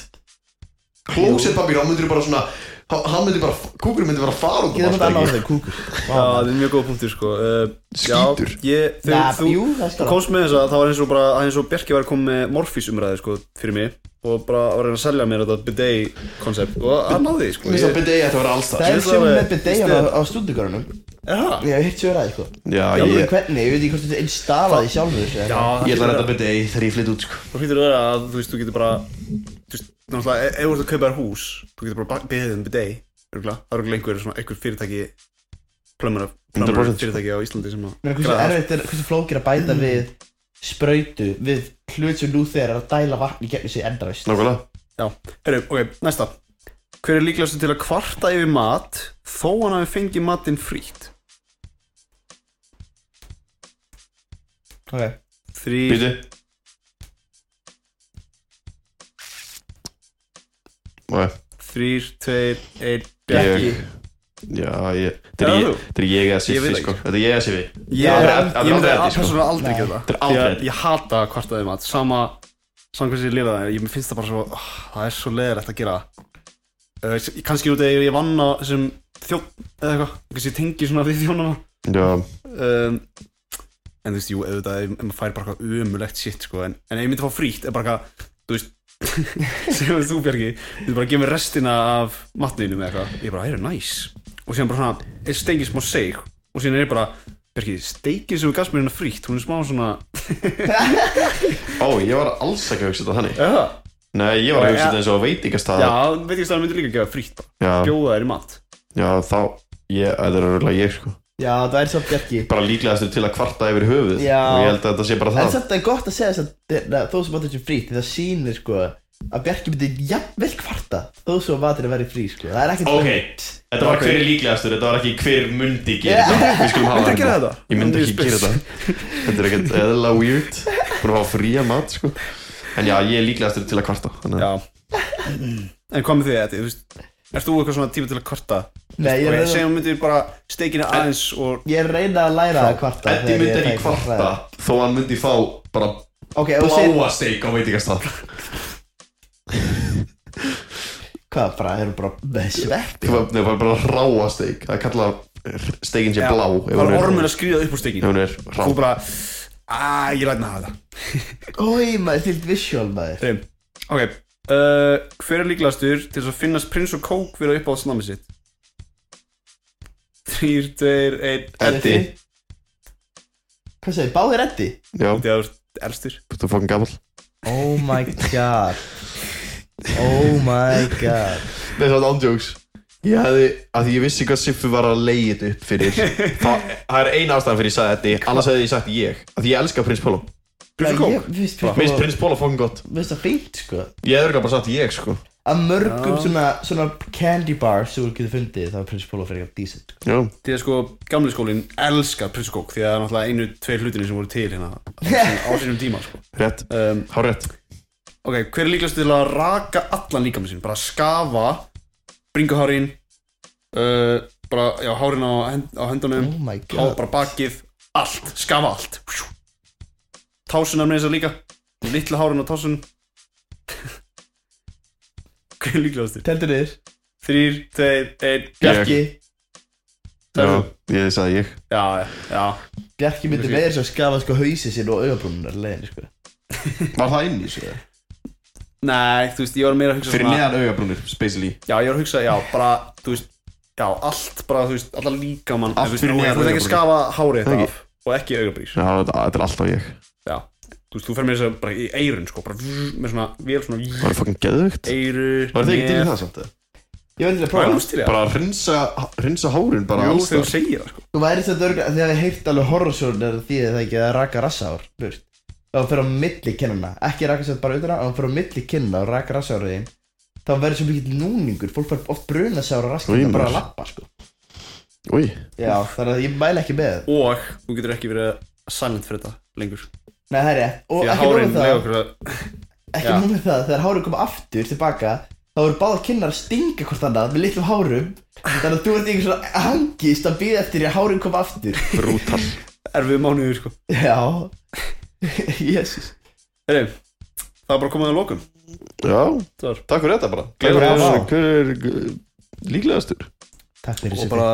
Speaker 3: Klósettpapir, hann myndir bara svona hann- Hann myndir bara, kúkurinn myndir bara fara út um
Speaker 2: Getur
Speaker 3: allt,
Speaker 2: þú annað
Speaker 3: ekki?
Speaker 2: orð en kúkur
Speaker 1: Já, það er mjög góð punktur, sko uh,
Speaker 3: Skítur.
Speaker 1: Já, ég, þau,
Speaker 2: Já,
Speaker 1: þú
Speaker 2: jú, það er
Speaker 1: þú
Speaker 2: stara
Speaker 1: komst með þess að það var eins og bara, það er eins og Bjarki var komið með morfísumræði, sko, fyrir mig Og bara var að reyna að selja mér þetta budei koncept Og hann náði, því,
Speaker 3: Mér
Speaker 1: sko
Speaker 3: finnst að
Speaker 1: ég,
Speaker 3: bedei ætti að vera
Speaker 1: Ég
Speaker 2: Það
Speaker 3: allstaðar
Speaker 2: er
Speaker 1: ætla
Speaker 2: sem
Speaker 1: að-
Speaker 2: með
Speaker 1: í
Speaker 2: bidet á,
Speaker 1: stöðu.
Speaker 2: á stúdíkarunum
Speaker 1: Já,
Speaker 2: Ég hef hitt sögur að, sko
Speaker 3: Já,
Speaker 2: Ég veit
Speaker 3: ég,
Speaker 2: ekki hvernig, ég veit ekki hvort þetta er instalaði sjálfur en-
Speaker 3: ég ætla að redda byrja deg þegar ég flytt út sko.
Speaker 1: Þú hlýtur að vera að þú veist, þú getur bara Þú veist, náttúrulega, e- ef ef þú ert að kaupa þér hús Þú getur bara beðið um bidei Örgulega, það eru einhver, svona, einhver fyrirtæki Plömmar, plömmar
Speaker 3: 100%
Speaker 1: fyrirtæki á Íslandi sem að
Speaker 2: Mér finnst
Speaker 1: græða
Speaker 2: hversu
Speaker 1: það.
Speaker 2: erfitt er, hversu flókir að bæta við sprautu við hlut sem nú þegar er að dæla vatn í gegnum sig endræst
Speaker 3: Nákvæmlega
Speaker 1: Já, herru, ok, næsta Hver er líklegastu til að kvarta yfir mat Þó hann hafi fengið matinn frítt
Speaker 2: Ok
Speaker 1: Þrý,
Speaker 3: Býtu Ok,
Speaker 1: þrýr, tveir, einn
Speaker 3: ég Já, ég Þetta er
Speaker 1: Já,
Speaker 3: ég-
Speaker 1: þú.
Speaker 3: þetta er ég að
Speaker 1: Ég veit
Speaker 3: sifi
Speaker 1: ekki.
Speaker 3: sko Þetta er ég að sifi
Speaker 1: Ég
Speaker 3: Það
Speaker 1: er
Speaker 3: er
Speaker 1: ég
Speaker 3: aldrei
Speaker 1: myndi
Speaker 3: aldrei
Speaker 1: að
Speaker 3: aldrei, sko.
Speaker 1: persónulega aldrei gera það
Speaker 3: Þetta er aldrei
Speaker 1: Ég-
Speaker 3: aldrei.
Speaker 1: Ég hata að kvarta yfir mat Sama, sama hversu ég lifa það Ég finnst það bara svo, oh, það er svo leiðilegt að gera það uh, Kanski út eða ég vann á sem þjótt eða eitthvað Kanski ég tengi svona við þjónana
Speaker 3: Já,
Speaker 1: um, En þú veist, jú, auðvitað ef ef maður fær bara eitthvað umulegt shit sko, en, en ef ég myndi fá frítt er bara eitthvað, þú veist sem þú Bjarki, þú bara gefur restina af matninu með eitthvað ég bara, það er næs og síðan bara svona, er steikið smá seig og síðan er ég bara, Bjarki, steikið sem við gafst mér hérna frítt, hún er smá svona
Speaker 3: ó, ég var alls ekki að hugsa þetta þannig
Speaker 1: Já,
Speaker 3: Nei, ég var að hugsa
Speaker 1: Já.
Speaker 3: þetta eins og veitingastað
Speaker 1: já veit ekki að það myndi líka gefa frítt
Speaker 3: já,
Speaker 1: bjóða þær í mat
Speaker 3: já, þá Ég, þetta er örgulega ég sko
Speaker 2: Já, það er samt ekki
Speaker 3: Bara líklegastu til að kvarta yfir höfuð
Speaker 2: Já.
Speaker 3: Og ég held að þetta sé bara
Speaker 2: En
Speaker 3: það
Speaker 2: samt það er gott að segja þess að þó sem matur þessu frítt það sýnir sko að Bjarki myndi jafnvel kvarta þó sem matur að vera frí sko það er ekkert
Speaker 3: Ok, þetta var hver er líklegastur, þetta var ekki hver mundi gera þetta Við skulum hafa
Speaker 1: Myndirðu gera þetta?
Speaker 3: Ég myndi
Speaker 1: Myndi
Speaker 3: ekki
Speaker 1: ég
Speaker 3: gera
Speaker 1: spyrja.
Speaker 3: þetta Þetta er ekkert eðla weird Búin að fá fría mat, sko En já, ég er líklegastur til að kvarta þannig að-
Speaker 1: Já En hvað með því þetta, þú veist Erst þú eitthvað svona tíma til að kvarta?
Speaker 2: Nei, ég
Speaker 1: Og
Speaker 2: er
Speaker 1: ég
Speaker 2: að-
Speaker 1: segjum myndir bara steikinu aðeins og
Speaker 2: Ég er að reyna að læra að kvarta
Speaker 3: Eddi myndi ekki kvarta Þó hann myndi fá bara
Speaker 2: Ok, og sér
Speaker 3: bláa steik á veitingastað
Speaker 2: Hvað, bara, erum bara með sveppi
Speaker 3: Nei, það var bara ráa steik Það er kallað steikin sé blá ef
Speaker 1: Það
Speaker 3: hún
Speaker 1: er
Speaker 3: er-
Speaker 1: ormur að skrýða upp úr
Speaker 3: Ef
Speaker 1: steikinu
Speaker 3: hún er rá
Speaker 1: Þú bara Æ, ég læt með hafa það
Speaker 2: Ói, maður, þilt visual maður
Speaker 1: Þeim. Ok uh, Hver er líklegastur til þess að finnast prins og kók fyrir að uppáða snami sitt? Þrýr, tveir, einn
Speaker 3: Eddi,
Speaker 2: Hvað segir, báðir Eddi?
Speaker 3: já,
Speaker 1: Því að þú ert elstur
Speaker 3: þú fokkin gamall
Speaker 2: Oh my god Oh my god
Speaker 3: Nei, það er ándjóks Ég hefði, að því ég vissi hvað Siffi var að leiði þetta upp fyrir Það, það er eina ástæðan fyrir ég sagði þetta Annars hefði ég sagt ég Að því ég elska Prins Pólo
Speaker 1: Prins og
Speaker 2: Ég
Speaker 1: kók?
Speaker 2: finnst
Speaker 3: Mér finnst
Speaker 2: Prins
Speaker 3: Prins Pólo fókin gott
Speaker 2: Mér finnst það fínt sko
Speaker 3: Ég hefði örugglega bara sagt ég sko
Speaker 2: Að mörgum
Speaker 1: Já.
Speaker 2: svona, svona candy bar sem þú getur fundið þá er Prins Pólo fyrir eitthvað decent
Speaker 3: Já
Speaker 1: Því að sko gamli skólinn elskar prins og kók Því að það er náttúrulega einu, tveir hlutinni sem voru til hérna á sínum tíma sko
Speaker 3: Rétt
Speaker 1: um,
Speaker 3: Há rétt
Speaker 1: Ok, hver er líklegast til að raka allan líkamann sinn? Bara skafa, bringa hárin, uh, bara, já, hárin á, hend, á hendunum,
Speaker 2: Oh my
Speaker 1: há,
Speaker 2: god
Speaker 1: bara bakið, allt, skafa allt. Tásunar með þess að líka, litla hárin á tásunum. hver er líklegast til?
Speaker 2: Teldur niður
Speaker 1: Þrýr, tveir, einn,
Speaker 2: Bjarki
Speaker 3: Já, ég sagði ég
Speaker 1: já, já.
Speaker 2: Bjarki myndi með þess að skafa sko hausi sinn og augabrúnunar leiðin sko
Speaker 3: Var það inn í sig?
Speaker 1: Nei, þú veist, ég var meira að hugsa
Speaker 3: Fyrir neðan augabrúnir, spacely
Speaker 1: Já, ég var að hugsa, já, bara, þú veist Já, allt bara, þú veist, allar líkamann
Speaker 3: Allt
Speaker 1: þú veist,
Speaker 3: fyrir
Speaker 1: þú
Speaker 3: neðan
Speaker 1: veist ekki að skafa hárið
Speaker 3: Það
Speaker 1: þetta
Speaker 3: ekki.
Speaker 1: af Og ekki augabrýr
Speaker 3: Já, þetta þetta er alltaf ég
Speaker 1: Já, þú veist, þú fer með þess að bara í eirun, sko Bara vrr, með svona, vel svona
Speaker 3: Var það fokkin geðvögt?
Speaker 1: Eiru
Speaker 3: Var það ekki til í það samt? eða?
Speaker 2: Ég verði til að
Speaker 1: Bara
Speaker 2: prófa
Speaker 1: hlustir ég
Speaker 3: Bara að rinsa, rinsa hárin bara
Speaker 1: Jú,
Speaker 3: alls
Speaker 1: þegar þú
Speaker 3: staðar.
Speaker 1: segir það, sko
Speaker 2: Þú væri þetta örgulega því að ég heilt alveg horrorsjónir því að það ekki að raka rassár veist. og hann fyrir á milli kinnana ekki raka sér bara utan á, hann fyrir á milli kinnana og raka rassárið þín þá verður svo mikill núningur, fólk fær oft brunasár og raskinn
Speaker 3: Rýmur.
Speaker 2: bara að lappa sko
Speaker 3: Új,
Speaker 2: Já, þannig að ég mæla ekki með það
Speaker 1: Og þú getur ekki verið silent fyrir þetta lengur
Speaker 2: Nei, það er rétt
Speaker 1: Því
Speaker 2: og
Speaker 1: að
Speaker 2: ekki nóg
Speaker 1: hárin
Speaker 2: með það
Speaker 1: lega okkur að
Speaker 2: ekki
Speaker 1: Já.
Speaker 2: nú með það, þegar hárið koma aftur tilbaka þá eru báða kinnar að stinga hvort annað með litlum hárum þannig að þú ert í einhver svona hangist að býða eftir því að hárið koma aftur
Speaker 3: brútal
Speaker 1: erfið mánuður, sko
Speaker 2: Já Jésus
Speaker 1: Heri, Það er bara komið að lokum
Speaker 3: Já,
Speaker 1: Það var
Speaker 3: takk fyrir þetta bara
Speaker 1: Takk fyrir
Speaker 2: þetta.
Speaker 3: Hver er uh, líklegastur?
Speaker 2: Takk fyrir
Speaker 1: Og
Speaker 2: þessu
Speaker 1: bara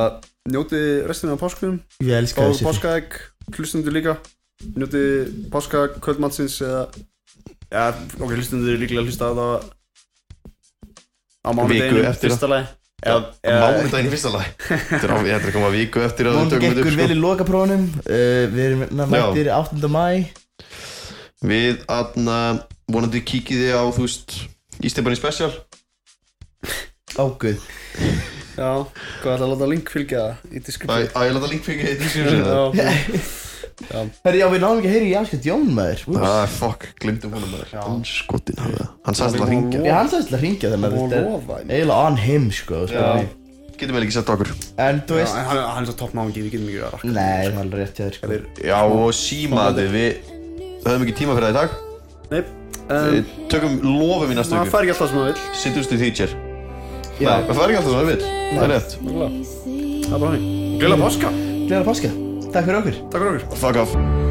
Speaker 1: njótið restina af páskunum
Speaker 2: Ég elska
Speaker 1: Fáðu
Speaker 2: þessu
Speaker 1: páskaegg, hlustundur líka Njótið páska kvöldmannsins eða Já, ok, hlustundur er líklega að hlusta á það á mánudeginu,
Speaker 3: eftir
Speaker 1: fyrsta lagi eða, eða,
Speaker 3: Mánudaginn í fyrsta lag Þetta er á- þetta er að koma viku eftir að við
Speaker 2: Móndi
Speaker 3: tökum þetta
Speaker 2: gekkur
Speaker 3: upp
Speaker 2: vel
Speaker 3: sko.
Speaker 2: í lokaprófunum uh, Við erum hérna mættir 8. mæ
Speaker 3: Við aðna vonandi kíkið þið á þú veist Ístefani Special
Speaker 2: Ágúð
Speaker 5: Já, hvað ætla að láta link fylgja það í
Speaker 3: Æ,
Speaker 5: diskripsjón?
Speaker 3: æ, ég láta link fengið í description
Speaker 5: Já,
Speaker 2: Herri, já, við náum ekki að heyra í Jaskjöld Jón maður Úps.
Speaker 3: Ah, fuck, glimtum honum maður Anskotin hafa það Hann sagðist að
Speaker 5: Hann
Speaker 3: hringja
Speaker 2: Ég hans aðeins til að hringja þannig að
Speaker 5: Og
Speaker 2: þetta
Speaker 5: lofa
Speaker 2: er
Speaker 5: henni.
Speaker 2: eiginlega on him sko
Speaker 5: Já.
Speaker 2: sko.
Speaker 3: Getum við ekki sett okkur
Speaker 2: En þú
Speaker 4: Já,
Speaker 2: veist
Speaker 4: en hann, hann er svo topp náðingi, við getum ekki verið að rakka
Speaker 2: Nei, það er alveg rétt hjá þér sko
Speaker 3: Já, og símaði við höfum ekki tíma fyrir það í dag
Speaker 5: nei, um,
Speaker 3: Við tökum lofum í næstu
Speaker 5: maður
Speaker 3: viku
Speaker 5: fær ekki alltaf sem maður vill,
Speaker 3: Sittust í teacher
Speaker 2: Já.
Speaker 3: Nei, það er ekki alltaf svona við Það er rétt
Speaker 5: það er bara hann.
Speaker 4: Gleila páska,
Speaker 2: Gleðan páska Takk fyrir okkur
Speaker 4: takk fyrir okkur
Speaker 3: Fuck off